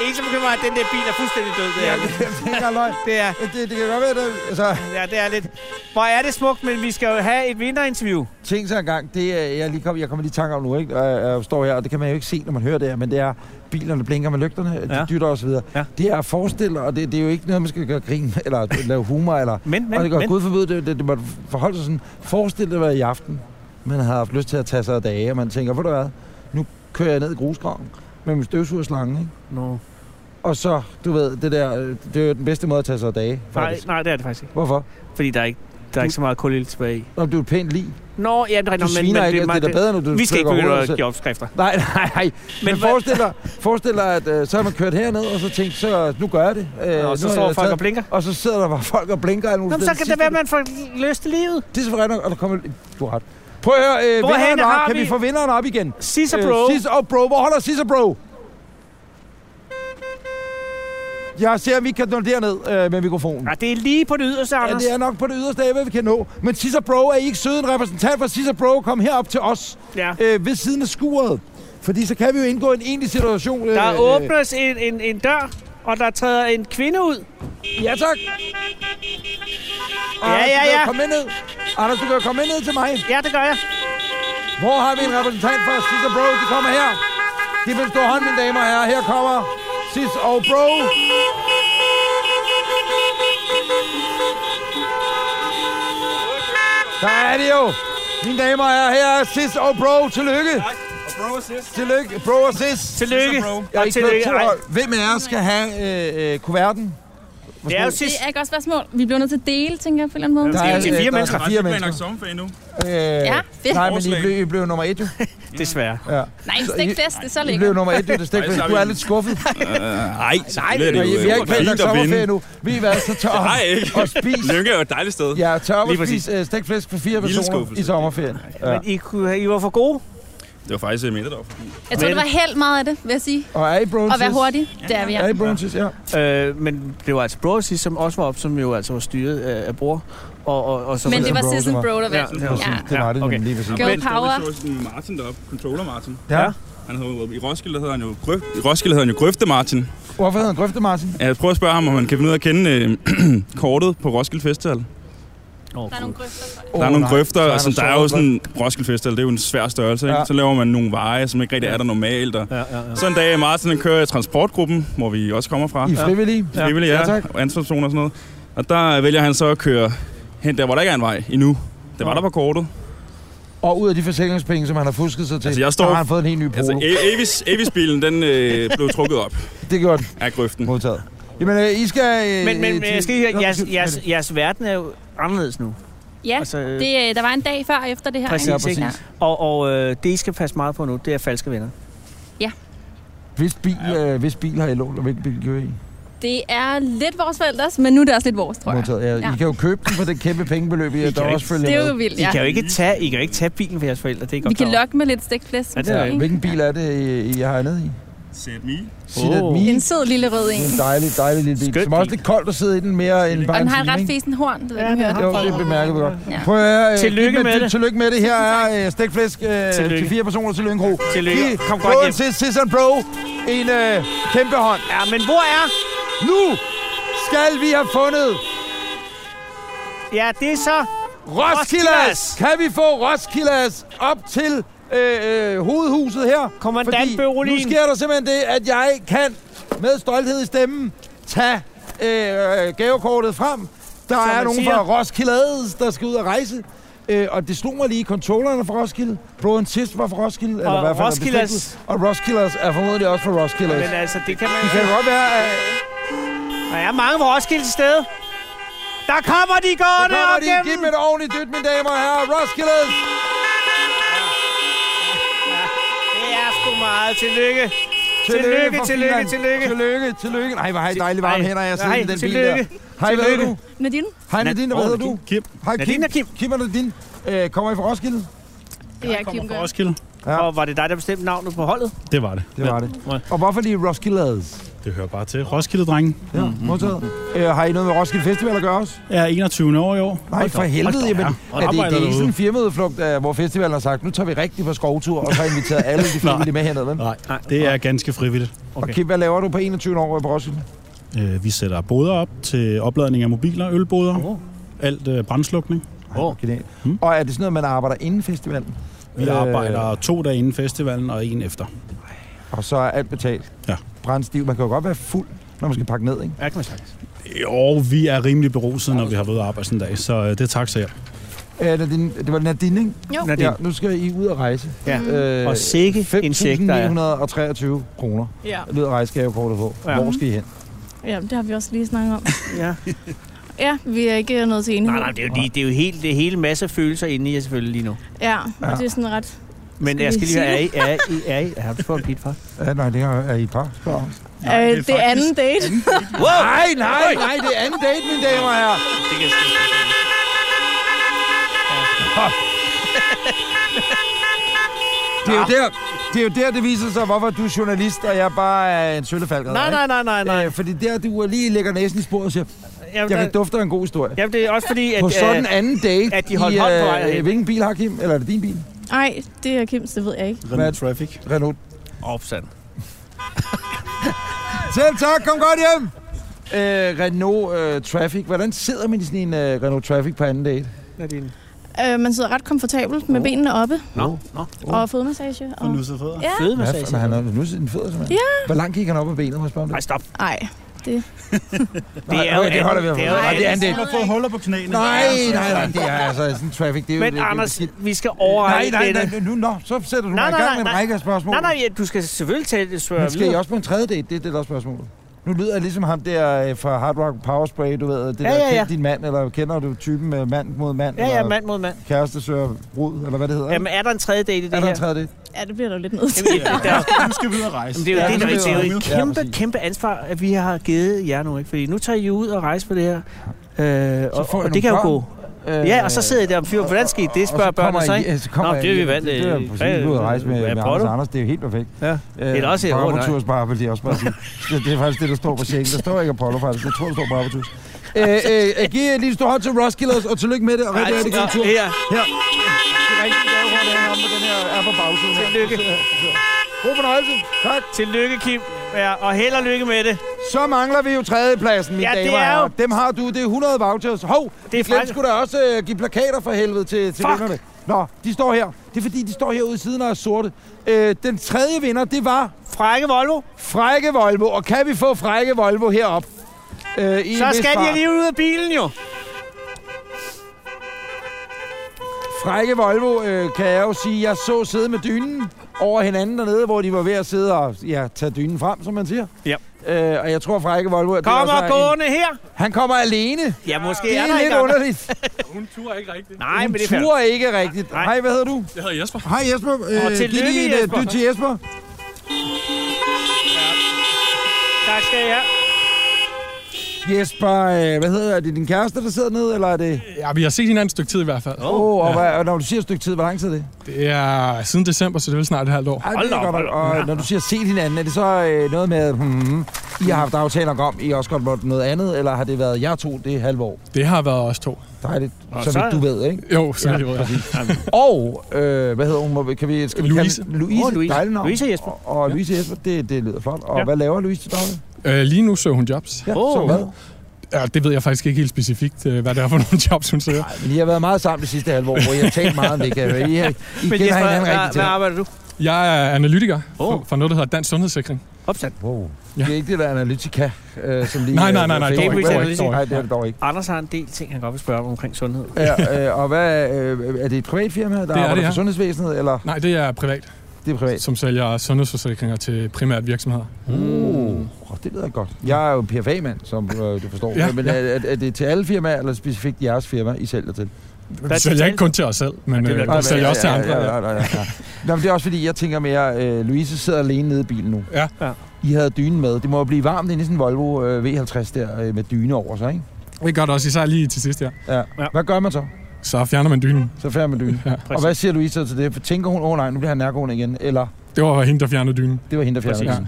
Speaker 3: Det eneste bekymrer er, at den der bil er fuldstændig død. Det er,
Speaker 2: Ja, det det er ikke engang løgn.
Speaker 3: det er,
Speaker 2: Det, det kan godt være, det... Altså,
Speaker 3: ja, det er lidt... Hvor er det smukt, men vi skal jo have et vinterinterview.
Speaker 2: tænk så engang, det er, jeg, lige kom, jeg kommer lige i tanke om nu, ikke? Og Jeg, jeg, står her, og det kan man jo ikke se, når man hører det her, men det er, bilerne blinker med lygterne, de
Speaker 3: Ja.
Speaker 2: dytter og så videre.
Speaker 3: Ja.
Speaker 2: Det er forestiller, og det, det, er jo ikke noget, man skal gøre grin, med, eller lave humor, eller
Speaker 3: Men,
Speaker 2: Men, og det
Speaker 3: men,
Speaker 2: går
Speaker 3: men.
Speaker 2: gud forbyde, det, det, det måtte forholde sig sådan. Forestil dig at være i aften. Man havde haft lyst til at tage sig af dage, og man tænker, ved du hvad, nu kører jeg ned i grusgraven med min støvsugerslange, ikke?
Speaker 3: No.
Speaker 2: Og så, du ved, det der, øh, det er jo den bedste måde at tage sig af dage,
Speaker 3: Nej,
Speaker 2: faktisk.
Speaker 3: nej, det er det faktisk ikke.
Speaker 2: Hvorfor?
Speaker 3: Fordi der er ikke, der er ikke så meget kulilde tilbage i.
Speaker 2: Nå, men du er et pænt lig.
Speaker 3: Nå, ja, det er
Speaker 2: Du
Speaker 3: rigtigt,
Speaker 2: sviner men, ikke, det, det er da bedre, når du
Speaker 3: Vi skal ikke
Speaker 2: trykker
Speaker 3: begynde
Speaker 2: hovedet
Speaker 3: at
Speaker 2: selv.
Speaker 3: give opskrifter.
Speaker 2: Nej, nej, nej. Men, men
Speaker 3: <laughs> hvad-
Speaker 2: forestil, dig, forestil dig, at øh, så har man kørt herned, og så tænkt, så nu gør jeg det. Øh, nu
Speaker 3: Og så
Speaker 2: har
Speaker 3: står
Speaker 2: jeg
Speaker 3: folk
Speaker 2: taget-
Speaker 3: og blinker.
Speaker 2: Og så sidder der bare folk og blinker. alle mulige
Speaker 3: Nå, men
Speaker 2: steder.
Speaker 3: så kan
Speaker 2: Sidst-
Speaker 3: det være, at man får lyst til livet.
Speaker 2: Det er selvfølgelig rigtigt nok, og der kommer... Du har ret. Prøv at høre, øh,
Speaker 3: Hvorhenne
Speaker 2: vinderen
Speaker 3: har
Speaker 2: op. Kan vi
Speaker 3: vi-
Speaker 2: få vinderen op igen?
Speaker 3: Sisa Bro.
Speaker 2: Øh, Sis og bro. Hvor holder Sis og bro? Jeg ser, at vi kan nå derned øh, med mikrofonen.
Speaker 3: Ja, det er lige på det yderste,
Speaker 2: Ja,
Speaker 3: Anders.
Speaker 2: det er nok på det yderste af, hvad vi kan nå. Men Sis og bro, er I ikke søde? En repræsentant fra Sis og bro kom herop til os
Speaker 3: Ja.
Speaker 2: øh, ved siden af skuret. Fordi så kan vi jo indgå i en egentlig situation. Øh,
Speaker 3: Der åbnes en, en, en dør, og der træder en kvinde ud.
Speaker 2: Øh, ja, tak. Ah,
Speaker 3: Ja, ja, ja.
Speaker 2: Kom med ned. Anders, du kan jo komme med ned til mig.
Speaker 3: Ja, det gør jeg.
Speaker 2: Hvor har vi en repræsentant fra Sis og Bro? De kommer her. De vil stå hånd, mine damer og herrer. Her kommer Sis og Bro. Der er de jo. Mine damer og herrer, her er Sis og Bro. Tillykke. Tak. Tillykke, bro og sis.
Speaker 3: Tillykke.
Speaker 2: Jeg har
Speaker 3: Og
Speaker 2: ikke fået
Speaker 3: tillykke.
Speaker 2: to
Speaker 3: Ej,
Speaker 2: hold. Hvem af jer skal have øh, øh, kuverten?
Speaker 3: det er jo
Speaker 9: Det
Speaker 3: sidst.
Speaker 9: er et godt spørgsmål. Vi bliver nødt til at dele, tænker jeg på en eller anden måde.
Speaker 2: Der
Speaker 3: er jo til
Speaker 2: øh,
Speaker 3: fire
Speaker 2: der
Speaker 3: mennesker.
Speaker 2: er fire mennesker.
Speaker 6: sommerferie nu.
Speaker 2: Øh,
Speaker 9: Ja, fedt.
Speaker 2: Nej, men I blev, I blev nummer et, jo.
Speaker 3: Desværre.
Speaker 2: Ja.
Speaker 9: Nej, en stikfest, det er så
Speaker 2: I blev
Speaker 9: lækkert.
Speaker 2: nummer et, jo. Det stik,
Speaker 6: Ej, så er
Speaker 2: du
Speaker 6: vi-
Speaker 2: er lidt skuffet.
Speaker 6: Nej, nej, det,
Speaker 2: Og I, vi har ikke planlagt
Speaker 6: øh, fint at
Speaker 2: sommerferie
Speaker 6: vinde.
Speaker 2: nu. Vi er været så tør
Speaker 6: Nej, ikke.
Speaker 2: og spis.
Speaker 6: <laughs> Lykke er jo et dejligt sted.
Speaker 2: Ja, tør
Speaker 6: Lige
Speaker 2: at
Speaker 6: præcis.
Speaker 2: spise øh, stegt flæsk for fire
Speaker 6: Lille
Speaker 2: personer
Speaker 6: skuffelse.
Speaker 2: i sommerferien. Ja.
Speaker 3: Men I, kunne- I var for gode.
Speaker 6: Det var faktisk uh, Mitterdorf.
Speaker 9: Jeg tror, det var helt meget af det, vil jeg sige.
Speaker 2: Og er I brunches?
Speaker 9: Og være hurtig, det er vi
Speaker 2: Er
Speaker 9: her.
Speaker 2: I brunches, ja.
Speaker 5: Øh, men det var altså Brosis, som også var op, som jo altså var styret øh, af bror. Og, og, og så
Speaker 9: Men
Speaker 5: var
Speaker 9: det var
Speaker 2: Bro,
Speaker 9: Sisson
Speaker 2: det var-
Speaker 9: Bro, der vandt.
Speaker 5: Ja,
Speaker 9: Ja,
Speaker 2: Præcis, det var det
Speaker 5: okay.
Speaker 2: nemlig lige præcis.
Speaker 9: Go Power.
Speaker 6: sådan Martin deroppe, controller Martin.
Speaker 2: Ja.
Speaker 6: Han hedder, I Roskilde hedder han jo Grøft, I Roskilde hedder han jo Grøfte Martin.
Speaker 2: Hvorfor hedder han Grøfte, Martin?
Speaker 6: Jeg prøver at spørge ham, om han kan finde ud af at kende øh, kortet på Roskilde Festival.
Speaker 9: Der er nogle grøfter.
Speaker 6: Der er nogle grøfter,
Speaker 2: så er der
Speaker 6: altså der er jo
Speaker 2: såret
Speaker 6: sådan, Roskilde Festival, det er jo en svær størrelse, ikke?
Speaker 2: Ja.
Speaker 6: Så laver man nogle veje, som ikke rigtig er der normalt. Og... Så en dag, Martin han kører i transportgruppen, hvor vi også kommer fra.
Speaker 2: I er frivillige?
Speaker 6: frivillige,
Speaker 2: Ja,
Speaker 6: ja,
Speaker 2: tak.
Speaker 6: og ansvarspersoner og sådan noget. Og der vælger han så at køre hen der, hvor der ikke er en vej endnu. Det var der på kortet.
Speaker 2: Og ud af de forsikringspenge, som han har fusket sig til,
Speaker 6: Altså, jeg står-
Speaker 2: der har han fået en helt ny polo.
Speaker 6: Altså, E- Avis, Avis-bilen, den øh, blev trukket op
Speaker 2: det gjorde den.
Speaker 6: af grøften.
Speaker 2: Modtaget. Jamen, øh, I skal... Øh,
Speaker 5: Men, men, men
Speaker 2: til-
Speaker 5: jeg skal lige
Speaker 2: Nå,
Speaker 5: høre, jeres,
Speaker 2: undskyld.
Speaker 5: jeres, jeres verden er jo anderledes nu.
Speaker 9: Ja,
Speaker 5: Altså, øh,
Speaker 9: det, øh, der var en dag før og efter det her.
Speaker 5: Præcis,
Speaker 9: ikke?
Speaker 2: Ja, præcis.
Speaker 9: Ja.
Speaker 5: Og, og øh, det, I skal passe meget på nu, det er falske venner.
Speaker 2: Hvis bil, øh, hvis bil har I lånt, og hvilken bil gjorde I?
Speaker 9: Det er lidt vores forældres, men nu er det også lidt vores, tror jeg.
Speaker 2: Modtaget. Ja, I
Speaker 9: Ja.
Speaker 2: kan jo købe den for det kæmpe pengebeløb, I, der
Speaker 5: jo
Speaker 2: også følger
Speaker 9: Det er
Speaker 2: med.
Speaker 9: jo vildt,
Speaker 5: I
Speaker 9: ja.
Speaker 5: kan jo ikke tage, I kan jo ikke tage bilen for jeres forældre, det er I godt
Speaker 9: Vi
Speaker 5: klar
Speaker 9: kan
Speaker 5: over.
Speaker 10: Altså-
Speaker 9: lokke med lidt stegt flæsk.
Speaker 5: Ja, det er
Speaker 2: Ja,
Speaker 9: ikke?
Speaker 2: hvilken bil er det, I, I har hernede i?
Speaker 6: Set me.
Speaker 2: Sit at
Speaker 5: Åh.
Speaker 2: me.
Speaker 9: En sød lille rød en.
Speaker 2: En dejlig, dejlig lille bil.
Speaker 3: Skøn
Speaker 2: Som også er
Speaker 3: bil.
Speaker 2: lidt koldt at sidde i den mere end bare
Speaker 9: Og den
Speaker 2: en
Speaker 9: har en
Speaker 2: time,
Speaker 9: ret
Speaker 2: ikke?
Speaker 9: fesen horn, det ved
Speaker 5: Ja,
Speaker 9: jeg ikke,
Speaker 5: den
Speaker 9: om I
Speaker 5: har-
Speaker 9: hørte.
Speaker 2: Jo, det bemærker vi godt.
Speaker 9: Ja.
Speaker 2: Prøv at høre, øh,
Speaker 3: Tillykke
Speaker 2: giv dem et
Speaker 3: med
Speaker 2: til-
Speaker 3: det.
Speaker 2: Tillykke med det. Her er øh, stikflæsk øh,
Speaker 3: Tillykke.
Speaker 2: til fire personer til Lyngro.
Speaker 3: Tillykke.
Speaker 2: Giv
Speaker 3: Kom godt
Speaker 2: båden
Speaker 3: hjem.
Speaker 2: til Sisson Bro en øh, kæmpe hånd.
Speaker 3: Ja, men hvor er...
Speaker 2: Nu skal vi have fundet
Speaker 3: Ja, det er så...
Speaker 2: Roskildes!
Speaker 3: Roskildes!
Speaker 2: Kan vi få Roskildes op til øh, øh, hovedhuset her?
Speaker 3: Kommandant
Speaker 2: Fordi
Speaker 3: Berolin.
Speaker 2: Nu sker der simpelthen det, at jeg kan med stolthed i stemmen tage øh, øh, gavekortet frem. Der
Speaker 3: Som
Speaker 2: er
Speaker 3: man
Speaker 2: nogen
Speaker 3: siger.
Speaker 2: fra Roskildes, der skal ud og rejse. Øh, og det slog mig lige, controllerne fra Roskilde, Broden Sist var fra Roskilde, eller i hvert fald er
Speaker 3: Roskildes.
Speaker 2: beslægtet, og Roskildes er formodentlig også fra Roskildes.
Speaker 3: Men altså, det kan man...
Speaker 2: Det kan godt være, at
Speaker 3: Der er mange fra Roskilde til stede. Der kommer de gående
Speaker 2: kommer
Speaker 3: op
Speaker 2: de. Giv dem
Speaker 3: gennem...
Speaker 2: et ordentligt dyt, mine damer og herrer. Roskildes!
Speaker 3: Det er sgu meget. Tillykke. Tillykke,
Speaker 2: for
Speaker 3: tillykke,
Speaker 2: Finland.
Speaker 3: tillykke.
Speaker 2: Tillykke, tillykke. Nej, hvor har I dejligt varme
Speaker 3: Ej,
Speaker 2: hænder, jeg sidder
Speaker 3: nej,
Speaker 2: i den bil der.
Speaker 3: tillykke.
Speaker 2: Hej, hvad hedder du?
Speaker 3: Tillykke.
Speaker 9: Nadine?
Speaker 2: Hej, Nadine, hvad
Speaker 6: Åh,
Speaker 2: hedder du?
Speaker 6: Kim.
Speaker 2: Hej,
Speaker 3: Nadine og Kim.
Speaker 2: Kim og Nadine. Øh, kommer I fra Roskilde?
Speaker 9: Ja, Kim
Speaker 6: Kommer fra
Speaker 9: gør.
Speaker 6: Roskilde.
Speaker 2: Ja.
Speaker 3: Og var det dig, der bestemte navnet på holdet?
Speaker 6: Det var det.
Speaker 2: Det var
Speaker 6: nej.
Speaker 2: det. Og hvorfor lige Roskildes?
Speaker 6: Det hører bare til. Roskilde, drenge.
Speaker 2: Ja, modtaget. Øh, har I noget med Roskilde Festival at gøre også?
Speaker 11: Jeg er 21 år i år.
Speaker 2: Nej, for helvede, jamen. Er det, det
Speaker 6: arbejder
Speaker 2: er ikke sådan
Speaker 6: derude.
Speaker 2: en firmaudflugt, øh, hvor festivalen har sagt, nu tager vi rigtig på skovtur, og så har inviteret alle de frivillige med hernede, vel?
Speaker 11: Nej, det er ganske frivilligt.
Speaker 2: Og Kim, hvad laver du på 21 år på Roskilde?
Speaker 11: Øh, Vi sætter boder op til opladning af mobiler, ølboder, alt øh, brandslukning. Hmm?
Speaker 2: Åh, genialt. Og er det sådan noget, man arbejder inden festivalen?
Speaker 11: Vi
Speaker 2: Øh.
Speaker 11: arbejder to dage inden festivalen og en efter.
Speaker 2: Og så er alt betalt?
Speaker 11: Ja.
Speaker 2: Brændstiv. Man kan jo godt være fuld, når man skal pakke ned, ikke?
Speaker 3: Ja, kan man sagtens.
Speaker 11: Jo, vi er rimelig beruset, når vi har været ude at arbejde sådan en dag, så øh, det er tak selv.
Speaker 2: Øh, Nadine, det var Nadine, ikke?
Speaker 9: Jo.
Speaker 3: Nadine.
Speaker 2: Ja, nu skal I ud og rejse.
Speaker 3: Ja.
Speaker 2: Øh,
Speaker 3: Og sikke en check, der er.
Speaker 2: 5.923 kroner
Speaker 9: Ja.
Speaker 2: lyder rejsegavekortet på.
Speaker 3: Ja.
Speaker 2: Hvor skal I hen?
Speaker 9: ja, det har vi også lige snakket om.
Speaker 3: Ja.
Speaker 9: Ja, vi er ikke nået til enighed.
Speaker 3: Nej, nej, det er jo, lige, det er jo helt, det er hele masse følelser inde i jer selvfølgelig lige nu.
Speaker 9: Ja, og det er sådan ret...
Speaker 3: Men
Speaker 9: Skal
Speaker 3: jeg
Speaker 9: vi
Speaker 3: skal lige høre, er
Speaker 9: sige
Speaker 3: I, er I, er I, har du fået dit far?
Speaker 2: Ja, nej, det er, er I et par. spørger jeg.
Speaker 9: Nej, Øh, det, er det er anden date.
Speaker 2: Nej, nej, nej, det er anden date, mine damer og herrer.
Speaker 3: Det kan jeg sgu ikke.
Speaker 2: Det er jo der, det, er jo der, det viser sig, hvorfor du er journalist, og jeg bare er en søllefalker.
Speaker 3: Nej, nej, nej, nej, nej.
Speaker 2: Øh, fordi der, du lige lægger næsen i sporet og siger,
Speaker 3: Jamen,
Speaker 2: jeg
Speaker 3: der,
Speaker 2: kan dufte af en god historie.
Speaker 3: jamen det er også fordi, at...
Speaker 2: På sådan
Speaker 3: øh,
Speaker 2: en anden date
Speaker 3: at de holdt hånd på vej
Speaker 2: i, øh,
Speaker 3: herhen.
Speaker 2: hvilken bil har Kim? Eller er det din bil?
Speaker 9: Nej, det er Kims, det ved jeg ikke.
Speaker 2: Hvad?
Speaker 11: Traffic.
Speaker 2: Renault.
Speaker 3: Opsand.
Speaker 2: Selv tak, kom godt hjem. Øh, Renault øh, Traffic. Hvordan sidder man i sådan en øh, Renault Traffic på anden date?
Speaker 3: Nadine.
Speaker 9: Øh, man sidder ret komfortabelt med benene oppe
Speaker 3: Nå, nå.
Speaker 9: og fodmassage. Og...
Speaker 11: så fødder.
Speaker 9: Ja,
Speaker 2: Hvad
Speaker 3: Fede massage.
Speaker 2: fanden han er nu sidder den fødder, simpelthen. Ja. Hvor langt gik han op ad benet, må jeg spørge om
Speaker 3: Nej,
Speaker 2: det?
Speaker 3: stop.
Speaker 9: nej.
Speaker 2: Nej,
Speaker 3: det er jo
Speaker 2: okay, det holder vi
Speaker 3: andet.
Speaker 2: af.
Speaker 3: Det er jo-
Speaker 2: Nej, det er andet
Speaker 9: andet.
Speaker 2: date.
Speaker 9: Man får
Speaker 11: huller på knæene.
Speaker 2: Nej, nej, nej, det er altså sådan en traffic. Det er jo,
Speaker 3: Men
Speaker 2: det, det er
Speaker 3: Anders,
Speaker 2: beskidt.
Speaker 3: vi skal
Speaker 2: Nej,
Speaker 3: overrække
Speaker 2: nej,
Speaker 3: denne-
Speaker 2: nej, nu, nå, så sætter du mig
Speaker 3: Nej,
Speaker 2: i
Speaker 3: nej,
Speaker 2: gang
Speaker 3: nej,
Speaker 2: med en
Speaker 3: nej.
Speaker 2: række af spørgsmål.
Speaker 3: Nej, nej, ja, du skal selvfølgelig tage det
Speaker 2: Men
Speaker 3: svøre
Speaker 2: skal I
Speaker 3: videre.
Speaker 2: også på en tredje date? Det er det, der er spørgsmålet. Nu lyder jeg ligesom ham der øh, fra Hard Rock Power Spray, du ved, det der,
Speaker 3: Ja, ja, ja.
Speaker 2: kend din mand, eller kender du typen med mand mod mand,
Speaker 3: Ja, ja,
Speaker 2: eller
Speaker 3: mand mod mand.
Speaker 2: kæreste søger brud, eller hvad det hedder.
Speaker 3: Jamen, er der en tredje date i det
Speaker 2: er der en
Speaker 3: her?
Speaker 2: tredje date?
Speaker 9: Ja, det bliver der jo lidt nødt til.
Speaker 3: Jamen, det-
Speaker 11: <laughs>
Speaker 3: der-
Speaker 11: Nu skal vi ud og rejse.
Speaker 3: Jamen, det er jo
Speaker 2: Ja,
Speaker 3: det,
Speaker 2: det
Speaker 3: der,
Speaker 2: bliver
Speaker 3: det er jo et
Speaker 2: jo-
Speaker 3: kæmpe,
Speaker 2: Ja, præcis.
Speaker 3: kæmpe ansvar, at vi har givet jer nu, ikke? Fordi nu tager I ud og rejser på det her. Øh, og,
Speaker 2: får I
Speaker 3: og det kan
Speaker 2: nogle
Speaker 3: jo gå.
Speaker 2: Øh,
Speaker 3: Ja, og så sidder I der om fyr. Hvordan skete det, spørger børnene så, ikke?
Speaker 2: Ja, så kommer
Speaker 3: Nå,
Speaker 2: jeg
Speaker 3: det er vi
Speaker 2: hjem.
Speaker 3: vant-
Speaker 2: Det er
Speaker 3: øh,
Speaker 2: jo præcis ud at rejse med,
Speaker 3: hvad
Speaker 2: med
Speaker 3: prøver
Speaker 2: Anders
Speaker 3: du?
Speaker 2: Anders. Det er jo helt perfekt.
Speaker 3: Ja.
Speaker 2: Øh,
Speaker 3: Det er også et
Speaker 2: Apollo
Speaker 3: ord, nej.
Speaker 2: Tours bare, vil jeg også bare
Speaker 3: <laughs>
Speaker 2: sige. det, det er faktisk det, der står på checken. Der står ikke Apollo, faktisk. Jeg tror, der står bare Tours. Øh, øh, øh, giv lige en stor hånd til Roskilde, og tillykke med det, og rigtig rigtig god tur.
Speaker 3: Her.
Speaker 2: Her. Det er rigtig glad for, at han med den her er på bagsiden. her.
Speaker 3: Tillykke.
Speaker 2: God fornøjelse. Tak.
Speaker 3: Tillykke, Kim. Ja, og held og lykke med det.
Speaker 2: Så mangler vi jo tredjepladsen, mine
Speaker 3: Ja, det
Speaker 2: damer og
Speaker 3: er
Speaker 2: herrer.
Speaker 3: jo-
Speaker 2: Dem har du. Det er 100 vouchers. Hov,
Speaker 3: Det er
Speaker 2: vi glemte
Speaker 3: faktisk-
Speaker 2: skulle da også øh, give plakater for helvede til, til
Speaker 3: Fuck.
Speaker 2: vinderne. Nå, de står her. Det er fordi, de står herude i siden og er sorte. Øh, den tredje vinder, det var
Speaker 3: Frække Volvo.
Speaker 2: Frække Volvo. Og kan vi få Frække Volvo herop? Øh, i
Speaker 3: Så
Speaker 2: en vis
Speaker 3: skal
Speaker 2: fart.
Speaker 3: de lige ud af bilen, jo.
Speaker 2: Frække Volvo, øh, kan jeg jo sige, jeg så sidde med dynen over hinanden dernede, hvor de var ved at sidde og ja, tage dynen frem, som man siger.
Speaker 3: Ja.
Speaker 2: Øh, og jeg tror, Frække Volvo... at det
Speaker 3: Kom
Speaker 2: også
Speaker 3: og
Speaker 2: er altså en-
Speaker 3: gående her.
Speaker 2: Han kommer alene. Det
Speaker 3: Ja, måske
Speaker 2: er,
Speaker 3: er der
Speaker 2: lidt
Speaker 3: ikke andre.
Speaker 2: underligt. Hun
Speaker 3: Nej, men det er fair.
Speaker 2: turer ikke rigtigt.
Speaker 3: Nej.
Speaker 2: Hej, hvad hedder du?
Speaker 6: Jeg hedder Jesper.
Speaker 2: Hej Jesper. Øh, giv
Speaker 3: tillykke,
Speaker 2: lige et, øh,
Speaker 3: Jesper.
Speaker 2: Dyt til Jesper.
Speaker 3: Tak skal I have.
Speaker 2: Jesper, øh, hvad hedder det? Er det din kæreste, der sidder nede, eller er det...
Speaker 10: Ja, vi har set hinanden et stykke tid i hvert fald.
Speaker 2: Åh, oh, og,
Speaker 10: ja.
Speaker 2: hvad, og når du siger et stykke tid, hvor lang tid er det?
Speaker 10: Det er siden december, så det er vel snart et halvt år.
Speaker 2: Ej, det er godt, nok. og øh, når du siger set hinanden, er det så øh, noget med, hmm, I har haft aftaler om, I også godt måtte noget andet, eller har det været jer to det halve år?
Speaker 10: Det har været os to.
Speaker 2: Dejligt, så vidt du ved, ikke?
Speaker 10: Jo, så ja, det ja.
Speaker 2: Og, øh, hvad hedder hun? Må vi- Kan vi, skal vi
Speaker 10: Louise.
Speaker 2: Kan, Louise,
Speaker 10: Åh,
Speaker 2: oh,
Speaker 10: Louise.
Speaker 2: Louise. Dejligt navn.
Speaker 10: Louise og
Speaker 2: Jesper. Og, og Louise og Jesper, det, det lyder flot. Og
Speaker 10: Ja.
Speaker 2: ja. hvad laver Louise til daglig?
Speaker 10: Øh, lige nu søger hun jobs.
Speaker 2: Ja, Åh. så hvad?
Speaker 10: Ja, det ved jeg faktisk ikke helt specifikt, øh, hvad det er for <laughs> nogle jobs, hun søger.
Speaker 2: Men I har været meget sammen det sidste halve år, hvor I har talt meget om det, kan jeg høre. I, har- I
Speaker 10: Men
Speaker 2: kender
Speaker 10: Jesper,
Speaker 2: hinanden
Speaker 3: øh,
Speaker 10: hvad-
Speaker 2: rigtig til.
Speaker 10: hvad
Speaker 5: arbejder du?
Speaker 10: Jeg er analytiker
Speaker 5: Åh.
Speaker 10: oh. for noget, der hedder Dansk Sundhedssikring.
Speaker 5: Opsat.
Speaker 2: Wow. Ja. Det er ikke det der analytika, øh, som lige...
Speaker 10: Nej, nej,
Speaker 2: øh,
Speaker 10: nej, nej,
Speaker 2: fik-
Speaker 10: dog ikke, dog ikke, dog ikke.
Speaker 2: Nej, det er det dog ikke.
Speaker 5: Anders har en del ting, han godt vil spørge om omkring sundhed.
Speaker 2: Ja, øh, og hvad, øh, er det et privat firma, der
Speaker 10: det,
Speaker 2: arbejder
Speaker 10: ja.
Speaker 2: for sundhedsvæsenet, eller?
Speaker 10: Nej, det er privat.
Speaker 2: Det er privat.
Speaker 10: Som sælger sundhedsforsikringer til primært virksomheder.
Speaker 2: Mm. Oh, det lyder godt. Jeg er jo PFA-mand, som øh, du forstår.
Speaker 10: Ja,
Speaker 2: Ja, men
Speaker 10: ja.
Speaker 2: ja. Er, er, er det til alle firmaer, eller specifikt jeres firma, I sælger til?
Speaker 10: Vi sælger ikke kun til os selv, men øh, vi sælger også til andre.
Speaker 2: Ja, ja, ja, ja, ja. Nå, men det er også fordi, jeg tænker mere, øh, Louise sidder alene nede i bilen nu.
Speaker 10: Ja.
Speaker 2: I havde dynen med. Det må jo blive varmt inde i sådan en Volvo øh, V50 der øh, med dyne over sig, ikke?
Speaker 10: Det gør det også, især lige til sidst, ja.
Speaker 2: Ja. Hvad gør man så?
Speaker 10: Så fjerner man dynen.
Speaker 2: Så fjerner man dynen. Ja. Og hvad siger Louise så til det? For tænker hun, åh oh, nej, nu bliver han nærgående igen, eller?
Speaker 10: Det var hende, der fjernede dynen.
Speaker 2: Det var hende, der fjernede
Speaker 10: Præcis.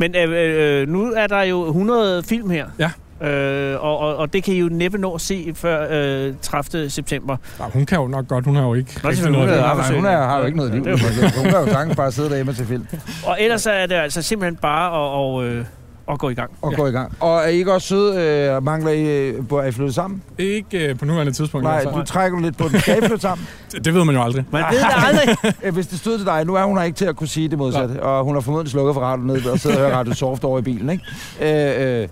Speaker 2: dynen. Ja, okay.
Speaker 5: Men øh, øh, nu er der jo 100 film her.
Speaker 10: Ja.
Speaker 5: Øh, og, og, og det kan I jo næppe nå at se før øh, 30. september.
Speaker 10: Ja, hun kan jo nok godt, hun har jo ikke
Speaker 5: Nå, selvfølgelig, hun er
Speaker 2: Nej, nej, hun er, har jo ikke noget liv.
Speaker 5: Ja, det er jo-
Speaker 2: Altså, Hun kan jo sagtens bare sidde derhjemme til film.
Speaker 5: Og ellers så er det altså simpelthen bare at, og, øh, at gå i gang.
Speaker 2: og ja. går i gang. Og er I ikke også søde? Øh, mangler I, øh, bor- er I flyttet sammen?
Speaker 10: Ikke øh, på nuværende tidspunkt.
Speaker 2: Nej,
Speaker 10: i hvert fald.
Speaker 2: du trækker lidt på den. Skal I flytte sammen?
Speaker 10: Det, det ved man jo aldrig.
Speaker 5: Man ved det aldrig.
Speaker 2: Øh, Hvis det stod til dig, nu er hun her ikke til at kunne sige det modsatte, og hun har formodentlig slukket for radioen ned og sidder og hører radio soft over i bilen, ikke? Øh, øh, øh,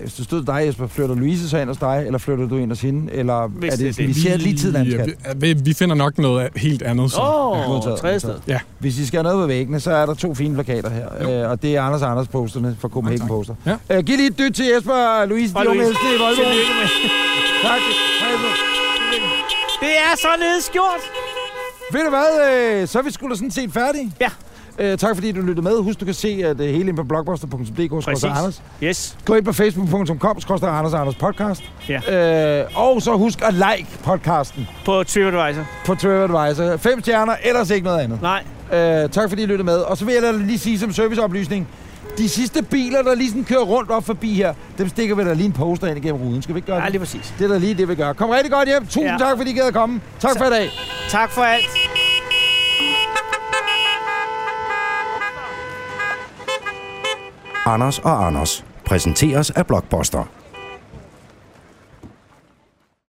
Speaker 2: hvis det stod til dig, Jesper, flytter Louise så ind hos dig, eller flytter du ind hos hende? Eller er det, sådan, vi ser lige tiden, han skal?
Speaker 10: Ja, vi, vi finder nok noget helt andet. så-
Speaker 5: Åh,
Speaker 10: Ja.
Speaker 2: Modtaget,
Speaker 5: tredje
Speaker 2: modtaget.
Speaker 10: Ja.
Speaker 2: Hvis I skal have noget på væggene, så er der to fine plakater her. Øh, og det er Anders og Anders posterne fra Copenhagen Poster.
Speaker 10: Ja.
Speaker 2: Øh, giv lige et dyt til Jesper og Louise,
Speaker 5: Og
Speaker 2: de unge
Speaker 5: Louise,
Speaker 2: ældste i Volvo.
Speaker 5: tillykke med.
Speaker 2: Tak.
Speaker 5: Det er således gjort.
Speaker 2: Ved du hvad, øh, så er vi skulle da sådan set færdige.
Speaker 5: Ja.
Speaker 2: Øh, tak fordi du lyttede med. Husk, du kan se at det hele ind på blogbuster.dk.
Speaker 5: Præcis.
Speaker 2: Anders.
Speaker 5: Yes.
Speaker 2: Gå ind på facebook.com, skrøster Anders og Anders podcast.
Speaker 5: Ja.
Speaker 2: Øh, og så husk at like podcasten
Speaker 5: På TripAdvisor.
Speaker 2: på TripAdvisor. Fem stjerner, ellers ikke noget andet.
Speaker 5: Nej.
Speaker 2: Øh, tak fordi I lyttede med. Og så vil jeg da lige sige som serviceoplysning, de sidste biler, der lige sådan kører rundt op forbi her, dem stikker vi da lige en poster ind igennem ruden. Skal vi ikke gøre det?
Speaker 5: Ja, lige præcis.
Speaker 2: Det er da lige det, vi gør. Kom rigtig godt hjem. Tusind
Speaker 5: Ja.
Speaker 2: ja. tak, fordi I gad at komme. Tak for i dag.
Speaker 5: Tak for alt.
Speaker 1: Anders og Anders præsenteres af Blockbuster.